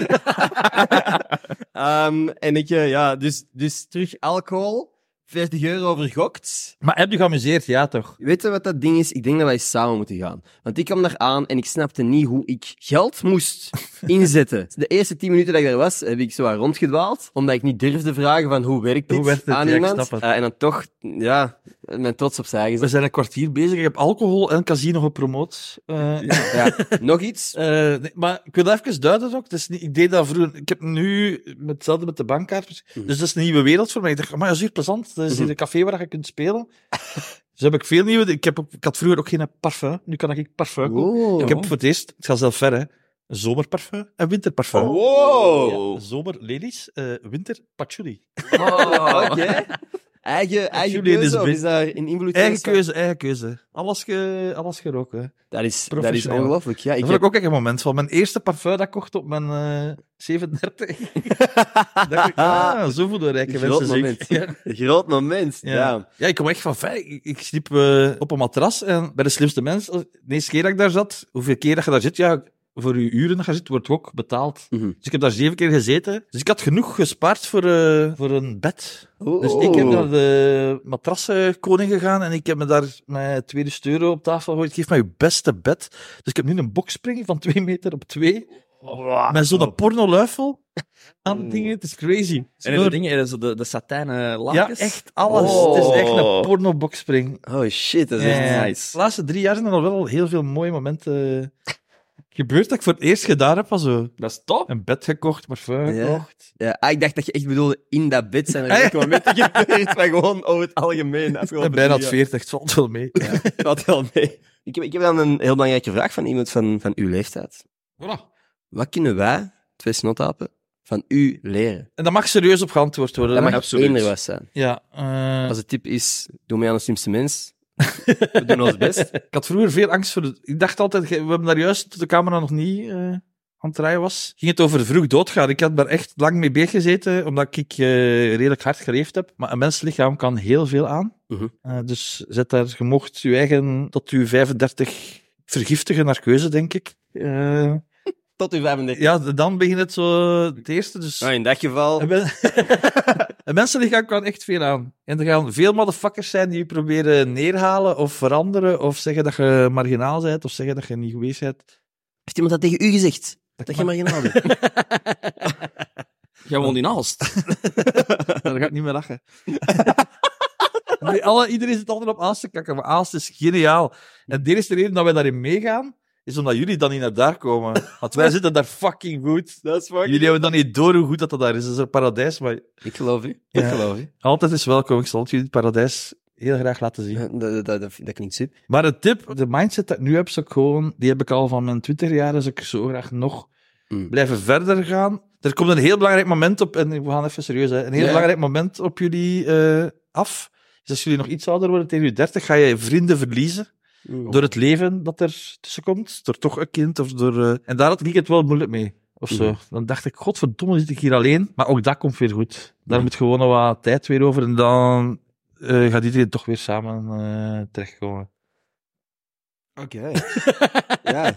[SPEAKER 1] Ehm, en ik, eh, ja, dus, dus terug alcohol. 40 euro vergokt.
[SPEAKER 2] Maar heb je geamuseerd? Ja, toch?
[SPEAKER 1] Weet je wat dat ding is? Ik denk dat wij samen moeten gaan. Want ik kwam daar aan en ik snapte niet hoe ik geld moest inzetten. De eerste 10 minuten dat ik daar was, heb ik zo wat rondgedwaald. Omdat ik niet durfde vragen van hoe werkt dit
[SPEAKER 2] Hoe werkt het?
[SPEAKER 1] aan
[SPEAKER 2] Ja, ik
[SPEAKER 1] iemand.
[SPEAKER 2] snap het.
[SPEAKER 1] Eh, en dan toch, ja, mijn trots opzij
[SPEAKER 2] We
[SPEAKER 1] gezet.
[SPEAKER 2] zijn een kwartier bezig. Ik heb alcohol en casino gepromoot. Eh,
[SPEAKER 1] Ja, nog iets?
[SPEAKER 2] eh, nee, maar ik wil dat even duiden ook. Het is niet, ik deed dat vroeger. Ik heb nu met- hetzelfde met de bankkaart.
[SPEAKER 1] Mhm.
[SPEAKER 2] Dus dat is een nieuwe wereld voor mij. Ik dacht, maar dat is hier plezant. Dat is hier een café waar je kunt spelen. Dus heb ik veel nieuwe. Ik, heb ook- ik had vroeger ook geen parfum. Nu kan ik parfum kopen.
[SPEAKER 1] Wow.
[SPEAKER 2] Ik heb voor het eerst, het gaat zelf ver, hè, zomerparfum en winterparfum.
[SPEAKER 1] Oh.
[SPEAKER 3] Wow.
[SPEAKER 2] Ja, zomer ladies, eh, winter patchouli.
[SPEAKER 3] Ah.
[SPEAKER 1] Oh, oké. Eigen, eigen
[SPEAKER 2] Julian is
[SPEAKER 1] keuze, of
[SPEAKER 2] best-
[SPEAKER 1] is daar een invloed van?
[SPEAKER 2] Eigen keuze, eigen keuze. Alles, ge, alles geroken. hè.
[SPEAKER 1] Dat is, dat is
[SPEAKER 2] Professioneel.
[SPEAKER 1] ongelooflijk. Ja,
[SPEAKER 2] Dat
[SPEAKER 1] ik
[SPEAKER 2] vond ik
[SPEAKER 1] heb...
[SPEAKER 2] ook echt een moment van. Mijn eerste parfum dat ik kocht op mijn eh 37. dat ik, ah, zo voelde rijke
[SPEAKER 1] Groot
[SPEAKER 2] mensen zich.
[SPEAKER 1] moment.
[SPEAKER 2] Ja.
[SPEAKER 1] Groot moment.
[SPEAKER 2] Ja.
[SPEAKER 1] ja.
[SPEAKER 2] Ja, ik kom echt van ver. Ik, ik sliep eh, op een matras en bij de slimste mens, als- de eerste keer dat ik daar zat, hoeveel keer dat je daar zit, ja, voor je uren dat je zit, wordt ook betaald.
[SPEAKER 1] Mhm.
[SPEAKER 2] Dus ik heb daar zeven keer gezeten. Dus ik had genoeg gespaard voor, eh, voor een bed. Dus ik
[SPEAKER 3] Oh.
[SPEAKER 2] heb naar de matrassenkoning gegaan en ik heb me daar mijn 2000 euro op tafel gegooid. Geef mij je beste bed. Dus ik heb nu een bokspring van 2 meter op 2. Met zo'n pornoluifel aan dingen. Het is crazy. Het is
[SPEAKER 3] En de
[SPEAKER 2] door-
[SPEAKER 3] dingen, eh, zo de, de satijnen
[SPEAKER 2] ja,
[SPEAKER 3] lakens.
[SPEAKER 2] echt alles.
[SPEAKER 1] Oh.
[SPEAKER 2] Het is echt een pornobokspring.
[SPEAKER 1] Oh shit, dat is
[SPEAKER 2] Ja.
[SPEAKER 1] echt
[SPEAKER 2] De
[SPEAKER 1] nice.
[SPEAKER 2] laatste drie jaar zijn er al wel heel veel mooie momenten gebeurd dat ik voor het eerst gedaan heb. was zo
[SPEAKER 3] Dat is top.
[SPEAKER 2] een bed gekocht, parfum
[SPEAKER 1] Ja.
[SPEAKER 2] gekocht.
[SPEAKER 1] Ja, ah, ik dacht dat je echt bedoelde in dat bed zijn er echt momenten gebeurd, maar gewoon over het algemeen.
[SPEAKER 2] En
[SPEAKER 1] afgelopen
[SPEAKER 2] bijna
[SPEAKER 1] drie jaar.
[SPEAKER 2] het 40, het valt wel mee.
[SPEAKER 1] Valt wel mee. Ik heb, ik heb dan een heel belangrijke vraag van iemand van, van uw leeftijd.
[SPEAKER 2] Voilà.
[SPEAKER 1] Wat kunnen wij, twee snotapen, van u leren?
[SPEAKER 2] En dat mag serieus op geantwoord worden.
[SPEAKER 1] Dat
[SPEAKER 2] hè?
[SPEAKER 1] mag
[SPEAKER 3] absoluut.
[SPEAKER 1] één er was zijn.
[SPEAKER 2] Ja, eh,
[SPEAKER 1] Als de tip is, doe mij aan de slimste mens. We doen ons best.
[SPEAKER 2] ik had vroeger veel angst voor. de- Ik dacht altijd, ge- we hebben daar juist, toen de camera nog niet eh, aan het draaien was, ging het over vroeg doodgaan. Ik had daar echt lang mee bezig gezeten, omdat ik eh, redelijk hard gereefd heb. Maar een menslichaam kan heel veel aan.
[SPEAKER 1] Mhm.
[SPEAKER 2] Eh, dus zet daar, je mocht je eigen tot je 35 vergiftigen naar keuze, denk ik. Eh,
[SPEAKER 1] Tot uw 35.
[SPEAKER 2] ja, dan begint het zo het eerste. Dus
[SPEAKER 1] Nou, in dat geval.
[SPEAKER 2] Een, men- een mensenlichaam kan echt veel aan. En er gaan veel motherfuckers zijn die je proberen neerhalen of veranderen. Of zeggen dat je marginaal bent. Of zeggen dat je niet geweest bent.
[SPEAKER 1] Heeft iemand dat tegen u gezegd? Dat je marginaal bent.
[SPEAKER 3] Jij woont in Aalst.
[SPEAKER 2] Daar ga ik niet meer lachen. Nee, alle, iedereen zit altijd op Aalst te kakken. Maar Aalst is geniaal. En de eerste reden dat wij daarin meegaan. Is omdat jullie dan niet naar daar komen. Want wij zitten daar fucking goed.
[SPEAKER 1] dat is fucking...
[SPEAKER 2] Jullie hebben dan niet door hoe goed dat, dat daar is. Dat is een paradijs. Maar
[SPEAKER 1] Ik geloof u.
[SPEAKER 2] Ja.
[SPEAKER 1] Ik geloof u.
[SPEAKER 2] altijd is welkom. Ik zal het jullie het paradijs heel graag laten zien.
[SPEAKER 1] Ja, Dat, dat, dat, dat klinkt super.
[SPEAKER 2] Maar de tip, de mindset dat ik nu heb, is ook gewoon, die heb ik al van mijn Twitter-jaren, dus ik zou graag nog
[SPEAKER 1] Mm.
[SPEAKER 2] blijven verder gaan. Er komt een heel belangrijk moment op, en we gaan even serieus, hè, een heel
[SPEAKER 1] Ja.
[SPEAKER 2] belangrijk moment op jullie eh, af. Dus als jullie nog iets ouder worden, tegen je 30, ga je vrienden verliezen
[SPEAKER 1] Oh.
[SPEAKER 2] door het leven dat er tussenkomt, door toch een kind of door... eh, en daar had ik het wel moeilijk mee. Of zo.
[SPEAKER 1] Mhm.
[SPEAKER 2] Dan dacht ik, godverdomme, zit ik hier alleen. Maar ook dat komt weer goed. Daar
[SPEAKER 1] Mhm.
[SPEAKER 2] moet gewoon nog wat tijd weer over. En dan eh, gaat iedereen toch weer samen eh, terechtkomen.
[SPEAKER 1] Oké. ja.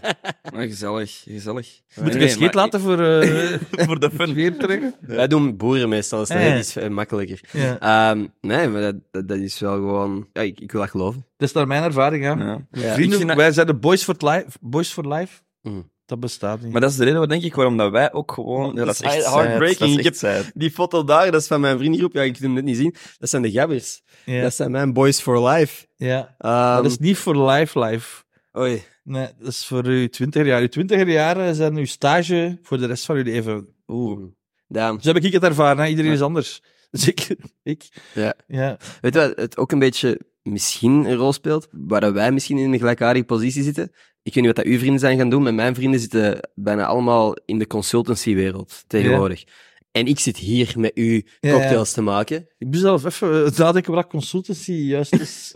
[SPEAKER 3] Maar Ah, gezellig, gezellig.
[SPEAKER 2] Moet ik
[SPEAKER 3] Nee,
[SPEAKER 2] een scheet
[SPEAKER 3] maar-
[SPEAKER 2] laten voor, eh voor de fun weer terug?
[SPEAKER 1] Wij doen boeren meestal, dus nee,
[SPEAKER 2] Eh.
[SPEAKER 1] dat is eh, makkelijker.
[SPEAKER 2] Ja.
[SPEAKER 1] Ehm, nee, maar dat, dat, dat is wel gewoon... Ja, ik, ik wil dat geloven.
[SPEAKER 2] Dat is naar mijn ervaring, ja.
[SPEAKER 3] Ja.
[SPEAKER 1] Ja.
[SPEAKER 2] Vrienden,
[SPEAKER 3] Ik vind dat-
[SPEAKER 2] wij zijn de boys for life. Boys for life.
[SPEAKER 1] Mm.
[SPEAKER 2] Dat bestaat niet.
[SPEAKER 3] Maar dat is de reden wat denk ik waarom dat wij ook gewoon. Ja, dat is
[SPEAKER 1] Dat is
[SPEAKER 3] echt
[SPEAKER 1] heartbreaking.
[SPEAKER 3] heartbreaking.
[SPEAKER 1] Ik heb- Die foto daar, dat is van mijn vriendengroep. Ja, je kunt hem net niet zien. Dat zijn de gabbers.
[SPEAKER 2] ja.
[SPEAKER 1] Dat zijn mijn boys for life.
[SPEAKER 2] ja.
[SPEAKER 1] Ehm,
[SPEAKER 2] dat is niet voor live life.
[SPEAKER 1] Oei.
[SPEAKER 2] Nee, dat is voor uw twintiger jaar. Uw twintiger jaren zijn uw stage voor de rest van uw leven.
[SPEAKER 1] Oeh. Damn.
[SPEAKER 2] Zo heb ik het ervaren, hè. iedereen is anders. Dus ik... ik
[SPEAKER 1] Ja.
[SPEAKER 2] ja.
[SPEAKER 1] Weet je wat het ook een beetje misschien een rol speelt? Waar dat wij misschien in een gelijkaardige positie zitten. Ik weet niet wat dat uw vrienden zijn gaan doen, maar mijn vrienden zitten bijna allemaal in de consultancywereld tegenwoordig. En ik zit hier met u
[SPEAKER 2] Ja,
[SPEAKER 1] cocktails te maken.
[SPEAKER 2] Ik moet zelf even eh, nadenken wat consultancy juist is.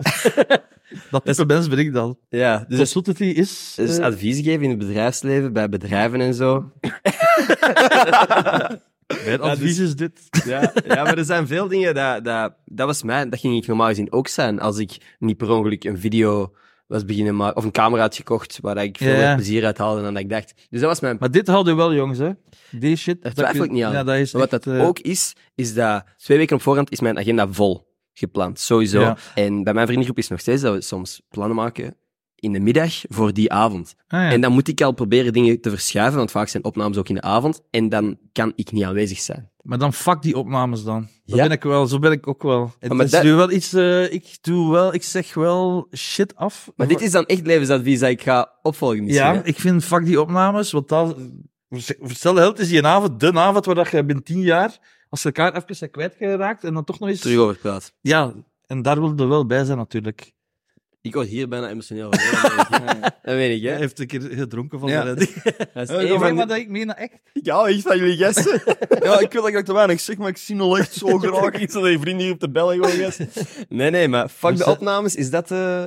[SPEAKER 2] dat type mens ben ik dan.
[SPEAKER 1] Ja, dus, dus,
[SPEAKER 2] consultancy is... eh,
[SPEAKER 1] advies geven in het bedrijfsleven, bij bedrijven en zo.
[SPEAKER 2] mijn advies is dit.
[SPEAKER 1] Ja, ja maar er zijn veel dingen dat, dat... Dat was mij, dat ging ik normaal gezien ook zijn als ik niet per ongeluk een video was beginnen maken, of een camera had gekocht, waar ik veel
[SPEAKER 2] Ja.
[SPEAKER 1] meer plezier uit haalde dan dat ik dacht. Dus dat was mijn
[SPEAKER 2] Maar dit houden we wel, jongens, hè. Deze shit...
[SPEAKER 1] Daar
[SPEAKER 2] dat
[SPEAKER 1] twijfel
[SPEAKER 2] kun-
[SPEAKER 1] ik niet aan.
[SPEAKER 2] Ja, dat is
[SPEAKER 1] Maar wat
[SPEAKER 2] echt,
[SPEAKER 1] dat
[SPEAKER 2] eh,
[SPEAKER 1] ook is, is dat twee weken op voorhand is mijn agenda vol gepland, sowieso.
[SPEAKER 2] Ja.
[SPEAKER 1] En bij mijn vriendengroep is nog steeds dat we soms plannen maken in de middag voor die avond.
[SPEAKER 2] ah, ja.
[SPEAKER 1] En dan moet ik al proberen dingen te verschuiven, want vaak zijn opnames ook in de avond. En dan kan ik niet aanwezig zijn.
[SPEAKER 2] Maar dan fuck die opnames dan. Dat
[SPEAKER 1] Ja.
[SPEAKER 2] ben ik wel, zo ben ik ook wel. Het
[SPEAKER 1] maar
[SPEAKER 2] is
[SPEAKER 1] dat-
[SPEAKER 2] nu wel iets, eh, ik doe wel, ik zeg wel shit af.
[SPEAKER 1] Maar dit is dan echt levensadvies dat ik ga opvolgen misschien.
[SPEAKER 2] Ja,
[SPEAKER 1] hè?
[SPEAKER 2] ik vind fuck die opnames, want dat... Stel de helft is die een avond, de avond waar dat je binnen tien jaar, als je elkaar even zijn kwijtgeraakt en dan toch nog eens...
[SPEAKER 1] Terug over praat.
[SPEAKER 2] Ja, en daar wil je wel bij zijn natuurlijk.
[SPEAKER 1] Ik word hier bijna emotioneel van. dat weet ik,
[SPEAKER 2] Jij
[SPEAKER 1] hè.
[SPEAKER 2] heeft een keer gedronken van
[SPEAKER 3] Ja.
[SPEAKER 2] de redding.
[SPEAKER 1] Dat is
[SPEAKER 3] Eh,
[SPEAKER 1] één
[SPEAKER 3] maar
[SPEAKER 1] van de-
[SPEAKER 2] dat ik meen dat echt.
[SPEAKER 1] Ik hou echt van jullie gasten.
[SPEAKER 3] Ja, ik wil dat ik te weinig zeg, maar ik zie nog echt zo graag.
[SPEAKER 1] iets dat je vrienden hier op de bellen gewoon Nee, nee, maar fuck
[SPEAKER 2] Dus
[SPEAKER 1] de
[SPEAKER 2] dat-
[SPEAKER 1] opnames, is dat eh,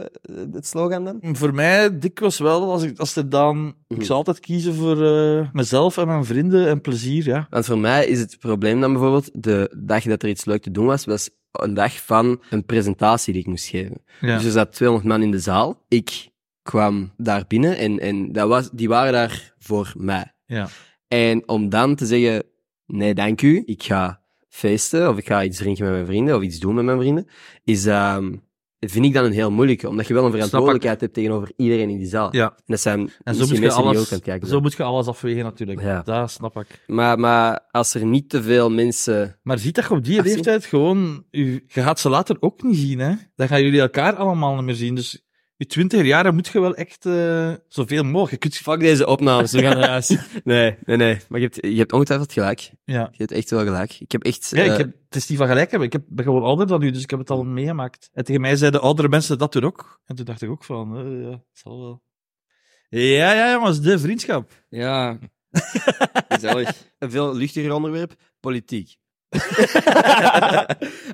[SPEAKER 1] het slogan dan?
[SPEAKER 2] Voor mij, dikwijls wel, als, ik, als er dan... Ik
[SPEAKER 1] Mhm.
[SPEAKER 2] zal altijd kiezen voor eh, mezelf en mijn vrienden en plezier, ja.
[SPEAKER 1] Want voor mij is het probleem dan bijvoorbeeld, de dag dat er iets leuk te doen was, was een dag van een presentatie die ik moest geven.
[SPEAKER 2] ja.
[SPEAKER 1] Dus er zat 200 man in de zaal. Ik kwam daar binnen en, en dat was, die waren daar voor mij.
[SPEAKER 2] Ja.
[SPEAKER 1] En om dan te zeggen, nee, dank u, ik ga feesten of ik ga iets drinken met mijn vrienden of iets doen met mijn vrienden, is, ehm, vind ik dan een heel moeilijke, omdat je wel een verantwoordelijkheid hebt tegenover iedereen in die zaal.
[SPEAKER 2] Ja.
[SPEAKER 1] En dat zijn
[SPEAKER 2] En zo
[SPEAKER 1] misschien
[SPEAKER 2] moet, je
[SPEAKER 1] mensen die
[SPEAKER 2] alles,
[SPEAKER 1] ook aan het kijken
[SPEAKER 2] zo
[SPEAKER 1] zijn.
[SPEAKER 2] moet je alles afwegen natuurlijk.
[SPEAKER 1] Ja.
[SPEAKER 2] Dat snap ik.
[SPEAKER 1] Maar, maar als er niet te veel mensen...
[SPEAKER 2] Maar ziet dat je op die
[SPEAKER 1] Ach, Ah, zie.
[SPEAKER 2] leeftijd gewoon... Je, je gaat ze later ook niet zien, hè. Dan gaan jullie elkaar allemaal niet meer zien. Dus je twintig jaren moet je wel echt eh, zoveel mogelijk... Je kunt...
[SPEAKER 1] Fuck deze opnames, we gaan naar huis. Nee, nee, nee. Maar je hebt, je hebt ongetwijfeld gelijk.
[SPEAKER 2] Ja.
[SPEAKER 1] Je hebt echt wel gelijk. Ik heb echt...
[SPEAKER 2] Ja,
[SPEAKER 1] eh,
[SPEAKER 2] ik heb, het is niet van gelijk hebben. Ik heb, ben gewoon ouder dan u, dus ik heb het al meegemaakt. En tegen mij zeiden oudere mensen dat toen ook. En toen dacht ik ook van, eh, ja, het zal wel. Ja, ja, jongens, de vriendschap.
[SPEAKER 3] Ja. Gezellig.
[SPEAKER 1] een veel luchtiger onderwerp. Politiek.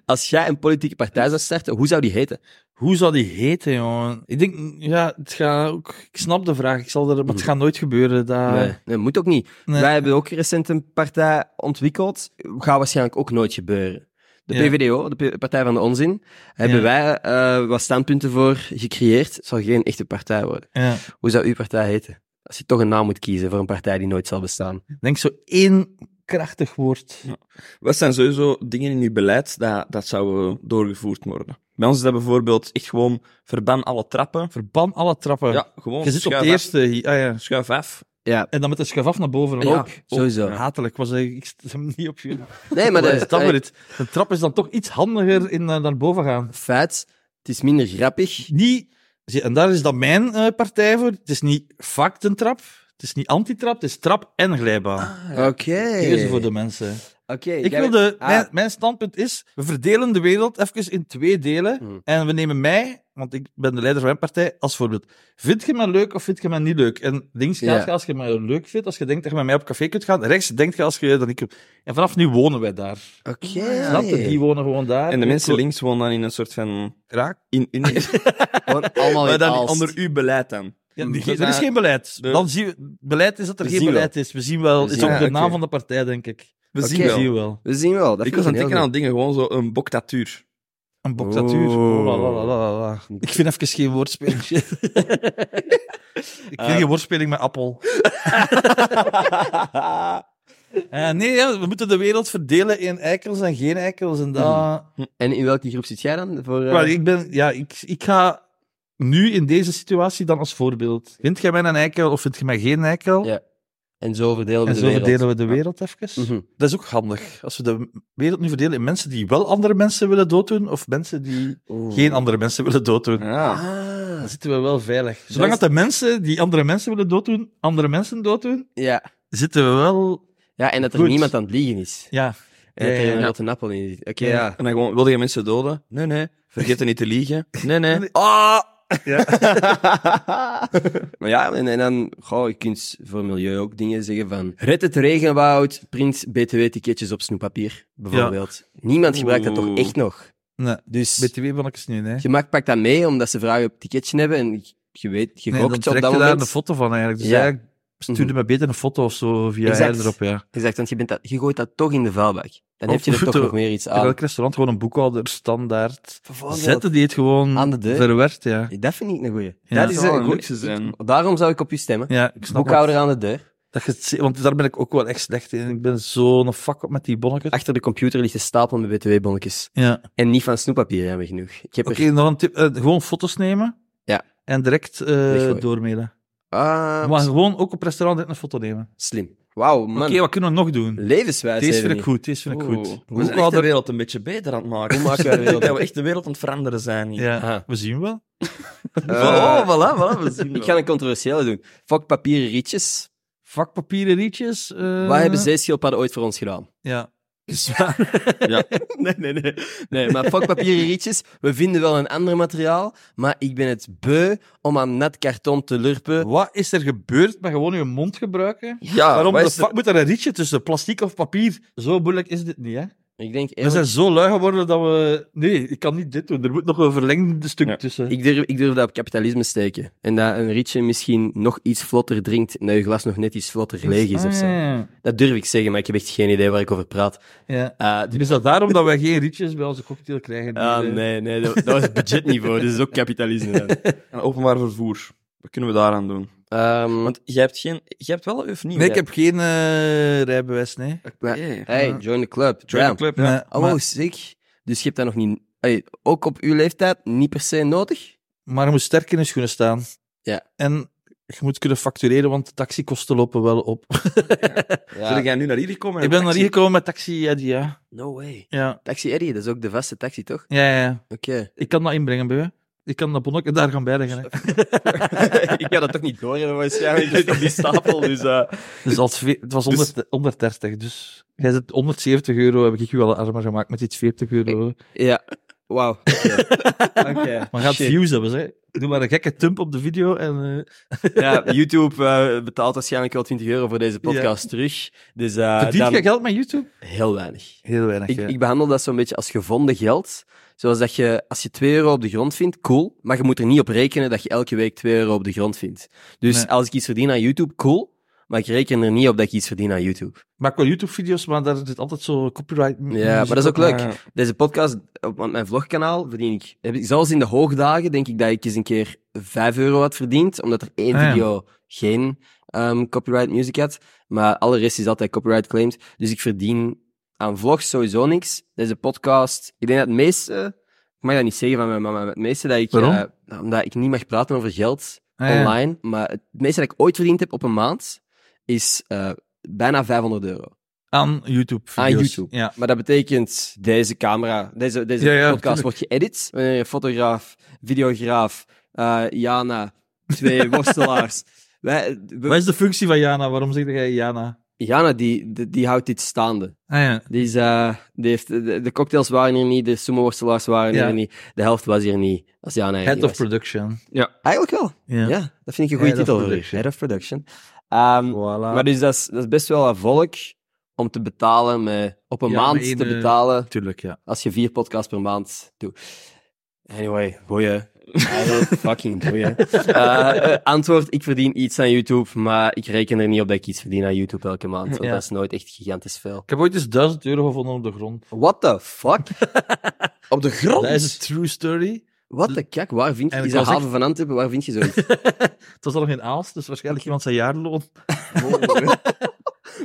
[SPEAKER 1] Als jij een politieke partij zou starten, hoe zou die heten?
[SPEAKER 2] Hoe zou die heten, jongen? Ik denk, ja, het gaat ook... Ik snap de vraag, ik zal er, maar het gaat nooit gebeuren. Dat,
[SPEAKER 1] nee, nee, moet ook niet.
[SPEAKER 2] Ah. Nee.
[SPEAKER 1] Wij hebben ook recent een partij ontwikkeld. Gaat waarschijnlijk ook nooit gebeuren. De
[SPEAKER 2] Ja.
[SPEAKER 1] PVDO, de P- Partij van de Onzin, hebben
[SPEAKER 2] Ja.
[SPEAKER 1] wij eh, wat standpunten voor gecreëerd. Het zal geen echte partij worden.
[SPEAKER 2] Ja.
[SPEAKER 1] Hoe zou uw partij heten? Als je toch een naam moet kiezen voor een partij die nooit zal bestaan.
[SPEAKER 2] Ik denk zo één krachtig woord.
[SPEAKER 3] Wat zijn sowieso dingen in uw beleid dat, dat zouden doorgevoerd worden? Bij ons is dat bijvoorbeeld echt gewoon verban alle trappen. Eh,
[SPEAKER 2] Verban alle trappen.
[SPEAKER 3] Ja, gewoon
[SPEAKER 2] je zit op
[SPEAKER 3] schuif
[SPEAKER 2] de
[SPEAKER 3] af.
[SPEAKER 2] eerste. hier. Ah, ja.
[SPEAKER 3] Schuif af.
[SPEAKER 1] Ja,
[SPEAKER 2] En dan met de schuif af naar boven
[SPEAKER 1] Ja,
[SPEAKER 2] ook.
[SPEAKER 1] sowieso.
[SPEAKER 2] Ook Hatelijk was ik, ik stem niet op je.
[SPEAKER 1] nee, maar
[SPEAKER 2] Maar
[SPEAKER 1] de,
[SPEAKER 2] is dat
[SPEAKER 1] eh,
[SPEAKER 2] weer het? De trap is dan toch iets handiger in eh, naar boven gaan.
[SPEAKER 1] feit, het is minder grappig.
[SPEAKER 2] Niet, zie, en daar is dan mijn eh, partij voor. Het is niet faktentrap, het is niet antitrap, het is trap en glijbaan.
[SPEAKER 1] Oké.
[SPEAKER 2] Keuze voor de mensen.
[SPEAKER 1] Oké,
[SPEAKER 2] Ik
[SPEAKER 1] Ah, jij-
[SPEAKER 2] wilde,
[SPEAKER 1] Ah.
[SPEAKER 2] mijn, mijn standpunt is, we verdelen de wereld even in twee delen.
[SPEAKER 1] Hmm.
[SPEAKER 2] En we nemen mij, want ik ben de leider van mijn partij, als voorbeeld. Vind je mij leuk of vind je mij niet leuk? En links gaat
[SPEAKER 1] Ja.
[SPEAKER 2] je als je mij leuk vindt, als je denkt dat je met mij op café kunt gaan. Rechts denkt je als je dat ik... En vanaf nu wonen wij daar.
[SPEAKER 1] Oké.
[SPEAKER 2] Snap je? Die wonen gewoon daar.
[SPEAKER 3] En de mensen
[SPEAKER 2] links
[SPEAKER 3] links wonen dan in een soort van...
[SPEAKER 2] raak.
[SPEAKER 3] In, in,
[SPEAKER 1] Gewoon allemaal
[SPEAKER 3] maar
[SPEAKER 1] in
[SPEAKER 3] dan
[SPEAKER 1] Aalst.
[SPEAKER 3] onder uw beleid dan.
[SPEAKER 2] Ja,
[SPEAKER 1] Mm.
[SPEAKER 2] die-
[SPEAKER 3] Dus
[SPEAKER 2] er is
[SPEAKER 3] daar-
[SPEAKER 2] geen beleid.
[SPEAKER 3] de-
[SPEAKER 2] Dan zien we, beleid is dat er
[SPEAKER 3] We
[SPEAKER 2] geen
[SPEAKER 3] zien
[SPEAKER 2] beleid is. We zien wel.
[SPEAKER 1] We
[SPEAKER 2] is
[SPEAKER 1] zien-
[SPEAKER 2] ook
[SPEAKER 3] ja,
[SPEAKER 2] de naam
[SPEAKER 3] oké.
[SPEAKER 2] van de partij, denk ik.
[SPEAKER 3] We
[SPEAKER 1] Oké.
[SPEAKER 3] zien
[SPEAKER 2] We
[SPEAKER 3] wel.
[SPEAKER 2] zien wel.
[SPEAKER 1] We zien wel. Dat
[SPEAKER 3] Ik
[SPEAKER 1] vind
[SPEAKER 3] was aan het
[SPEAKER 1] een heel
[SPEAKER 3] denken aan dingen, gewoon zo een boktatuur.
[SPEAKER 2] Een boktatuur.
[SPEAKER 1] Oh.
[SPEAKER 2] Oh, la, la, la, la, la. Ik vind even geen woordspeling. ik vind geen woordspeling met appel. Eh, nee, ja, we moeten de wereld verdelen in eikels en geen eikels. En dat...
[SPEAKER 1] goed. En in welke groep zit jij dan? Voor, eh,
[SPEAKER 2] Maar ik ben... Ja, ik, ik ga... nu in deze situatie dan als voorbeeld. Vindt jij mij een eikel of vind je mij geen eikel?
[SPEAKER 1] Ja. En zo verdelen we
[SPEAKER 2] En
[SPEAKER 1] de
[SPEAKER 2] zo
[SPEAKER 1] wereld.
[SPEAKER 2] verdelen we de wereld even.
[SPEAKER 1] Mhm.
[SPEAKER 2] Dat is ook handig. Als we de wereld nu verdelen in mensen die wel andere mensen willen dooddoen, of mensen die
[SPEAKER 1] Oeh.
[SPEAKER 2] geen andere mensen willen dooddoen,
[SPEAKER 3] Ja.
[SPEAKER 1] Ah.
[SPEAKER 2] dan zitten we wel veilig. Zolang dat de mensen die andere mensen willen dooddoen, andere mensen dooddoen,
[SPEAKER 1] Ja.
[SPEAKER 2] zitten we wel...
[SPEAKER 1] ja, en dat er
[SPEAKER 2] Goed.
[SPEAKER 1] niemand aan het liegen is.
[SPEAKER 2] Ja.
[SPEAKER 1] En dat
[SPEAKER 2] Ja,
[SPEAKER 1] er
[SPEAKER 2] ja,
[SPEAKER 1] een
[SPEAKER 2] ja.
[SPEAKER 1] rotte appel in zit. Oké,
[SPEAKER 2] Ja.
[SPEAKER 1] ja.
[SPEAKER 3] En dan gewoon, wilde je mensen doden? Nee, nee. Vergeet er niet te liegen. Nee, nee.
[SPEAKER 2] Nee.
[SPEAKER 3] Ah!
[SPEAKER 1] maar ja, en, en dan, goh, je kunt voor milieu ook dingen zeggen van red het regenwoud, print btw-ticketjes op snoeppapier, bijvoorbeeld. Niemand gebruikt dat toch
[SPEAKER 3] Oeh.
[SPEAKER 1] echt nog?
[SPEAKER 2] Nee,
[SPEAKER 1] Dus
[SPEAKER 2] BTW van ik eens nu, hè.
[SPEAKER 1] je mag, pakt dat mee omdat ze vragen op een ticketje hebben en je weet, je
[SPEAKER 2] Nee,
[SPEAKER 1] gokt
[SPEAKER 2] dan
[SPEAKER 1] op
[SPEAKER 2] trek
[SPEAKER 1] dat
[SPEAKER 2] je daar een
[SPEAKER 1] moment.
[SPEAKER 2] foto van eigenlijk. Dus
[SPEAKER 1] Ja. Mhm.
[SPEAKER 2] eigenlijk stuurde me beter een foto of zo via
[SPEAKER 1] Exact.
[SPEAKER 2] haar erop, ja.
[SPEAKER 1] Exact, want je, bent dat, je gooit dat toch in de vuilbak. Dan
[SPEAKER 2] Of
[SPEAKER 1] heb je er
[SPEAKER 2] goed,
[SPEAKER 1] toch
[SPEAKER 2] eh,
[SPEAKER 1] nog meer iets
[SPEAKER 2] In
[SPEAKER 1] aan.
[SPEAKER 2] elk restaurant gewoon een boekhouder standaard
[SPEAKER 1] Bijvoorbeeld.
[SPEAKER 2] zetten die het gewoon
[SPEAKER 1] Aan de deur.
[SPEAKER 2] verwerkt, ja.
[SPEAKER 1] Dat vind ik een goeie.
[SPEAKER 2] Ja.
[SPEAKER 1] dat is
[SPEAKER 3] Dat zou
[SPEAKER 1] een
[SPEAKER 3] een
[SPEAKER 1] goeie.
[SPEAKER 3] luxe zijn.
[SPEAKER 1] Ik- Daarom zou ik op u stemmen.
[SPEAKER 2] Ja, ik snap het.
[SPEAKER 1] Boekhouder aan de deur.
[SPEAKER 2] Dat je het zie- want daar ben ik ook wel echt slecht in. Ik ben zo'n fuck op met die bonnetjes.
[SPEAKER 1] Achter de computer ligt een stapel met btw-bonnetjes.
[SPEAKER 2] Ja.
[SPEAKER 1] En niet van snoeppapier hebben we genoeg. Ik heb
[SPEAKER 2] Oké,
[SPEAKER 1] er...
[SPEAKER 2] nog een tip. eh, gewoon foto's nemen.
[SPEAKER 1] Ja.
[SPEAKER 2] En direct eh
[SPEAKER 1] Weggooien.
[SPEAKER 2] doormailen.
[SPEAKER 1] Ah,
[SPEAKER 2] Maar gewoon ook op restaurant direct een foto nemen.
[SPEAKER 1] slim. Wauw,
[SPEAKER 2] Oké,
[SPEAKER 1] man.
[SPEAKER 2] wat kunnen we nog doen?
[SPEAKER 1] Levenswijs.
[SPEAKER 2] Deze vind ik goed, deze vind ik goed.
[SPEAKER 3] We zijn echt de wereld een beetje beter aan het maken.
[SPEAKER 1] maken wij de wereld?
[SPEAKER 3] Ik denk dat we echt de wereld aan het veranderen zijn. hier.
[SPEAKER 2] Ja,
[SPEAKER 1] Aha.
[SPEAKER 2] we zien wel.
[SPEAKER 3] oh, voilà, voilà, we zien
[SPEAKER 1] Eh, ik ga
[SPEAKER 3] wel.
[SPEAKER 1] een controversiële doen. Fuck papieren rietjes.
[SPEAKER 2] Vakpapieren rietjes. eh,
[SPEAKER 1] Wat hebben zeeschildpadden ooit voor ons gedaan?
[SPEAKER 2] Ja. Dus Zwaar.
[SPEAKER 1] Nee, nee, nee. Nee, Eh, maar fuck papieren rietjes. We vinden wel een ander materiaal, maar ik ben het beu om aan nat karton te lurpen.
[SPEAKER 2] Wat is er gebeurd met gewoon je mond gebruiken?
[SPEAKER 3] Ja,
[SPEAKER 2] Waarom
[SPEAKER 3] Ah, wat
[SPEAKER 2] de
[SPEAKER 3] is er-
[SPEAKER 2] fuck moet er een rietje tussen plastiek of papier? Zo moeilijk is dit niet, hè?
[SPEAKER 1] Ik denk,
[SPEAKER 2] We
[SPEAKER 1] eerlijk,
[SPEAKER 2] zijn zo lui geworden dat we... Nee, ik kan niet dit doen. Er moet nog een verlengd stuk
[SPEAKER 3] Ja.
[SPEAKER 2] tussen.
[SPEAKER 1] ik, durf, ik durf dat op kapitalisme steken. En dat een rietje misschien nog iets vlotter drinkt en dat je glas nog net iets vlotter leeg is
[SPEAKER 2] Ah,
[SPEAKER 1] of zo.
[SPEAKER 2] ja.
[SPEAKER 1] Dat durf ik zeggen, maar ik heb echt geen idee waar ik over praat.
[SPEAKER 2] Ja.
[SPEAKER 1] Eh,
[SPEAKER 2] Dus Is dat daarom dat wij geen rietjes bij onze cocktail krijgen?
[SPEAKER 1] Ah,
[SPEAKER 2] Hier, eh?
[SPEAKER 1] nee, nee, dat, dat was het budgetniveau. Dit is ook kapitalisme dan.
[SPEAKER 3] En openbaar vervoer. Wat kunnen we daaraan doen?
[SPEAKER 1] Ehm,
[SPEAKER 3] Want jij hebt geen... Jij hebt wel of niet?
[SPEAKER 2] Nee, ik heb geen eh, rijbewijs, nee.
[SPEAKER 1] maar-
[SPEAKER 3] Oké.
[SPEAKER 1] hey, join the club.
[SPEAKER 3] Join the
[SPEAKER 1] Bam.
[SPEAKER 3] club,
[SPEAKER 2] Nee,
[SPEAKER 3] ja.
[SPEAKER 1] Oh,
[SPEAKER 2] maar,
[SPEAKER 1] wow, sick. Dus je hebt dat nog niet... Hey, ook op uw leeftijd niet per se nodig?
[SPEAKER 2] maar je moet sterk in je schoenen staan.
[SPEAKER 1] Ja.
[SPEAKER 2] En je moet kunnen factureren, want de taxikosten lopen wel op.
[SPEAKER 3] Zullen jij nu naar hier komen?
[SPEAKER 2] ik ben naar hier gekomen met taxi, Eddie, ja.
[SPEAKER 1] No way.
[SPEAKER 2] Ja.
[SPEAKER 1] Taxi Eddie, dat is ook de vaste taxi, toch?
[SPEAKER 2] Ja, ja, ja.
[SPEAKER 1] Oké.
[SPEAKER 2] Ik kan dat inbrengen bij u. Ik kan dat bonnetje daar gaan bijleggen. hè.
[SPEAKER 1] ik ga dat toch niet door hebben, waarschijnlijk. Ik op die stapel, dus...
[SPEAKER 2] Dus als, ve- het was 100 130, dus... Jij zit 170 euro, heb ik je wel armer gemaakt met iets 40 euro.
[SPEAKER 1] Ja. Wauw. Oké.
[SPEAKER 2] Maar gaat views hebben, hè. Doe maar een gekke tump op de video en... eh,
[SPEAKER 1] Ja, YouTube eh, betaalt waarschijnlijk wel 20 euro voor deze podcast terug. Dus eh,
[SPEAKER 2] verdient
[SPEAKER 1] dan
[SPEAKER 2] je geld met YouTube?
[SPEAKER 1] heel weinig.
[SPEAKER 2] Heel weinig,
[SPEAKER 1] Ik,
[SPEAKER 2] ja.
[SPEAKER 1] ik behandel dat zo'n beetje als gevonden geld. Zoals dat je, als je 2 euro op de grond vindt, cool. Maar je moet er niet op rekenen dat je elke week 2 euro op de grond vindt. Dus
[SPEAKER 2] Nee.
[SPEAKER 1] als ik iets verdien aan YouTube, cool. Maar ik reken er niet op dat ik iets verdien aan YouTube.
[SPEAKER 2] Ik maak wel YouTube-video's, maar daar zit altijd zo copyright. m-
[SPEAKER 1] Ja, maar dat is ook
[SPEAKER 2] muziek op.
[SPEAKER 1] leuk. Deze podcast, op want mijn vlogkanaal, verdien ik, heb ik... Zelfs in de hoogdagen denk ik dat ik eens een keer 5 euro had verdiend. Omdat er één
[SPEAKER 2] Ah, ja.
[SPEAKER 1] video geen ehm, copyright music had. Maar alle rest is altijd copyright claimed. Dus ik verdien aan vlogs sowieso niks. Deze podcast, ik denk dat het meeste... Ik mag dat niet zeggen van mijn mama, maar het meeste dat ik...
[SPEAKER 2] Waarom?
[SPEAKER 1] eh, omdat ik niet mag praten over geld
[SPEAKER 2] Ah, ja.
[SPEAKER 1] online. Maar het meeste dat ik ooit verdiend heb op een maand, is eh, bijna 500 euro.
[SPEAKER 2] Aan YouTube-video's.
[SPEAKER 1] Aan YouTube.
[SPEAKER 2] Ja.
[SPEAKER 1] Maar dat betekent deze camera, deze, deze
[SPEAKER 2] Ja, ja,
[SPEAKER 1] podcast
[SPEAKER 2] tuurlijk.
[SPEAKER 1] wordt geëdit. Wanneer je fotograaf, videograaf, eh, Jana, twee worstelaars. Wij, we-
[SPEAKER 2] Wat is de functie van Jana? Waarom zeg jij Jana?
[SPEAKER 1] Jana die, die, die houdt dit staande.
[SPEAKER 2] Ah, ja.
[SPEAKER 1] Die is, eh, die heeft, de, de cocktails waren hier niet, de sumo-worstelaars waren
[SPEAKER 2] Ja.
[SPEAKER 1] hier niet, de helft was hier niet. Als Jana hier
[SPEAKER 2] Head
[SPEAKER 1] niet
[SPEAKER 2] of
[SPEAKER 1] was.
[SPEAKER 2] production.
[SPEAKER 1] Eigenlijk wel. Ja. dat vind ik een goede
[SPEAKER 2] Head
[SPEAKER 1] titel
[SPEAKER 2] of
[SPEAKER 1] voor u.
[SPEAKER 2] production.
[SPEAKER 1] Head of Production. Ehm,
[SPEAKER 2] Voilà.
[SPEAKER 1] Maar dus dat is, dat is best wel een volk om te betalen, met, op een
[SPEAKER 2] Ja,
[SPEAKER 1] maand
[SPEAKER 2] maar één,
[SPEAKER 1] te
[SPEAKER 2] eh,
[SPEAKER 1] betalen.
[SPEAKER 2] Tuurlijk, ja.
[SPEAKER 1] Als je vier podcasts per maand doet. Anyway, boeien. Eigenlijk fucking boeien. Eh, eh, antwoord, ik verdien iets aan YouTube, maar ik reken er niet op dat ik iets verdien aan YouTube elke maand. Want
[SPEAKER 2] Ja.
[SPEAKER 1] dat is nooit echt gigantisch veel.
[SPEAKER 2] Ik heb ooit eens 1000 euro gevonden op de grond.
[SPEAKER 1] What the fuck? op de grond?
[SPEAKER 2] Dat is een true story.
[SPEAKER 1] Wat de kak, waar vind je...
[SPEAKER 2] En
[SPEAKER 1] Is
[SPEAKER 2] ik
[SPEAKER 1] dat
[SPEAKER 2] was
[SPEAKER 1] haven van Antwerpen, waar vind je zoiets?
[SPEAKER 2] Het was al nog in Aals, dus waarschijnlijk iemand zijn jaarloon.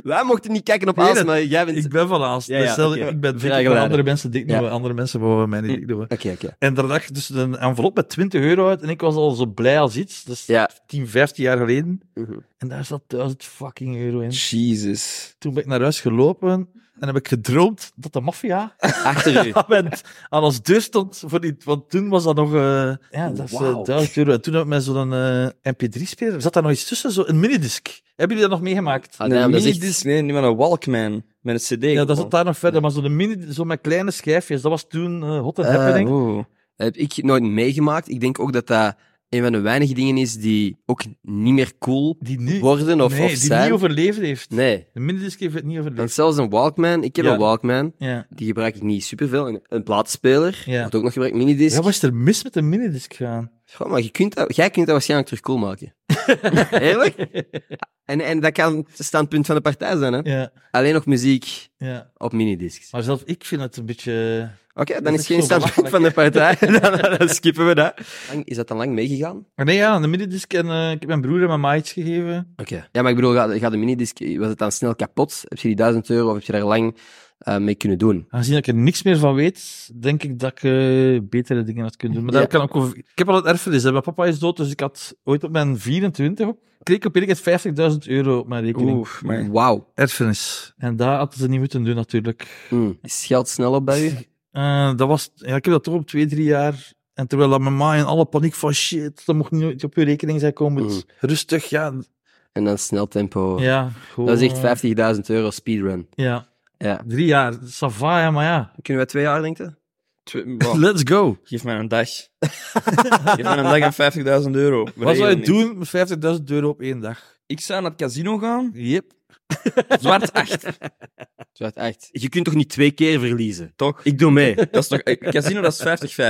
[SPEAKER 1] Wij mochten niet kijken op
[SPEAKER 2] Nee,
[SPEAKER 1] Aals,
[SPEAKER 2] dat-
[SPEAKER 1] maar jij bent...
[SPEAKER 2] Ik ben van Aalst.
[SPEAKER 1] Ja, ja,
[SPEAKER 2] Dus stel,
[SPEAKER 1] oké.
[SPEAKER 2] Ik ben dik, ik
[SPEAKER 1] Vrijgeladen.
[SPEAKER 2] wil andere mensen dik
[SPEAKER 1] Ja.
[SPEAKER 2] doen, andere mensen mogen mij niet dik doen.
[SPEAKER 1] Oké, oké.
[SPEAKER 2] En daar lag dus een envelop met 20 euro uit en ik was al zo blij als iets. Dat is
[SPEAKER 1] Ja.
[SPEAKER 2] 10, 15 jaar geleden.
[SPEAKER 1] Mhm.
[SPEAKER 2] En daar zat 1000 fucking euro in.
[SPEAKER 3] Jezus.
[SPEAKER 2] Toen ben ik naar huis gelopen en heb ik gedroomd dat de maffia
[SPEAKER 1] Achter u.
[SPEAKER 2] aan mijn- aan ons deur stond. Voor die, want toen was dat nog... eh, ja, dat is eh,
[SPEAKER 1] Wauw.
[SPEAKER 2] 1000 euro. En toen heb ik met zo'n eh, mp3-speler... Zat daar nog iets tussen? Zo, een minidisc. Hebben jullie dat nog meegemaakt?
[SPEAKER 1] Ah, damn,
[SPEAKER 3] een
[SPEAKER 1] dat is echt-
[SPEAKER 3] minidisc- nee, niet maar een Walkman. Met een CD.
[SPEAKER 2] Ja, dat zat daar nog verder. Maar zo'n mini, zo met kleine schijfjes, dat was toen eh, hot en happening.
[SPEAKER 1] Eh,
[SPEAKER 3] Oeh.
[SPEAKER 1] Dat heb ik nooit meegemaakt. Ik denk ook dat dat een van de weinige dingen is die ook niet meer cool
[SPEAKER 2] Die nu,
[SPEAKER 1] worden of,
[SPEAKER 2] nee,
[SPEAKER 1] of
[SPEAKER 2] die
[SPEAKER 1] zijn.
[SPEAKER 2] niet overleefd heeft.
[SPEAKER 1] Nee.
[SPEAKER 2] De minidisc heeft het niet
[SPEAKER 1] Want
[SPEAKER 2] overleefd.
[SPEAKER 1] zelfs een Walkman, ik heb
[SPEAKER 2] Ja.
[SPEAKER 1] een Walkman,
[SPEAKER 2] Ja.
[SPEAKER 1] die gebruik ik niet superveel. Een, een platenspeler,
[SPEAKER 2] Ja.
[SPEAKER 1] wordt ook nog gebruikt, minidisc.
[SPEAKER 2] ja, wat is er mis met de minidisc gaan?
[SPEAKER 1] Goh, maar je kunt dat, jij kunt dat waarschijnlijk terug cool maken. Eerlijk? En, en dat kan het standpunt van de partij zijn. Hè?
[SPEAKER 2] Ja,
[SPEAKER 1] Alleen nog muziek
[SPEAKER 2] ja.
[SPEAKER 1] op minidiscs.
[SPEAKER 2] Maar zelf ik vind het een beetje... eh,
[SPEAKER 1] Oké, dan
[SPEAKER 2] Dat
[SPEAKER 1] is,
[SPEAKER 2] is
[SPEAKER 1] geen
[SPEAKER 2] zo
[SPEAKER 1] standpunt van de partij. dan, dan skippen we dat. Lang- Is dat dan lang meegegaan?
[SPEAKER 2] Maar nee, ja, de minidisc en eh, ik heb mijn broer en mijn maatjes gegeven.
[SPEAKER 1] Oké. Ja, maar ik bedoel, ga, ga de minidisc, was het dan snel kapot? Heb je die 1000 euro of heb je daar lang eh, mee kunnen doen?
[SPEAKER 2] Aangezien ik er niks meer van weet, denk ik dat ik eh, betere dingen had kunnen doen. Maar
[SPEAKER 1] Ja.
[SPEAKER 2] dat kan ook over... Ik heb al het erfenis. Hè. Mijn papa is dood, dus ik had ooit op mijn 24... op- kreeg ik op het 50.000 euro op mijn rekening.
[SPEAKER 3] Oeh, maar...
[SPEAKER 1] Wauw.
[SPEAKER 2] Erfenis. En dat hadden ze niet moeten doen, natuurlijk.
[SPEAKER 1] Mm. Is geld snel op bij u?
[SPEAKER 2] Eh, dat was, ja, ik heb dat toch op twee, drie jaar. En terwijl dat mijn ma in alle paniek van shit, dat mocht niet op je rekening zijn komen.
[SPEAKER 3] Hmm.
[SPEAKER 1] Mhm.
[SPEAKER 2] Rustig, ja.
[SPEAKER 1] En dan snel tempo.
[SPEAKER 2] ja
[SPEAKER 1] Dat is
[SPEAKER 2] gewoon,
[SPEAKER 1] echt 50.000 euro speedrun.
[SPEAKER 2] Ja,
[SPEAKER 1] Ja.
[SPEAKER 2] drie jaar. Sava, ja, maar ja.
[SPEAKER 1] Kunnen we twee jaar, denk je?
[SPEAKER 3] Tw- wow.
[SPEAKER 2] Let's go.
[SPEAKER 3] Geef mij een dag. Geef mij een dag en 50.000 euro.
[SPEAKER 2] Wat zou je
[SPEAKER 3] Regel niet.
[SPEAKER 2] doen met 50.000 euro op één dag?
[SPEAKER 3] Ik zou naar het casino gaan.
[SPEAKER 2] Yep.
[SPEAKER 3] Zwart 8.
[SPEAKER 1] Zwart, echt. Je kunt toch niet twee keer verliezen?
[SPEAKER 3] Toch?
[SPEAKER 1] Ik doe mee.
[SPEAKER 3] Dat is toch, eh, casino dat is 50-50.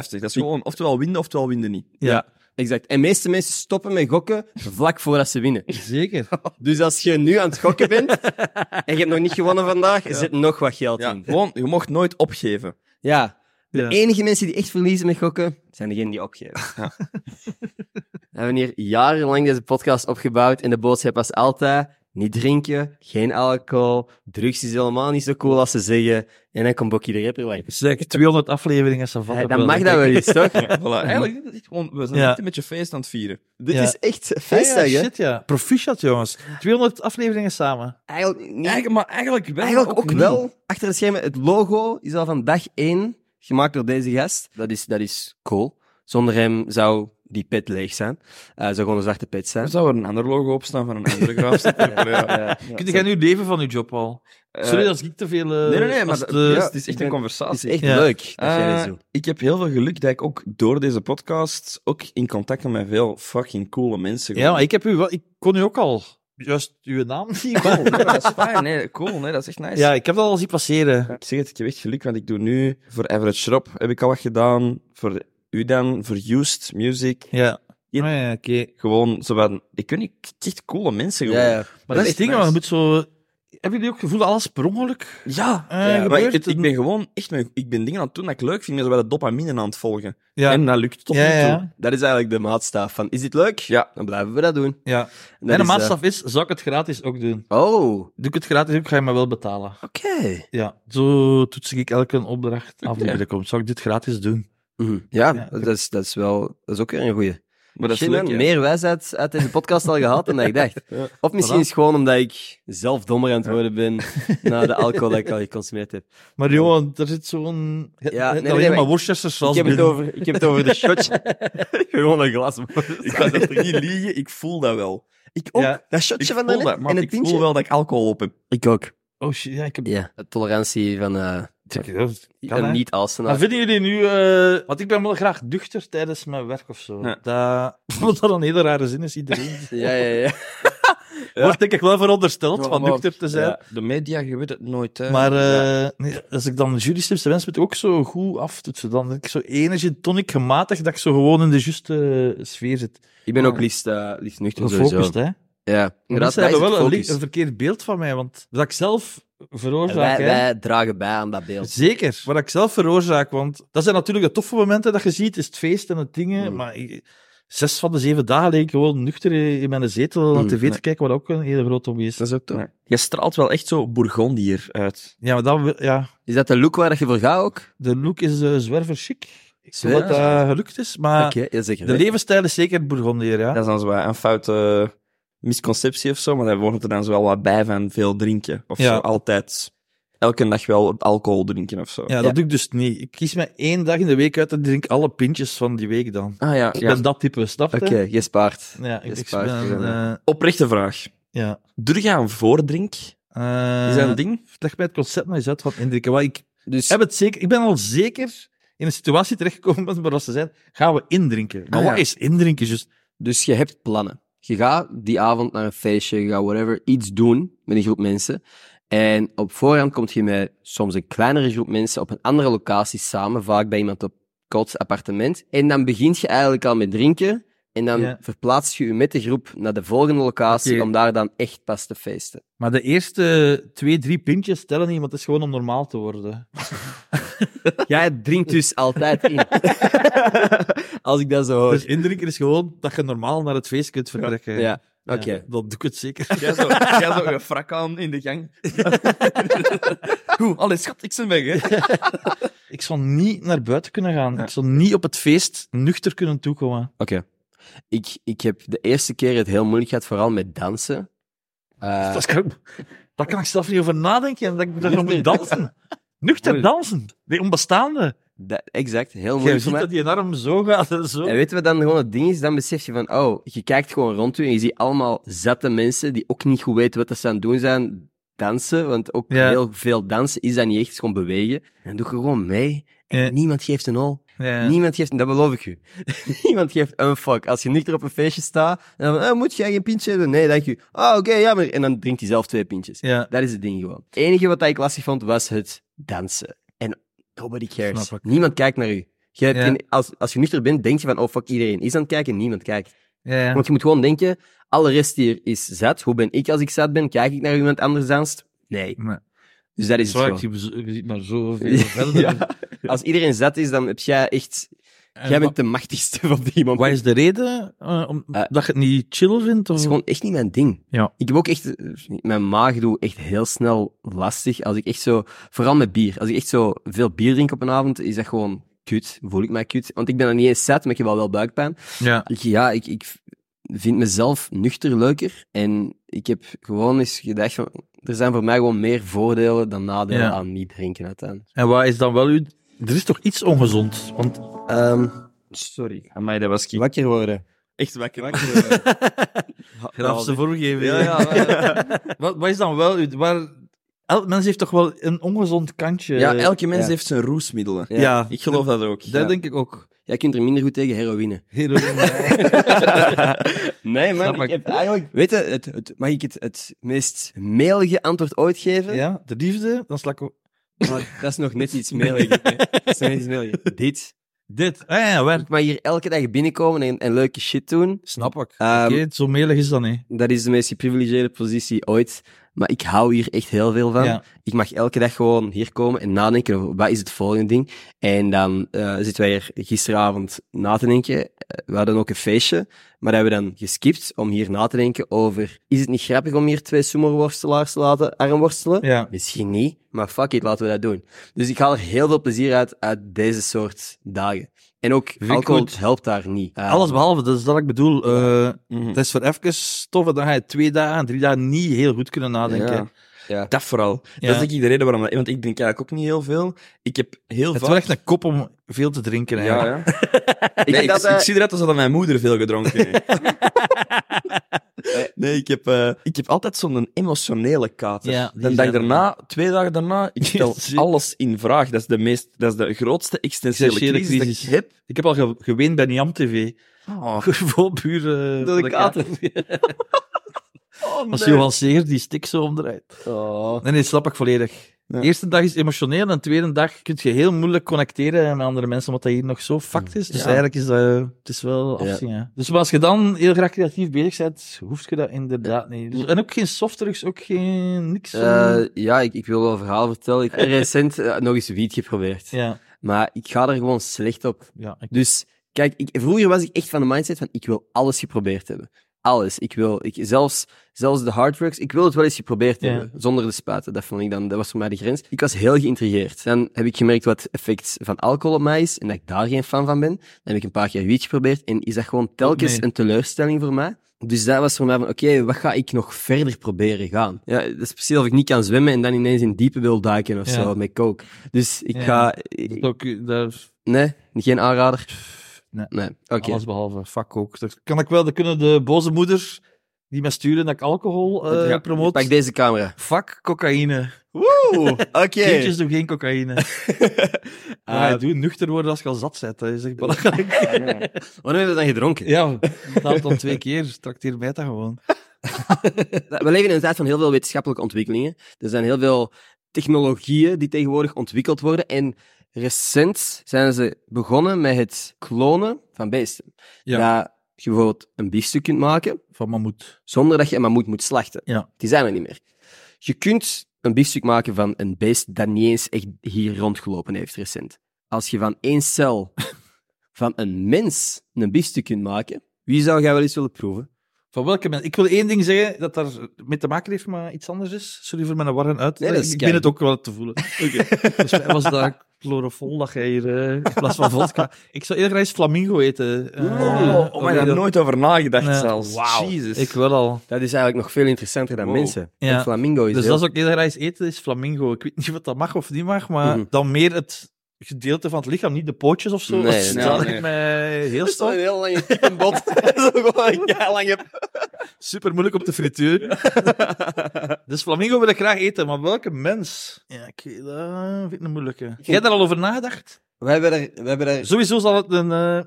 [SPEAKER 3] Dat is gewoon oftewel winnen, oftewel winnen niet.
[SPEAKER 2] Ja,
[SPEAKER 1] Exact. En de meeste mensen stoppen met gokken vlak voordat ze winnen.
[SPEAKER 2] zeker.
[SPEAKER 1] Dus als je nu aan het gokken bent en je hebt nog niet gewonnen vandaag, zit nog wat geld
[SPEAKER 3] Ja,
[SPEAKER 1] in.
[SPEAKER 3] gewoon, je mocht nooit opgeven.
[SPEAKER 1] Ja. De
[SPEAKER 2] Ja.
[SPEAKER 1] enige mensen die echt verliezen met gokken, zijn degenen die opgeven. We hebben hier jarenlang deze podcast opgebouwd en de boodschap was altijd niet drinken, geen alcohol, drugs is helemaal niet zo cool als ze zeggen. En dan komt Bokkie de Rapper langs.
[SPEAKER 2] Zeker 200 afleveringen Sava.
[SPEAKER 1] Hey, dan mag dat wel eens, toch?
[SPEAKER 3] Ja, voilà. Eigenlijk, dit is gewoon, we zijn
[SPEAKER 2] Ja.
[SPEAKER 3] echt een beetje feest aan het vieren.
[SPEAKER 1] Dit
[SPEAKER 2] Ja.
[SPEAKER 1] is echt
[SPEAKER 2] ja,
[SPEAKER 1] feestdag, hè?
[SPEAKER 2] shit, ja. Proficiat, jongens. 200 afleveringen samen.
[SPEAKER 1] Eigenlijk niet.
[SPEAKER 3] Eigenlijk, maar eigenlijk wel.
[SPEAKER 1] Eigenlijk ook,
[SPEAKER 3] niet.
[SPEAKER 1] wel. Achter de schermen, het logo is al van dag één gemaakt door deze gast. Dat is, dat is cool. Zonder hem zou die pet leeg zijn. Eh zou gewoon een zwarte pet zijn.
[SPEAKER 3] Er zou er een ander logo op staan van een andere graafstuk. ja, ja.
[SPEAKER 2] Kun jij nu leven van je job al? Sorry,
[SPEAKER 3] Eh,
[SPEAKER 2] als ik te veel... eh,
[SPEAKER 3] Nee, nee, nee, maar
[SPEAKER 2] als
[SPEAKER 3] dat-
[SPEAKER 2] de-
[SPEAKER 3] ja, het is
[SPEAKER 1] ik
[SPEAKER 3] echt
[SPEAKER 1] ben-
[SPEAKER 3] een
[SPEAKER 1] Het is
[SPEAKER 3] conversatie.
[SPEAKER 1] echt
[SPEAKER 2] Ja.
[SPEAKER 1] leuk dat jij
[SPEAKER 3] Eh,
[SPEAKER 1] dit doet.
[SPEAKER 3] ik heb heel veel geluk dat ik ook door deze podcast ook in contact kom met veel fucking coole mensen.
[SPEAKER 2] Ja, maar ik, heb u wel, ik kon u ook al juist uw naam zien.
[SPEAKER 3] Cool, nee, dat is fijn. Nee, cool, nee, dat is echt nice.
[SPEAKER 2] Ja, ik heb dat al zien passeren.
[SPEAKER 3] Ik zeg het, ik heb echt geluk, want ik doe nu voor Average Shop heb ik al wat gedaan. Voor u dan, voor Used Music.
[SPEAKER 2] Ja.
[SPEAKER 3] Ja.
[SPEAKER 2] Ah, ja, oké.
[SPEAKER 3] Gewoon zo van, ik weet niet, echt coole mensen gewoon.
[SPEAKER 1] Ja, ja.
[SPEAKER 2] Maar dat is
[SPEAKER 3] is
[SPEAKER 2] het ding,
[SPEAKER 3] nice.
[SPEAKER 2] want je moet zo... Hebben jullie ook het gevoel dat alles per ongeluk
[SPEAKER 3] Ja,
[SPEAKER 2] eh,
[SPEAKER 1] Ja,
[SPEAKER 3] maar
[SPEAKER 2] gebeurt?
[SPEAKER 3] ik, ik ben gewoon echt, mijn- ik ben dingen aan het doen dat ik leuk vind, maar zo bij de dopamine aan het volgen.
[SPEAKER 2] Ja.
[SPEAKER 3] En dat lukt tot
[SPEAKER 2] ja,
[SPEAKER 3] nu toe.
[SPEAKER 2] ja.
[SPEAKER 1] Dat is eigenlijk de maatstaf van, is dit leuk?
[SPEAKER 3] Ja.
[SPEAKER 1] Dan blijven we dat doen.
[SPEAKER 2] ja.
[SPEAKER 1] Dat
[SPEAKER 2] en de
[SPEAKER 1] is, eh,
[SPEAKER 2] maatstaf is, zou ik het gratis ook doen?
[SPEAKER 1] oh, oké.
[SPEAKER 2] Doe ik het gratis ook, ga je me wel betalen. Ja, zo toets ik elke opdracht af die
[SPEAKER 3] Ja.
[SPEAKER 2] binnenkomt. Zou ik dit gratis doen?
[SPEAKER 1] Mhm. Ja,
[SPEAKER 2] Ja.
[SPEAKER 1] Dat, is, dat is wel, dat is ook weer een goeie.
[SPEAKER 3] Maar dat is
[SPEAKER 1] Shit, man,
[SPEAKER 3] leuk, hè.
[SPEAKER 1] meer wijsheid uit deze podcast al gehad dan dat ik dacht.
[SPEAKER 3] Ja.
[SPEAKER 1] Of misschien
[SPEAKER 2] Voilà.
[SPEAKER 1] is het gewoon omdat ik zelf dommer aan het worden ben na de alcohol dat ik al geconsumeerd heb.
[SPEAKER 2] Maar Johan, er zit zo'n... Ja,
[SPEAKER 1] nee, nee,
[SPEAKER 2] alleen
[SPEAKER 1] nee,
[SPEAKER 2] maar
[SPEAKER 1] maar-
[SPEAKER 2] Worcester
[SPEAKER 1] Ik
[SPEAKER 2] sauce
[SPEAKER 1] heb, het
[SPEAKER 2] binnen.
[SPEAKER 1] over, ik heb het over de shotje. Gewoon een glas.
[SPEAKER 3] Ik ga dat toch niet liegen, ik voel dat wel.
[SPEAKER 1] Ik
[SPEAKER 2] ook. Ja.
[SPEAKER 1] Dat
[SPEAKER 3] Ik
[SPEAKER 1] shotje
[SPEAKER 3] voel dat, maar ik voel wel dat ik alcohol op heb.
[SPEAKER 1] Ik ook.
[SPEAKER 2] Oh shit, ja, ik heb...
[SPEAKER 1] Ja, de tolerantie van eh
[SPEAKER 2] Check it out. Kan, hè?
[SPEAKER 1] een niet
[SPEAKER 2] Maar
[SPEAKER 1] alsenaar
[SPEAKER 2] vinden jullie nu, eh, want ik ben wel graag duchter tijdens mijn werk of zo.
[SPEAKER 3] Ja.
[SPEAKER 2] Dat, wat dat een hele rare zin is, iedereen.
[SPEAKER 1] Ja, ja, ja.
[SPEAKER 2] Wordt denk ik wel verondersteld
[SPEAKER 3] Ja,
[SPEAKER 2] van
[SPEAKER 3] maar-
[SPEAKER 2] nuchter te zijn.
[SPEAKER 3] de media, je weet het nooit. Hè.
[SPEAKER 2] Maar
[SPEAKER 3] Ja.
[SPEAKER 2] eh, nee, als ik dan jurystips de wens moet ik ook zo goed aftoetsen. Dan denk ik zo energy tonic gematigd dat ik zo gewoon in de juiste eh, sfeer zit.
[SPEAKER 1] Ik
[SPEAKER 2] Oh.
[SPEAKER 1] ben ook liefst, eh, liefst nuchter sowieso.
[SPEAKER 2] Gefocust, hè.
[SPEAKER 1] Ja, inderdaad.
[SPEAKER 2] Mensen
[SPEAKER 1] Dat is
[SPEAKER 2] hebben
[SPEAKER 1] het
[SPEAKER 2] wel een, li-
[SPEAKER 1] focus.
[SPEAKER 2] een verkeerd beeld van mij, want dat ik zelf
[SPEAKER 1] Wij,
[SPEAKER 2] veroorzaak, hè.
[SPEAKER 1] wij dragen bij aan dat beeld.
[SPEAKER 2] Zeker, wat ik zelf veroorzaak. Want dat zijn natuurlijk de toffe momenten dat je ziet, is het feest en het dingen.
[SPEAKER 1] Mm.
[SPEAKER 2] Maar ik, zes van de zeven dagen leek ik gewoon nuchter in mijn zetel aan
[SPEAKER 1] Mm,
[SPEAKER 2] tv
[SPEAKER 3] nee.
[SPEAKER 2] te kijken, wat ook een hele grote hobby is.
[SPEAKER 3] Dat is ook toch? Je straalt wel echt zo Bourgondier uit.
[SPEAKER 2] Ja, maar dan, wil- ja,
[SPEAKER 1] Is dat de look waar dat je voor gaat ook?
[SPEAKER 2] de look is eh zwerver chic. Ik weet
[SPEAKER 1] Zwerver
[SPEAKER 2] dat dat gelukt is, maar
[SPEAKER 1] Oké, ja, zeker.
[SPEAKER 2] de levensstijl is zeker Bourgondier, ja.
[SPEAKER 3] Dat is dan zo wat een foute misconceptie of zo, maar daar wordt er dan zo wel wat bij van veel drinken. Of
[SPEAKER 2] Ja.
[SPEAKER 3] zo altijd elke dag wel alcohol drinken of zo.
[SPEAKER 2] Ja, dat
[SPEAKER 1] Ja.
[SPEAKER 2] doe ik dus niet. Ik kies me één dag in de week uit en drink alle pintjes van die week dan.
[SPEAKER 3] Ah ja,
[SPEAKER 2] Ik
[SPEAKER 3] ja.
[SPEAKER 2] ben dat type, snap je?
[SPEAKER 1] Oké, je spaart.
[SPEAKER 2] Ja, ik,
[SPEAKER 1] is
[SPEAKER 2] ik
[SPEAKER 1] waar,
[SPEAKER 2] ben...
[SPEAKER 1] ja.
[SPEAKER 2] eh,
[SPEAKER 3] Oprechte vraag.
[SPEAKER 2] ja.
[SPEAKER 3] Durf jij een voordrink? Is
[SPEAKER 2] Eh,
[SPEAKER 3] dat een ding?
[SPEAKER 2] Leg mij het concept nou eens uit van indrinken. Want ik,
[SPEAKER 1] Dus
[SPEAKER 2] heb het zeker, ik ben al zeker in een situatie terechtgekomen waar ze zijn, gaan we indrinken. Maar
[SPEAKER 1] Ah, ja.
[SPEAKER 2] wat is indrinken? juist?
[SPEAKER 1] Dus je hebt plannen. Je gaat die avond naar een feestje, je gaat whatever, iets doen met een groep mensen. En op voorhand kom je met soms een kleinere groep mensen op een andere locatie samen, vaak bij iemand op Kots appartement. En dan begint je eigenlijk al met drinken. En dan
[SPEAKER 2] Ja.
[SPEAKER 1] verplaats je je met de groep naar de volgende locatie
[SPEAKER 2] Oké.
[SPEAKER 1] om daar dan echt pas te feesten.
[SPEAKER 2] Maar de eerste twee, drie pintjes tellen niet, want het is gewoon om normaal te worden.
[SPEAKER 1] Jij drinkt dus altijd in. Als ik dat zo hoor.
[SPEAKER 2] Dus indrinken is gewoon dat je normaal naar het feest kunt vertrekken.
[SPEAKER 1] ja, oké.
[SPEAKER 2] Ja, dat doe ik het zeker.
[SPEAKER 3] Jij zo, jij zo een frak aan in de gang. Goed, allee, schat, ik ben weg, hè.
[SPEAKER 2] Ik zou niet naar buiten kunnen gaan. Ik zou niet op het feest nuchter kunnen toekomen.
[SPEAKER 1] Oké. Ik, ik heb de eerste keer het heel moeilijk gehad, vooral met dansen. Eh,
[SPEAKER 2] Dat kan, ik- daar kan ik zelf niet over nadenken. Dat ik daarom moet dansen. Nuchter dansen. De onbestaande.
[SPEAKER 1] Da- exact, heel
[SPEAKER 2] Je
[SPEAKER 1] moeilijk voor
[SPEAKER 2] ziet
[SPEAKER 1] mij.
[SPEAKER 2] dat die arm zo gaat. en Zo.
[SPEAKER 1] En weet je wat dan gewoon het ding is? Dan besef je van, oh, je kijkt gewoon rond u en je ziet allemaal zatte mensen die ook niet goed weten wat dat ze aan het doen zijn. Dansen, want ook
[SPEAKER 2] Ja.
[SPEAKER 1] heel veel dansen is dat niet echt, het is gewoon bewegen. En dan doe je gewoon mee. En
[SPEAKER 2] Ja.
[SPEAKER 1] niemand geeft een hol.
[SPEAKER 2] Ja.
[SPEAKER 1] Niemand geeft, dat beloof ik u. niemand geeft een fuck. Als je nuchter op een feestje staat, en dan van, eh, moet jij geen pintje hebben? Nee, dank u. Ah, oké, jammer. En dan drinkt hij zelf twee pintjes.
[SPEAKER 2] Ja.
[SPEAKER 1] Dat is het ding gewoon. Het enige wat ik lastig vond, was het dansen. En nobody cares.
[SPEAKER 2] Snap ik.
[SPEAKER 1] Niemand kijkt naar u. Je hebt
[SPEAKER 2] Ja.
[SPEAKER 1] geen- als, als je nuchter bent, denk je van, oh fuck, iedereen is aan het kijken, niemand kijkt.
[SPEAKER 2] Ja, ja.
[SPEAKER 1] Want je moet gewoon denken, alle rest hier is zat. Hoe ben ik als ik zat ben? Kijk ik naar iemand anders danst? Nee.
[SPEAKER 2] Nee.
[SPEAKER 1] Dus dat is het
[SPEAKER 2] Zwaar,
[SPEAKER 1] gewoon.
[SPEAKER 2] je, ziet- je ziet maar zoveel
[SPEAKER 1] Ja.
[SPEAKER 2] verder.
[SPEAKER 1] Als iedereen zat is, dan heb jij echt...
[SPEAKER 2] En
[SPEAKER 1] jij
[SPEAKER 2] wa-
[SPEAKER 1] bent de machtigste van die moment.
[SPEAKER 2] Wat is de reden eh, om,
[SPEAKER 1] Eh,
[SPEAKER 2] dat je het niet chill vindt? Of...
[SPEAKER 1] Dat is gewoon echt niet mijn ding.
[SPEAKER 2] Ja.
[SPEAKER 1] Ik heb ook echt, mijn maag doe echt heel snel lastig. Als ik echt zo, vooral met bier. Als ik echt zo veel bier drink op een avond, is dat gewoon kut. Voel ik mij kut. Want ik ben dan niet eens zat, maar ik heb wel wel buikpijn.
[SPEAKER 2] Ja.
[SPEAKER 1] Ik, ja, ik, ik vind mezelf nuchter leuker. En ik heb gewoon eens gedacht van, er zijn voor mij gewoon meer voordelen dan nadelen
[SPEAKER 2] Ja.
[SPEAKER 1] aan niet drinken uiteindelijk.
[SPEAKER 2] En wat is dan wel uw... Er is toch iets ongezond? Want
[SPEAKER 1] Ehm,
[SPEAKER 3] Sorry. Amai, dat was ik.
[SPEAKER 1] wakker worden.
[SPEAKER 3] Echt wakker. wakker
[SPEAKER 2] grafse voorgeven.
[SPEAKER 3] Ja, ja.
[SPEAKER 2] wat, wat is dan wel... uw- Waar... Elk mens heeft toch wel een ongezond kantje.
[SPEAKER 3] ja, elke mens
[SPEAKER 1] Ja.
[SPEAKER 3] heeft zijn roesmiddelen.
[SPEAKER 1] Ja.
[SPEAKER 2] Ja,
[SPEAKER 3] Ik geloof dat ook.
[SPEAKER 2] dat
[SPEAKER 3] Ja.
[SPEAKER 2] denk ik ook.
[SPEAKER 1] Jij kunt er minder goed tegen heroïne.
[SPEAKER 2] Heroïne.
[SPEAKER 1] Nee,
[SPEAKER 2] Snap
[SPEAKER 1] man. Ik
[SPEAKER 2] ik.
[SPEAKER 1] heb eigenlijk... Weet je, het, het, mag ik het, het meest melige antwoord ooit geven?
[SPEAKER 2] ja, de liefde, dan sla ik ook...
[SPEAKER 1] Maar dat is nog net iets meliger. hè. Dat is nog net iets meliger. Dit.
[SPEAKER 2] Dit. Ah ja, waar?
[SPEAKER 1] Ik mag hier elke dag binnenkomen en, en leuke shit doen.
[SPEAKER 2] Snap ik.
[SPEAKER 1] Ehm,
[SPEAKER 2] Oké, zo melig is dat niet.
[SPEAKER 1] Dat is de meest geprivilegeerde positie ooit. Maar ik hou hier echt heel veel van.
[SPEAKER 2] Ja.
[SPEAKER 1] Ik mag elke dag gewoon hier komen en nadenken over wat is het volgende ding. En dan eh, zitten wij hier gisteravond na te denken. Eh, We hadden ook een feestje, maar dat hebben we dan geskipt om hier na te denken over... Is het niet grappig om hier twee sumo-worstelaars te laten armworstelen?
[SPEAKER 2] Ja.
[SPEAKER 1] Misschien niet, maar fuck it, laten we dat doen. Dus ik haal er heel veel plezier uit uit deze soort dagen. En ook
[SPEAKER 2] ik
[SPEAKER 1] alcohol
[SPEAKER 2] goed.
[SPEAKER 1] helpt daar niet. Eh,
[SPEAKER 2] Alles behalve, dat is dat ik bedoel. eh,
[SPEAKER 3] Mhm.
[SPEAKER 2] Het is voor even tof, en dan ga je twee dagen, drie dagen niet heel goed kunnen nadenken.
[SPEAKER 3] Ja.
[SPEAKER 1] Ja.
[SPEAKER 3] Dat vooral.
[SPEAKER 2] Ja.
[SPEAKER 3] Dat is denk ik de reden waarom... dat- Want ik drink eigenlijk ook niet heel veel. Ik heb heel
[SPEAKER 2] Het is
[SPEAKER 3] vaak...
[SPEAKER 2] wel echt een kop om veel te drinken.
[SPEAKER 3] Ja,
[SPEAKER 2] Eigenlijk.
[SPEAKER 3] ja. Nee, ik,
[SPEAKER 1] dat, eh,
[SPEAKER 3] ik zie eruit als dat mijn moeder veel gedronken heeft. nee, ik heb, eh, ik heb altijd zo'n emotionele kater.
[SPEAKER 2] Ja, die
[SPEAKER 3] de
[SPEAKER 2] zijn
[SPEAKER 3] dag
[SPEAKER 2] er.
[SPEAKER 3] daarna, twee dagen daarna, ik stel
[SPEAKER 2] Zie-
[SPEAKER 3] alles in vraag. Dat is de, meest, dat is de grootste existentiële
[SPEAKER 2] Existentiële
[SPEAKER 3] crisis, die
[SPEAKER 2] crisis.
[SPEAKER 3] ik heb.
[SPEAKER 2] Ik heb al ge- geweend bij Niam TV.
[SPEAKER 3] Oh,
[SPEAKER 2] Gewoon puur... eh,
[SPEAKER 1] Door de
[SPEAKER 2] voor
[SPEAKER 1] kater.
[SPEAKER 2] Oh, Als Johan Seger die stik zo omdraait.
[SPEAKER 1] Oh.
[SPEAKER 2] Nee, nee, snap ik volledig.
[SPEAKER 3] Ja.
[SPEAKER 2] De eerste dag is emotioneel en de tweede dag kun je heel moeilijk connecteren met andere mensen, omdat dat hier nog zo fact is. Dus
[SPEAKER 3] Ja.
[SPEAKER 2] eigenlijk is dat... eh, Het is wel
[SPEAKER 1] Ja.
[SPEAKER 2] afzien, hè. Dus maar als je dan heel graag creatief bezig bent, hoef je dat inderdaad niet. Dus- en ook geen softdrugs, ook geen... Niks. eh,
[SPEAKER 1] Eh, ja, ik, ik wil wel een verhaal vertellen. Ik heb recent eh, nog eens wiet geprobeerd.
[SPEAKER 2] ja.
[SPEAKER 1] Maar ik ga er gewoon slecht op.
[SPEAKER 2] Ja, ik-
[SPEAKER 1] Dus Kijk, ik, vroeger was ik echt van de mindset van ik wil alles geprobeerd hebben. Alles. Ik wil, ik, zelfs, zelfs de hardworks, ik wil het wel eens geprobeerd
[SPEAKER 2] Ja.
[SPEAKER 1] hebben. Zonder de spuiten. Dat vond ik dan, dat was voor mij de grens. Ik was heel geïntrigeerd. Dan heb ik gemerkt wat het effect van alcohol op mij is en dat ik daar geen fan van ben. Dan heb ik een paar keer wiet geprobeerd en is dat gewoon telkens
[SPEAKER 2] Nee.
[SPEAKER 1] een teleurstelling voor mij. Dus dat was voor mij van, oké, wat ga ik nog verder proberen gaan? Ja, dat is precies of ik niet kan zwemmen en dan ineens in diepe wil duiken of
[SPEAKER 2] Ja.
[SPEAKER 1] zo, met coke. Dus ik
[SPEAKER 2] Ja.
[SPEAKER 1] ga...
[SPEAKER 2] Dat is ook, eh, dat is
[SPEAKER 1] Nee, geen aanrader?
[SPEAKER 2] Nee.
[SPEAKER 1] oké.
[SPEAKER 2] alles behalve fuck ook. Dat kan ik wel, dan kunnen de boze moeder die mij sturen dat ik alcohol eh
[SPEAKER 1] Ja,
[SPEAKER 2] promoot.
[SPEAKER 1] Pak deze camera.
[SPEAKER 2] Fuck cocaïne.
[SPEAKER 1] Woe, oké.
[SPEAKER 2] Kindjes doen geen cocaïne.
[SPEAKER 1] Ah,
[SPEAKER 2] ja, doe nuchter worden als je al zat bent. Dat is echt belangrijk.
[SPEAKER 1] Wanneer heb je dan gedronken?
[SPEAKER 2] Ja, betaal dan twee keer. Trakteer mij dat gewoon.
[SPEAKER 1] We leven in een tijd van heel veel wetenschappelijke ontwikkelingen. Er zijn heel veel technologieën die tegenwoordig ontwikkeld worden. En recent zijn ze begonnen met het klonen van beesten.
[SPEAKER 2] Ja.
[SPEAKER 1] Dat je bijvoorbeeld een biefstuk kunt maken
[SPEAKER 2] Van mammoet.
[SPEAKER 1] zonder dat je een mammoet moet slachten.
[SPEAKER 2] Ja.
[SPEAKER 1] Die zijn er niet meer. Je kunt een biefstuk maken van een beest dat niet eens echt hier rondgelopen heeft recent. Als je van één cel van een mens een biefstuk kunt maken, wie zou jij wel eens willen proeven?
[SPEAKER 2] Van welke mensen? Ik wil één ding zeggen dat daar mee te maken heeft, maar iets anders is. Sorry voor mijn warren uit.
[SPEAKER 1] Nee, dat is
[SPEAKER 2] ik
[SPEAKER 1] kei-
[SPEAKER 2] ben het ook wel te voelen. Volgens Dus mij was dat chlorofol dat jij hier eh, in plaats van vodka. Ik zou heel graag eens flamingo eten. Eh,
[SPEAKER 3] Oh, oh, maar
[SPEAKER 2] dat-
[SPEAKER 3] ik had er nooit over nagedacht
[SPEAKER 2] Nee.
[SPEAKER 3] zelfs.
[SPEAKER 1] Wauw.
[SPEAKER 3] Jezus.
[SPEAKER 2] Ik wel al.
[SPEAKER 1] Dat is eigenlijk nog veel interessanter dan
[SPEAKER 3] Wow.
[SPEAKER 1] mensen.
[SPEAKER 2] Ja.
[SPEAKER 1] Een flamingo is
[SPEAKER 2] Dus
[SPEAKER 1] heel-
[SPEAKER 2] dat is ook heel graag eens eten, is flamingo. Ik weet niet wat dat mag of niet mag, maar
[SPEAKER 1] Mhm.
[SPEAKER 2] dan meer het gedeelte van het lichaam, niet de pootjes of zo.
[SPEAKER 1] Nee,
[SPEAKER 2] dat
[SPEAKER 1] nee,
[SPEAKER 2] staat
[SPEAKER 3] nee.
[SPEAKER 2] mij heel
[SPEAKER 1] Dat is wel
[SPEAKER 2] stom.
[SPEAKER 1] een heel lange kippenbot. Dat is ook wel een heel lange...
[SPEAKER 2] Super moeilijk op de frituur. dus flamingo wil ik graag eten, maar welke mens? Ja, ik weet, dat vind ik een moeilijke. Heb jij daar al over nagedacht?
[SPEAKER 1] We hebben daar... We hebben daar...
[SPEAKER 2] Sowieso zal het een... eh,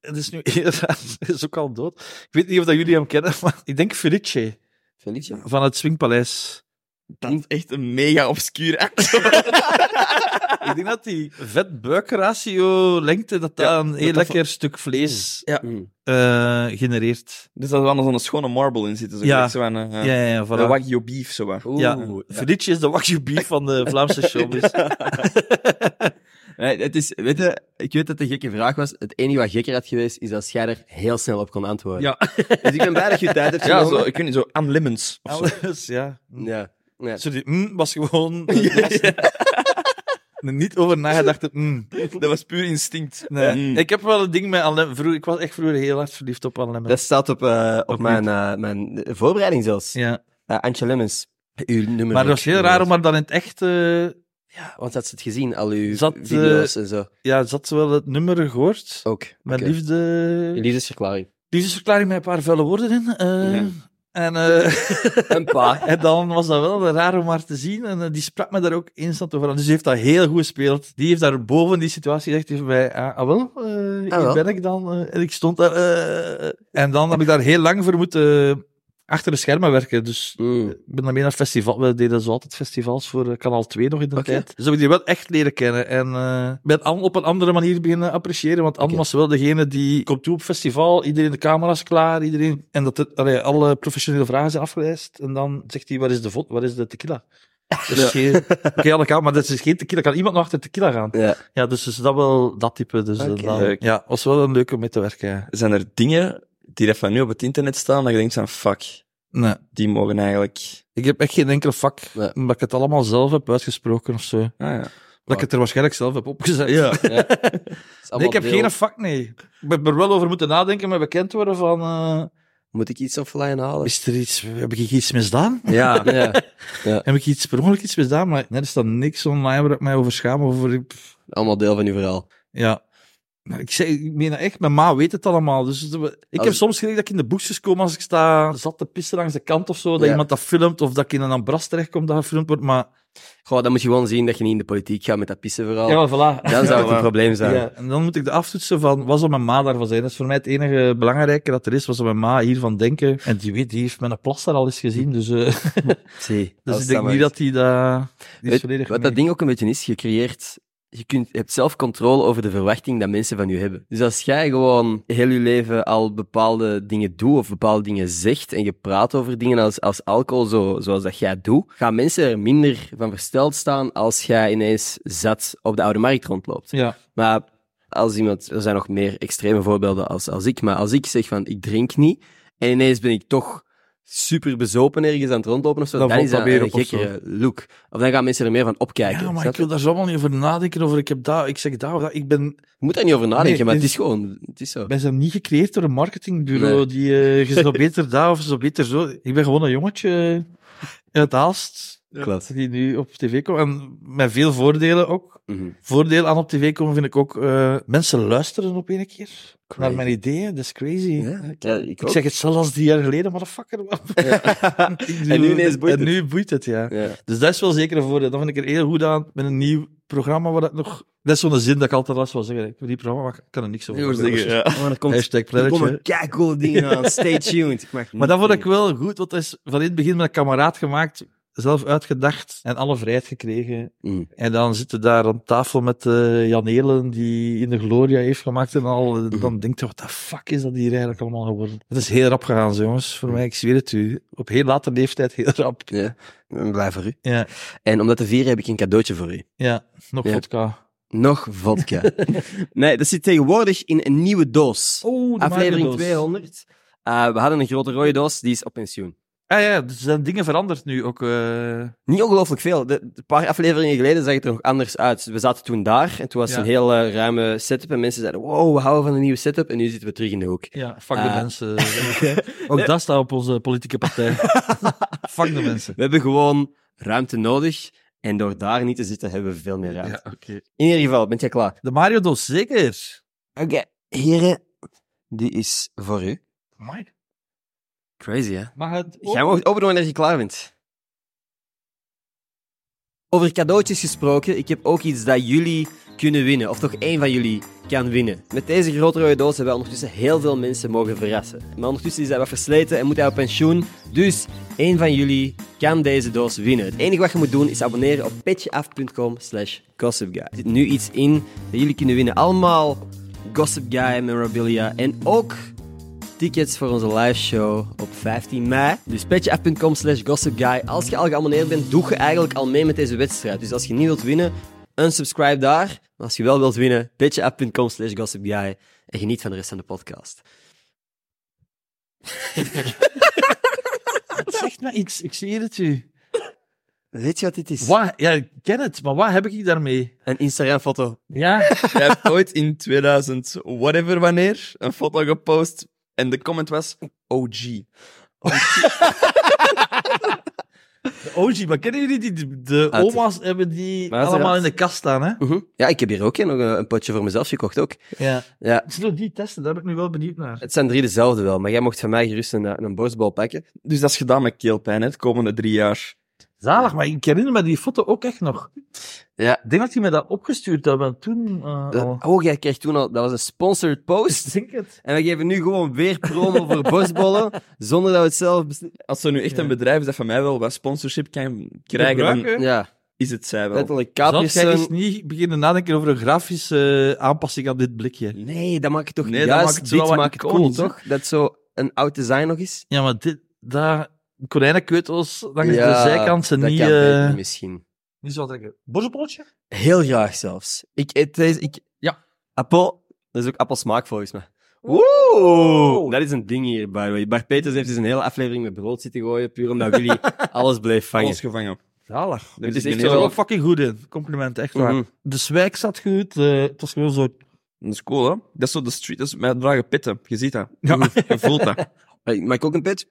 [SPEAKER 2] het is nu het is ook al dood. Ik weet niet of dat jullie hem kennen, maar ik denk Felice
[SPEAKER 1] Felicia?
[SPEAKER 2] van het Swingpaleis.
[SPEAKER 3] Dat is echt een mega obscuur act.
[SPEAKER 2] Ik denk dat die vet-buikratio lengte, dat dat
[SPEAKER 3] Ja,
[SPEAKER 2] een heel
[SPEAKER 3] dat dat-
[SPEAKER 2] lekker stuk vlees
[SPEAKER 1] Mm.
[SPEAKER 2] eh, genereert.
[SPEAKER 3] Dus dat er wel zo'n schone marble in zitten. Zo
[SPEAKER 2] Ja.
[SPEAKER 3] gelijk Zo een, eh,
[SPEAKER 2] Ja, ja, ja.
[SPEAKER 3] een
[SPEAKER 2] Voilà.
[SPEAKER 3] wagyu beef, zo wat.
[SPEAKER 1] Oeh.
[SPEAKER 2] Ja, Felice is de wagyu beef van de Vlaamse showbiz.
[SPEAKER 1] Nee, het is, weet je, ik weet dat het een gekke vraag was. Het enige wat gekker had geweest, is als jij er heel snel op kon antwoorden.
[SPEAKER 2] Ja.
[SPEAKER 1] Dus ik ben blij dat je tijd hebt
[SPEAKER 3] Ja, zo, Ah,
[SPEAKER 1] genomen.
[SPEAKER 3] ik weet niet, zo Anne Lemons of zo.
[SPEAKER 2] Alles, Dus ja.
[SPEAKER 1] Ja. ja.
[SPEAKER 2] Sorry, mm, was gewoon... eh, een Niet over nagedacht. Mm.
[SPEAKER 3] Dat was puur instinct.
[SPEAKER 2] Nee.
[SPEAKER 3] Mm.
[SPEAKER 2] Ik heb wel een ding met Alain. Vroeger, ik was echt vroeger heel hard verliefd op Alain.
[SPEAKER 1] Dat staat op, eh, op
[SPEAKER 2] Op
[SPEAKER 1] mijn, eh, mijn voorbereiding zelfs. Ja.
[SPEAKER 2] Ja.
[SPEAKER 1] Antje Lemmens, uw nummer.
[SPEAKER 2] Maar dat was heel raar om haar dan in het echt... eh,
[SPEAKER 1] Want had ze het gezien, al uw
[SPEAKER 2] Zat, eh,
[SPEAKER 1] video's en zo.
[SPEAKER 2] ja, ze had wel het nummer gehoord.
[SPEAKER 1] Ook.
[SPEAKER 2] Mijn
[SPEAKER 1] Oké.
[SPEAKER 2] liefde...
[SPEAKER 1] Uw liefdesverklaring.
[SPEAKER 2] liefdesverklaring met een paar vuile woorden in. eh,
[SPEAKER 3] Ja.
[SPEAKER 2] En, eh,
[SPEAKER 1] Een paar.
[SPEAKER 2] en dan was dat wel raar om haar te zien. En eh, die sprak me daar ook instant over aan. Dus die heeft dat heel goed gespeeld. Die heeft daar boven die situatie gezegd tegen mij... Ah, ah wel, eh,
[SPEAKER 1] Ah, wel.
[SPEAKER 2] hier ben ik dan. eh. en ik stond daar... eh, en dan heb ik daar heel lang voor moeten... eh, Achter de schermen werken, dus
[SPEAKER 1] Mm.
[SPEAKER 2] Ik ben dan mee naar festival. We deden zo altijd festivals voor eh, Kanaal 2 nog in de
[SPEAKER 1] Oké.
[SPEAKER 2] tijd. Dus heb ik die wel echt leren kennen. En eh, ben Anne op een andere manier beginnen appreciëren. Want Anne
[SPEAKER 1] Oké.
[SPEAKER 2] was wel degene die komt toe op festival. Iedereen de camera's klaar. Iedereen, en dat het, allee, alle professionele vragen zijn afgeleist. En dan zegt hij, waar is de vod? Waar is de tequila? Er is geen- Oké, alle kamer, maar dat is geen tequila. Kan iemand nog achter tequila gaan?
[SPEAKER 1] Ja.
[SPEAKER 2] Ja, dus is dat wel dat type. Dus eh,
[SPEAKER 1] Oké.
[SPEAKER 2] dan-
[SPEAKER 3] Leuk.
[SPEAKER 2] ja, was wel een leuke om mee te werken. ja.
[SPEAKER 3] Zijn er dingen die dat van nu op het internet staan, dat je denkt van, fuck,
[SPEAKER 2] Nee.
[SPEAKER 3] die mogen eigenlijk...
[SPEAKER 2] Ik heb echt geen enkel vak,
[SPEAKER 1] Nee.
[SPEAKER 2] omdat ik het allemaal zelf heb uitgesproken of zo.
[SPEAKER 3] Ah, ja.
[SPEAKER 2] Dat ik het er waarschijnlijk zelf heb opgezet.
[SPEAKER 1] Is
[SPEAKER 2] Nee,
[SPEAKER 1] allemaal
[SPEAKER 2] ik heb
[SPEAKER 1] deel.
[SPEAKER 2] geen vak, nee. Ik ben er wel over moeten nadenken, maar bekend worden van... eh,
[SPEAKER 1] Moet ik iets offline halen?
[SPEAKER 2] is er iets... Heb ik iets misdaan?
[SPEAKER 1] Ja. ja.
[SPEAKER 2] Heb ik iets per ongeluk iets misdaan? Maar er staat niks online waar ik mij over schaam. Of over, pff,
[SPEAKER 1] Allemaal deel van uw verhaal.
[SPEAKER 2] ja. Maar ik, zeg, ik meen dat echt, mijn ma weet het allemaal. Dus het- ik heb
[SPEAKER 1] Als-
[SPEAKER 2] soms gekregen dat ik in de boekjes kom als ik sta, zat te pissen langs de kant of zo, dat
[SPEAKER 1] Ja.
[SPEAKER 2] iemand dat filmt, of dat ik in een ambras terechtkom dat gefilmd wordt, maar...
[SPEAKER 1] Goh, dan moet je gewoon zien dat je niet in de politiek gaat met dat pissenverhaal.
[SPEAKER 2] Ja, voilà.
[SPEAKER 1] Dan zou het
[SPEAKER 3] Ja.
[SPEAKER 1] een probleem zijn.
[SPEAKER 2] Ja, en dan moet ik de aftoetsen van, wat zal mijn ma daarvan zijn? Dat is voor mij het enige belangrijke dat er is, wat zal mijn ma hiervan denken? En die weet, die heeft mijn plas daar al eens gezien, dus, eh,
[SPEAKER 1] Zie,
[SPEAKER 2] dus
[SPEAKER 1] als
[SPEAKER 2] ik
[SPEAKER 1] dat
[SPEAKER 2] denk
[SPEAKER 1] maar is.
[SPEAKER 2] niet dat die dat... Die is
[SPEAKER 1] Weet-
[SPEAKER 2] volledig
[SPEAKER 1] Wat
[SPEAKER 2] mee.
[SPEAKER 1] dat ding ook een beetje is, je creëert... Je, kunt, je hebt zelf controle over de verwachting dat mensen van je hebben. Dus als jij gewoon heel je leven al bepaalde dingen doet of bepaalde dingen zegt en je praat over dingen als, als alcohol, zo, zoals dat jij doet, gaan mensen er minder van versteld staan als jij ineens zat op de oude markt rondloopt.
[SPEAKER 2] Ja,
[SPEAKER 1] Maar als iemand, er zijn nog meer extreme voorbeelden als, als ik, maar als ik zeg van ik drink niet en ineens ben ik toch super bezopen ergens aan het rondlopen of zo,
[SPEAKER 2] Dan
[SPEAKER 1] dan,
[SPEAKER 2] valt
[SPEAKER 1] is
[SPEAKER 2] dat
[SPEAKER 1] dat
[SPEAKER 2] weer
[SPEAKER 1] een
[SPEAKER 2] op of
[SPEAKER 1] gekkere look. Of dan gaan mensen er meer van opkijken.
[SPEAKER 2] Ja, maar
[SPEAKER 1] snap
[SPEAKER 2] ik wil
[SPEAKER 1] je?
[SPEAKER 2] daar zo allemaal niet over nadenken. Over ik, heb dat, ik zeg dat, of dat. Ik ben,
[SPEAKER 1] Je moet daar niet over nadenken,
[SPEAKER 2] Nee,
[SPEAKER 1] maar
[SPEAKER 2] dit-
[SPEAKER 1] het is gewoon, het is zo.
[SPEAKER 2] ben zelf niet gecreëerd door een marketingbureau.
[SPEAKER 1] Nee.
[SPEAKER 2] Die, eh, je zo beter daar of zo beter zo. Ik ben gewoon een jongetje uit Aalst.
[SPEAKER 1] Klopt.
[SPEAKER 2] Die nu op tv komt. En met veel voordelen ook.
[SPEAKER 1] Mhm.
[SPEAKER 2] Voordeel aan op tv komen vind ik ook. eh, mensen luisteren op een keer naar
[SPEAKER 1] Crazy.
[SPEAKER 2] mijn ideeën. Dat is crazy.
[SPEAKER 1] Ja, ja, ik
[SPEAKER 2] Ik
[SPEAKER 1] ook.
[SPEAKER 2] zeg het zelfs als drie jaar geleden, motherfucker.
[SPEAKER 1] En nu ineens boeit
[SPEAKER 2] En
[SPEAKER 1] het.
[SPEAKER 2] nu boeit het, ja.
[SPEAKER 1] Ja.
[SPEAKER 2] Dus dat is wel zeker een voordeel. Dan vind ik er heel goed aan met een nieuw programma waar dat nog... Dat is zo'n zin dat ik altijd last wil zeggen. Ik heb die programma, maar ik kan er niks over zeggen.
[SPEAKER 1] Oh, dan komt
[SPEAKER 2] Hashtag
[SPEAKER 1] er
[SPEAKER 2] plannetje.
[SPEAKER 1] komen keicoole dingen aan. Stay tuned. Ik mag
[SPEAKER 2] Maar dat
[SPEAKER 1] niet
[SPEAKER 2] vond ik wel goed, want dat is van in het begin met een kameraad gemaakt, zelf uitgedacht en alle vrijheid gekregen.
[SPEAKER 1] Mm.
[SPEAKER 2] En dan zitten we daar aan tafel met eh, Jan Helen, die in de Gloria heeft gemaakt en al.
[SPEAKER 1] Mhm.
[SPEAKER 2] eh, Dan denkt je, wat de fuck is dat hier eigenlijk allemaal geworden? Het is heel rap gegaan, zo, jongens. Voor mij, ik zweer het u. Op heel late leeftijd heel rap.
[SPEAKER 1] Ja, ik ben blij voor u.
[SPEAKER 2] Ja,
[SPEAKER 1] En om dat te vieren heb ik een cadeautje voor u.
[SPEAKER 2] ja. nog
[SPEAKER 1] Ja.
[SPEAKER 2] vodka.
[SPEAKER 1] Nog vodka. nee, dat zit tegenwoordig in een nieuwe doos.
[SPEAKER 2] Oh,
[SPEAKER 1] Aflevering 200. Eh, we hadden een grote rode doos, die is op pensioen.
[SPEAKER 2] Ah ja, er zijn dingen veranderd nu ook. eh.
[SPEAKER 1] Niet ongelooflijk veel. De, een paar afleveringen geleden zag het er nog anders uit. We zaten toen daar en toen was het
[SPEAKER 2] Ja.
[SPEAKER 1] een heel eh, ruime setup. En mensen zeiden: Wow, we houden van een nieuwe setup. En nu zitten we terug in de hoek.
[SPEAKER 2] Ja, fuck de
[SPEAKER 1] Ah.
[SPEAKER 2] mensen. Ook dat staat op onze politieke partij. fuck de mensen.
[SPEAKER 1] We hebben gewoon ruimte nodig. En door daar niet te zitten hebben we veel meer ruimte.
[SPEAKER 2] oké.
[SPEAKER 1] In ieder geval, bent jij klaar?
[SPEAKER 2] De Mario Doos, zeker.
[SPEAKER 1] Oké, heren, die is voor u.
[SPEAKER 2] Amai.
[SPEAKER 1] Crazy, hè?
[SPEAKER 2] Mag het?
[SPEAKER 1] Jij mag het openen wanneer je klaar bent. Over cadeautjes gesproken, ik heb ook iets dat jullie kunnen winnen. Of toch één van jullie kan winnen. Met deze grote rode doos hebben wij ondertussen heel veel mensen mogen verrassen. Maar ondertussen is hij wat versleten en moet hij op pensioen. Dus één van jullie kan deze doos winnen. Het enige wat je moet doen is abonneren op petjeaf.com slash gossipguy. Er zit nu iets in dat jullie kunnen winnen. Allemaal Gossip Guy memorabilia en ook tickets voor onze live show op 15 mei. Dus petjeaf.com slash gossipguy. Als je al geabonneerd bent, doe je eigenlijk al mee met deze wedstrijd. Dus als je niet wilt winnen, unsubscribe daar. Maar als je wel wilt winnen, petjeaf.com slash gossipguy. En geniet van de rest van de podcast.
[SPEAKER 2] Zeg maar iets, ik zie het u.
[SPEAKER 1] Weet je wat dit is?
[SPEAKER 2] Wat? Ja, ik ken het, maar wat heb ik daarmee?
[SPEAKER 1] Een Instagram-foto.
[SPEAKER 2] Ja,
[SPEAKER 3] Jij hebt ooit in 2000, whatever wanneer, een foto gepost en de comment was OG.
[SPEAKER 2] de OG, maar kennen jullie die? De, de
[SPEAKER 1] Uit-
[SPEAKER 2] oma's hebben die
[SPEAKER 1] Ah, Maar dat is
[SPEAKER 2] allemaal in
[SPEAKER 1] eruit.
[SPEAKER 2] de kast staan, hè?
[SPEAKER 1] Mhm. Ja, ik heb hier ook hè, nog een een potje voor mezelf gekocht ook.
[SPEAKER 2] Ja.
[SPEAKER 1] Ja.
[SPEAKER 2] Ik zal die testen, daar ben ik nu wel benieuwd naar.
[SPEAKER 1] Het zijn drie dezelfde wel, maar jij mocht van mij gerust een, eh, een borstbal pakken.
[SPEAKER 3] Dus dat is gedaan met keelpijn, hè, de komende drie jaar.
[SPEAKER 2] Zalig, maar ik herinner me die foto ook echt nog.
[SPEAKER 1] Ja.
[SPEAKER 2] Ik denk dat die me dat opgestuurd hebben toen. eh
[SPEAKER 1] Dat-
[SPEAKER 2] al.
[SPEAKER 1] oh, jij kreeg toen al... Dat was een sponsored post.
[SPEAKER 2] Ik denk het.
[SPEAKER 1] En we geven nu gewoon weer promo voor borstbollen, zonder dat we het zelf besli-
[SPEAKER 3] Als er nu echt een
[SPEAKER 2] Ja.
[SPEAKER 3] bedrijf is dat van mij wel wat sponsorship kan krijgen, dan
[SPEAKER 2] Gebruiken.
[SPEAKER 1] Ja,
[SPEAKER 3] is het zij wel.
[SPEAKER 1] letterlijk
[SPEAKER 2] Zat jij eens
[SPEAKER 1] Capricorn.
[SPEAKER 2] niet beginnen nadenken over een grafische eh, aanpassing aan dit blikje?
[SPEAKER 1] Nee, dat maakt het toch
[SPEAKER 3] Nee, dat
[SPEAKER 1] juist
[SPEAKER 3] maakt het
[SPEAKER 1] dit
[SPEAKER 3] wel wat
[SPEAKER 1] maakt het cool,
[SPEAKER 3] iconisch,
[SPEAKER 1] toch? Dat zo een oud design nog is.
[SPEAKER 2] Ja, maar dit, daar, konijnenkeutels, langs
[SPEAKER 1] Ja,
[SPEAKER 2] de zijkant zijn
[SPEAKER 1] dat
[SPEAKER 2] niet,
[SPEAKER 1] kan
[SPEAKER 2] eh
[SPEAKER 1] beter misschien.
[SPEAKER 2] niet zo trekken. Borzelpolletje?
[SPEAKER 1] Heel graag zelfs. Ik eet deze... Ik...
[SPEAKER 2] Ja.
[SPEAKER 1] Appel. Dat is ook appelsmaak volgens mij.
[SPEAKER 2] Oeh!
[SPEAKER 1] Dat is een ding hier, by the way. Bart Peters heeft dus een hele aflevering met brood zitten gooien, puur omdat Willy alles bleef vangen.
[SPEAKER 3] Alles gevangen.
[SPEAKER 2] Zalig.
[SPEAKER 3] Dus
[SPEAKER 1] is
[SPEAKER 3] ik
[SPEAKER 1] echt
[SPEAKER 3] ben
[SPEAKER 2] Ze
[SPEAKER 3] heel-
[SPEAKER 1] wel-
[SPEAKER 2] wel fucking goed in. Compliment, echt waar.
[SPEAKER 1] Mhm.
[SPEAKER 2] De zwijk zat goed. eh, het was gewoon zo...
[SPEAKER 3] Dat is cool, hè? Dat is zo de street, dat is met dragen pitten. Je ziet dat.
[SPEAKER 2] Ja.
[SPEAKER 3] Je voelt dat.
[SPEAKER 1] Hey, Mag ik ook een pitch?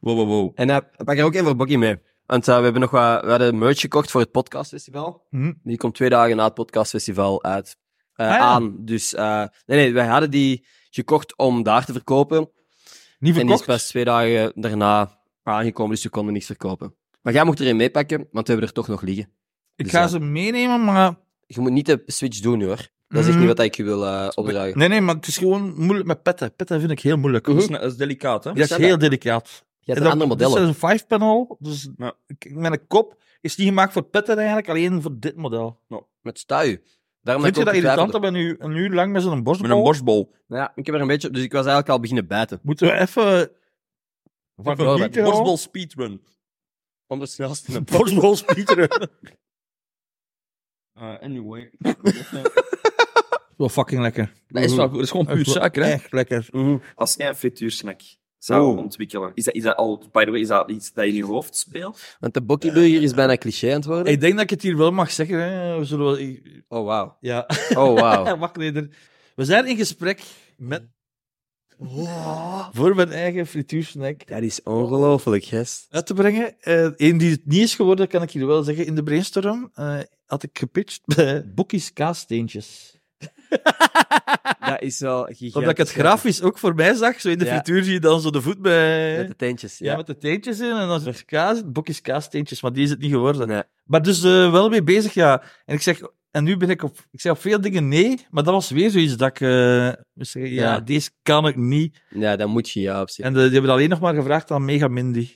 [SPEAKER 3] Wow, wow, wow.
[SPEAKER 2] Mhm.
[SPEAKER 1] En eh, pak er ook één voor Bokkie mee. Want eh, we hebben nog wat, we hadden merch gekocht voor het podcastfestival.
[SPEAKER 2] Hm.
[SPEAKER 1] Die komt twee dagen na het podcastfestival uit. eh,
[SPEAKER 2] Ah, ja.
[SPEAKER 1] Aan. Dus eh, nee, nee, wij hadden die gekocht om daar te verkopen.
[SPEAKER 2] Niet
[SPEAKER 1] En die is
[SPEAKER 2] verkocht.
[SPEAKER 1] pas twee dagen daarna aangekomen, dus we konden niks verkopen. Maar jij mocht erin meepakken, want we hebben er toch nog liggen.
[SPEAKER 2] Ik ga
[SPEAKER 1] Dus,
[SPEAKER 2] ze meenemen, maar...
[SPEAKER 1] Je moet niet de switch doen hoor. Dat is echt
[SPEAKER 2] Mm.
[SPEAKER 1] niet wat ik je wil eh, opdragen.
[SPEAKER 2] Nee, nee, maar het is gewoon moeilijk met petten. Petten vind ik heel moeilijk.
[SPEAKER 3] Dat
[SPEAKER 1] Mhm.
[SPEAKER 3] is, dat is delicaat, hè?
[SPEAKER 2] Dat is
[SPEAKER 1] zijn
[SPEAKER 2] heel
[SPEAKER 1] dat?
[SPEAKER 2] delicaat.
[SPEAKER 1] Je hebt
[SPEAKER 2] En
[SPEAKER 1] een
[SPEAKER 2] dat-
[SPEAKER 1] ander
[SPEAKER 2] Dit is
[SPEAKER 1] model.
[SPEAKER 2] een five panel, dus
[SPEAKER 3] Ja.
[SPEAKER 2] k- mijn kop is niet gemaakt voor petten eigenlijk, alleen voor dit model.
[SPEAKER 1] Met stui. Daarom
[SPEAKER 2] Vind
[SPEAKER 1] ik
[SPEAKER 2] je dat
[SPEAKER 1] ook
[SPEAKER 2] irritant dat
[SPEAKER 1] getwijfeld
[SPEAKER 2] we nu een uur lang met zo'n borstbal...
[SPEAKER 3] Met een borstbol.
[SPEAKER 1] heb. Ja, ik heb er een beetje... Dus ik was eigenlijk al beginnen bijten.
[SPEAKER 2] Moeten we even... Van
[SPEAKER 3] Even
[SPEAKER 2] die
[SPEAKER 3] een borstbol speedrun.
[SPEAKER 1] Om de snelste
[SPEAKER 2] Borstbol spieteren.
[SPEAKER 3] Eh, anyway.
[SPEAKER 2] wel fucking lekker.
[SPEAKER 5] Dat is wel goed. Dat is gewoon puur
[SPEAKER 2] Mhm. Echt wel-
[SPEAKER 5] suiker, hè?
[SPEAKER 2] Echt lekker.
[SPEAKER 3] Als jij een frituursnack zou
[SPEAKER 6] Oeh.
[SPEAKER 3] ontwikkelen, is dat, is dat al, by the way, is dat iets dat in je hoofd speelt?
[SPEAKER 1] Want de bokkieburger is bijna cliché aan het worden.
[SPEAKER 2] Ik denk dat ik het hier wel mag zeggen. Hè. We zullen wel... ik-
[SPEAKER 1] Oh, wauw.
[SPEAKER 2] Ja,
[SPEAKER 1] Oh, wauw.
[SPEAKER 2] wakleder. We zijn in gesprek met... Voor mijn eigen frituursnack
[SPEAKER 6] Dat is ongelooflijk, gest.
[SPEAKER 2] uit te brengen. Eh Eén die het niet is geworden, kan ik hier wel zeggen. In de brainstorm eh, had ik gepitcht bij Bokkies Kaasteentjes.
[SPEAKER 6] Dat is wel gigantisch.
[SPEAKER 2] Omdat ik het grafisch ook voor mij zag. Zo in de
[SPEAKER 1] Ja.
[SPEAKER 2] frituur zie je dan zo de voet bij...
[SPEAKER 1] Met de tentjes.
[SPEAKER 2] Ja,
[SPEAKER 1] Ja.
[SPEAKER 2] met de teentjes in en dan is er kaas, bokjes kaasteentjes, maar die is het niet geworden.
[SPEAKER 1] Nee.
[SPEAKER 2] Maar dus eh, wel mee bezig, ja. En ik zeg, en nu ben ik op, ik zeg op veel dingen nee, maar dat was weer zoiets dat ik, eh, moest zeggen, ja,
[SPEAKER 1] Ja.
[SPEAKER 2] deze kan ik niet.
[SPEAKER 1] ja, dan moet je ja op zich.
[SPEAKER 2] En de- die hebben alleen nog maar gevraagd aan Mega Mindy.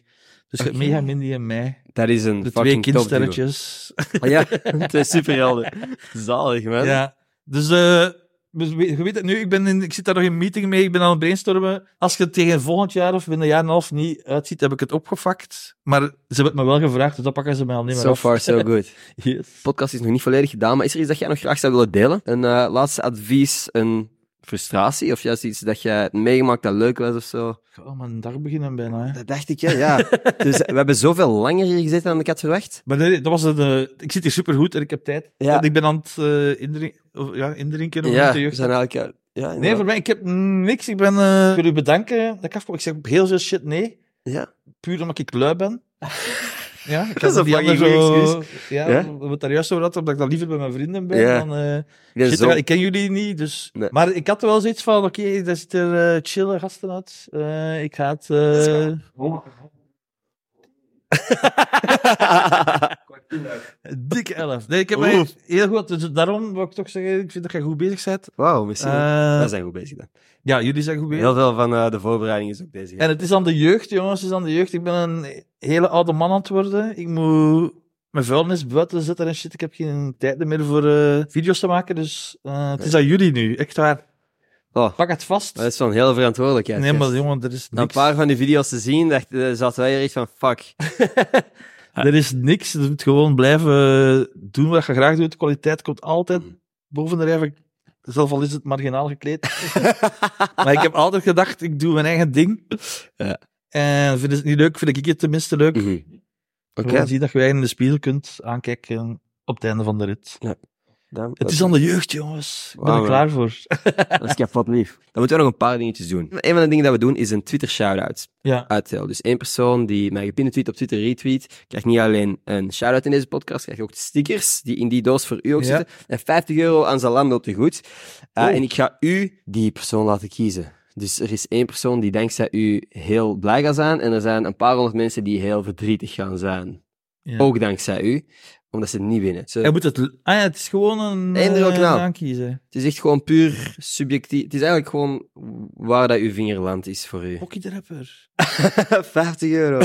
[SPEAKER 2] Dus ik heb Mega Mindy en mij,
[SPEAKER 6] Dat is een
[SPEAKER 2] de twee
[SPEAKER 6] fucking top
[SPEAKER 2] kindsterretjes.
[SPEAKER 6] duo. Ja, twee superhelden. Zalig, man.
[SPEAKER 2] Ja, dus eh, dus we- je weet het nu, ik, ben in, ik zit daar nog in een meeting mee, ik ben aan het brainstormen. Als je het tegen volgend jaar of binnen een jaar en een half niet uitziet, heb ik het opgefakt. Maar ze hebben het me wel gevraagd, dus dat pakken ze mij al niet meer
[SPEAKER 1] So
[SPEAKER 2] af.
[SPEAKER 1] far, so good.
[SPEAKER 2] Yes.
[SPEAKER 1] De podcast is nog niet volledig gedaan, maar is er iets dat jij nog graag zou willen delen? Een eh, laatste advies, een frustratie of juist iets dat jij hebt meegemaakt dat leuk was of zo?
[SPEAKER 2] Ik ga al mijn dag beginnen bijna. Hè.
[SPEAKER 1] Dat dacht ik, ja. ja. dus we hebben zoveel langer hier gezeten dan ik had verwacht.
[SPEAKER 2] Maar nee, dat was het, eh, ik zit hier supergoed en ik heb tijd.
[SPEAKER 1] Ja.
[SPEAKER 2] Want ik ben aan het eh, indrin- of, ja, indrinken. Of
[SPEAKER 1] Ja,
[SPEAKER 2] de
[SPEAKER 1] we
[SPEAKER 2] jeugd.
[SPEAKER 1] zijn eigenlijk... eh, Ja,
[SPEAKER 2] Nee,
[SPEAKER 1] inderdaad.
[SPEAKER 2] voor mij, ik heb niks. Ik ben... eh, ik wil u bedanken dat ik afkom. Ik zeg heel veel shit nee.
[SPEAKER 1] Ja.
[SPEAKER 2] Puur omdat ik lui ben. ja, ik
[SPEAKER 6] Dat is
[SPEAKER 2] had
[SPEAKER 6] een
[SPEAKER 2] die
[SPEAKER 6] fucking
[SPEAKER 2] andere
[SPEAKER 6] goed
[SPEAKER 2] zo- Ja,
[SPEAKER 1] Ja?
[SPEAKER 2] we- we het daar juist over hadden, omdat ik dan liever bij mijn vrienden ben.
[SPEAKER 1] Ja.
[SPEAKER 2] Dan, eh,
[SPEAKER 1] Ik ben
[SPEAKER 2] shit,
[SPEAKER 1] zo...
[SPEAKER 2] ik- ik ken jullie niet, dus...
[SPEAKER 1] Nee.
[SPEAKER 2] Maar ik had wel zoiets van, oké, daar zitten eh, chille gasten uit. Eh, ik ga het... eh, Dik 11. Nee, ik heb mij heel goed. Dus daarom wil ik toch zeggen, ik vind dat jij goed bezig bent.
[SPEAKER 6] Wauw, misschien.
[SPEAKER 2] Eh,
[SPEAKER 6] We zijn goed bezig dan.
[SPEAKER 2] ja, jullie zijn goed bezig.
[SPEAKER 6] Heel veel van eh, de voorbereiding is ook bezig.
[SPEAKER 2] En het is aan de jeugd, jongens, het is aan de jeugd. Ik ben een hele oude man aan het worden. Ik moet mijn vuilnis buiten zetten en shit. Ik heb geen tijd meer voor eh, video's te maken. Dus eh, het is aan jullie nu. Echt waar.
[SPEAKER 6] Oh.
[SPEAKER 2] Pak het vast.
[SPEAKER 6] Dat is van heel verantwoordelijkheid.
[SPEAKER 2] Nee, maar
[SPEAKER 6] gast.
[SPEAKER 2] jongen, er is
[SPEAKER 6] Na een
[SPEAKER 2] niks.
[SPEAKER 6] paar van die video's te zien, dacht, eh, zaten wij hier echt van, fuck.
[SPEAKER 2] Er is niks. Je moet gewoon blijven eh, doen wat je graag doet. Kwaliteit komt altijd
[SPEAKER 1] Hmm.
[SPEAKER 2] boven de rij. Zelf al is het marginaal gekleed. maar ik heb altijd gedacht, ik doe mijn eigen ding.
[SPEAKER 1] Ja.
[SPEAKER 2] En vind je het niet leuk, vind ik het tenminste leuk.
[SPEAKER 1] Mhm. Oké.
[SPEAKER 2] Gewoon zie dat je je in de spiegel kunt aankijken op het einde van de rit.
[SPEAKER 1] Dan-
[SPEAKER 2] Het is aan de jeugd, jongens. Ik ben
[SPEAKER 1] Wauw,
[SPEAKER 2] er
[SPEAKER 1] hè.
[SPEAKER 2] klaar voor.
[SPEAKER 1] Dat is kapot lief. Dan moeten we nog een paar dingetjes doen. Een van de dingen dat we doen is een Twitter shout-out
[SPEAKER 2] Ja.
[SPEAKER 1] uitdelen. Dus één persoon die mijn gepinde tweet op Twitter retweet, krijgt niet alleen een shout-out in deze podcast, krijgt ook stickers die in die doos voor u ook
[SPEAKER 2] Ja.
[SPEAKER 1] zitten. En 50 euro aan Zalando op de goed. Eh, en ik ga u die persoon laten kiezen. Dus er is één persoon die dankzij u heel blij gaat zijn en er zijn een paar honderd mensen die heel verdrietig gaan zijn.
[SPEAKER 2] Ja.
[SPEAKER 1] Ook eh. dankzij u, omdat ze het niet winnen. Ze-
[SPEAKER 2] Hij moet het... Ah ja, het is gewoon een...
[SPEAKER 1] Eender
[SPEAKER 2] eh,
[SPEAKER 1] ook nou.
[SPEAKER 2] aankiezen.
[SPEAKER 1] Het is echt gewoon puur subjectief. Het is eigenlijk gewoon waar dat uw vinger landt is voor u.
[SPEAKER 2] Hockey de rapper.
[SPEAKER 6] 50 euro.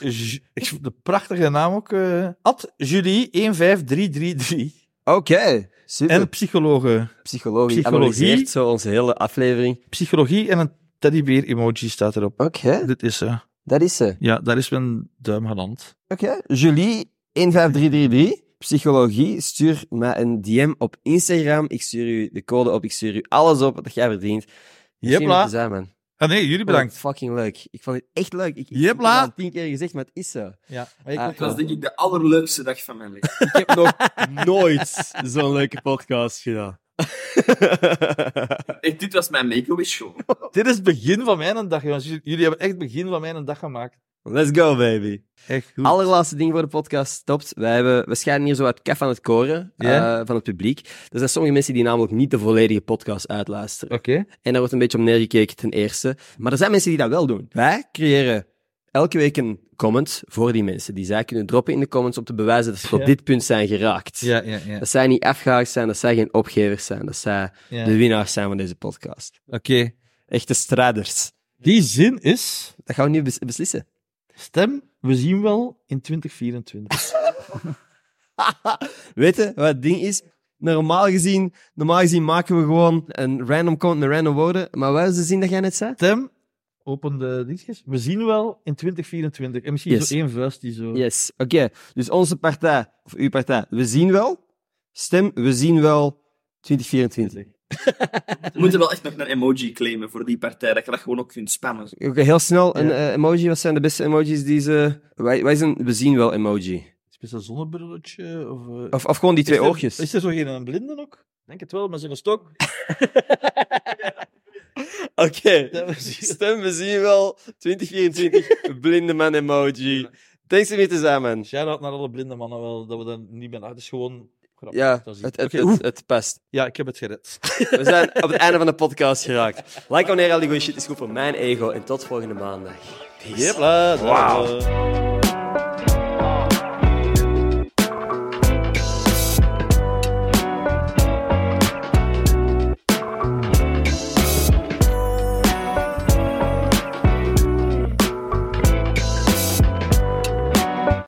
[SPEAKER 2] Ju- ik- De prachtige naam ook. eh Ad Julie 15333.
[SPEAKER 1] Oké, super.
[SPEAKER 2] En psychologen.
[SPEAKER 1] psychologie,
[SPEAKER 2] psychologie.
[SPEAKER 1] analyseert zo onze hele aflevering.
[SPEAKER 2] Psychologie en een teddybeer-emoji staat erop.
[SPEAKER 1] Oké,
[SPEAKER 2] Dit is ze.
[SPEAKER 1] dat is ze.
[SPEAKER 2] Ja, daar is mijn duim geland.
[SPEAKER 1] Oké, Julie 15333, psychologie, stuur me een DM op Instagram. Ik stuur u de code op, ik stuur u alles op wat jij verdient. Misschien om
[SPEAKER 2] Jepla.
[SPEAKER 1] te zijn, man. Ik vond
[SPEAKER 2] Ah nee, jullie
[SPEAKER 1] het
[SPEAKER 2] bedankt.
[SPEAKER 1] Fucking leuk. Ik vond het echt leuk. Ik, ik,
[SPEAKER 2] Jepla.
[SPEAKER 1] ik heb het al tien keer gezegd, maar het is zo.
[SPEAKER 2] Ja,
[SPEAKER 1] Ah,
[SPEAKER 3] Dat was denk ik de allerleukste dag van mijn leven.
[SPEAKER 6] Ik heb nog nooit zo'n leuke podcast gedaan.
[SPEAKER 3] Echt, dit was mijn make-a-wish show.
[SPEAKER 2] Dit is het begin van mijn dag, jongens. Jullie jullie hebben echt het begin van mijn dag gemaakt.
[SPEAKER 6] Let's go, baby.
[SPEAKER 2] Echt goed.
[SPEAKER 1] Allerlaatste ding voor de podcast stopt. Wij hebben, we schijnen hier zo uit kaf aan het koren
[SPEAKER 2] Ja.
[SPEAKER 1] eh, van het publiek. Er zijn sommige mensen die namelijk niet de volledige podcast uitluisteren.
[SPEAKER 2] Oké.
[SPEAKER 1] En daar wordt een beetje om neergekeken ten eerste. Maar er zijn mensen die dat wel doen. Wij creëren elke week een comment voor die mensen. Die zij kunnen droppen in de comments om te bewijzen dat ze
[SPEAKER 2] Ja.
[SPEAKER 1] op dit punt zijn geraakt.
[SPEAKER 2] Ja, ja, ja.
[SPEAKER 1] Dat zij niet afgehaakt zijn, dat zij geen opgevers zijn, dat zij
[SPEAKER 2] ja.
[SPEAKER 1] de
[SPEAKER 2] Oké.
[SPEAKER 1] winnaars zijn van deze podcast. Echte strijders.
[SPEAKER 2] Die zin is...
[SPEAKER 1] Dat gaan we nu bes- beslissen.
[SPEAKER 2] Stem, we zien wel in 2024.
[SPEAKER 1] Weet je wat het ding is? Normaal gezien, normaal gezien maken we gewoon een random comment met random woorden. Maar wat is de zin dat jij net zei?
[SPEAKER 2] Stem, open de dingetjes. We zien wel in 2024. En misschien
[SPEAKER 1] Yes.
[SPEAKER 2] zo één vuist die zo...
[SPEAKER 1] Yes, oké. Dus onze partij, of uw partij, we zien wel. Stem, we zien wel 2024.
[SPEAKER 3] We moeten wel echt nog een emoji claimen voor die partij, dat je dat gewoon ook kunt spammen.
[SPEAKER 1] Oké, heel snel. Een eh, emoji. Wat zijn de beste emojis die ze... Wij, wij zijn, we zien wel emoji.
[SPEAKER 2] Speciaal zonnebrilletje? Of, eh,
[SPEAKER 1] Of, of gewoon die twee
[SPEAKER 2] is er-
[SPEAKER 1] oogjes.
[SPEAKER 2] Is er zo geen een blinde ook? Ik Denk het wel, met zo'n stok.
[SPEAKER 1] Oké. Stem, we zien wel. 2024. blinde man emoji. Thanks weer tezamen.
[SPEAKER 2] Shout-out naar alle blinde mannen wel, dat we daar niet meer uit. Het is gewoon grappig.
[SPEAKER 1] Ja,
[SPEAKER 2] Dat is-
[SPEAKER 1] het, het,
[SPEAKER 2] Oké,
[SPEAKER 1] het,
[SPEAKER 2] oeh.
[SPEAKER 1] het past.
[SPEAKER 2] ja, ik heb het gered.
[SPEAKER 1] We zijn op het einde van de podcast geraakt. Like wanneer al die goede shit is goed voor mijn ego. En tot volgende maandag. Peace.
[SPEAKER 2] Jepla, dag.
[SPEAKER 3] Wauw.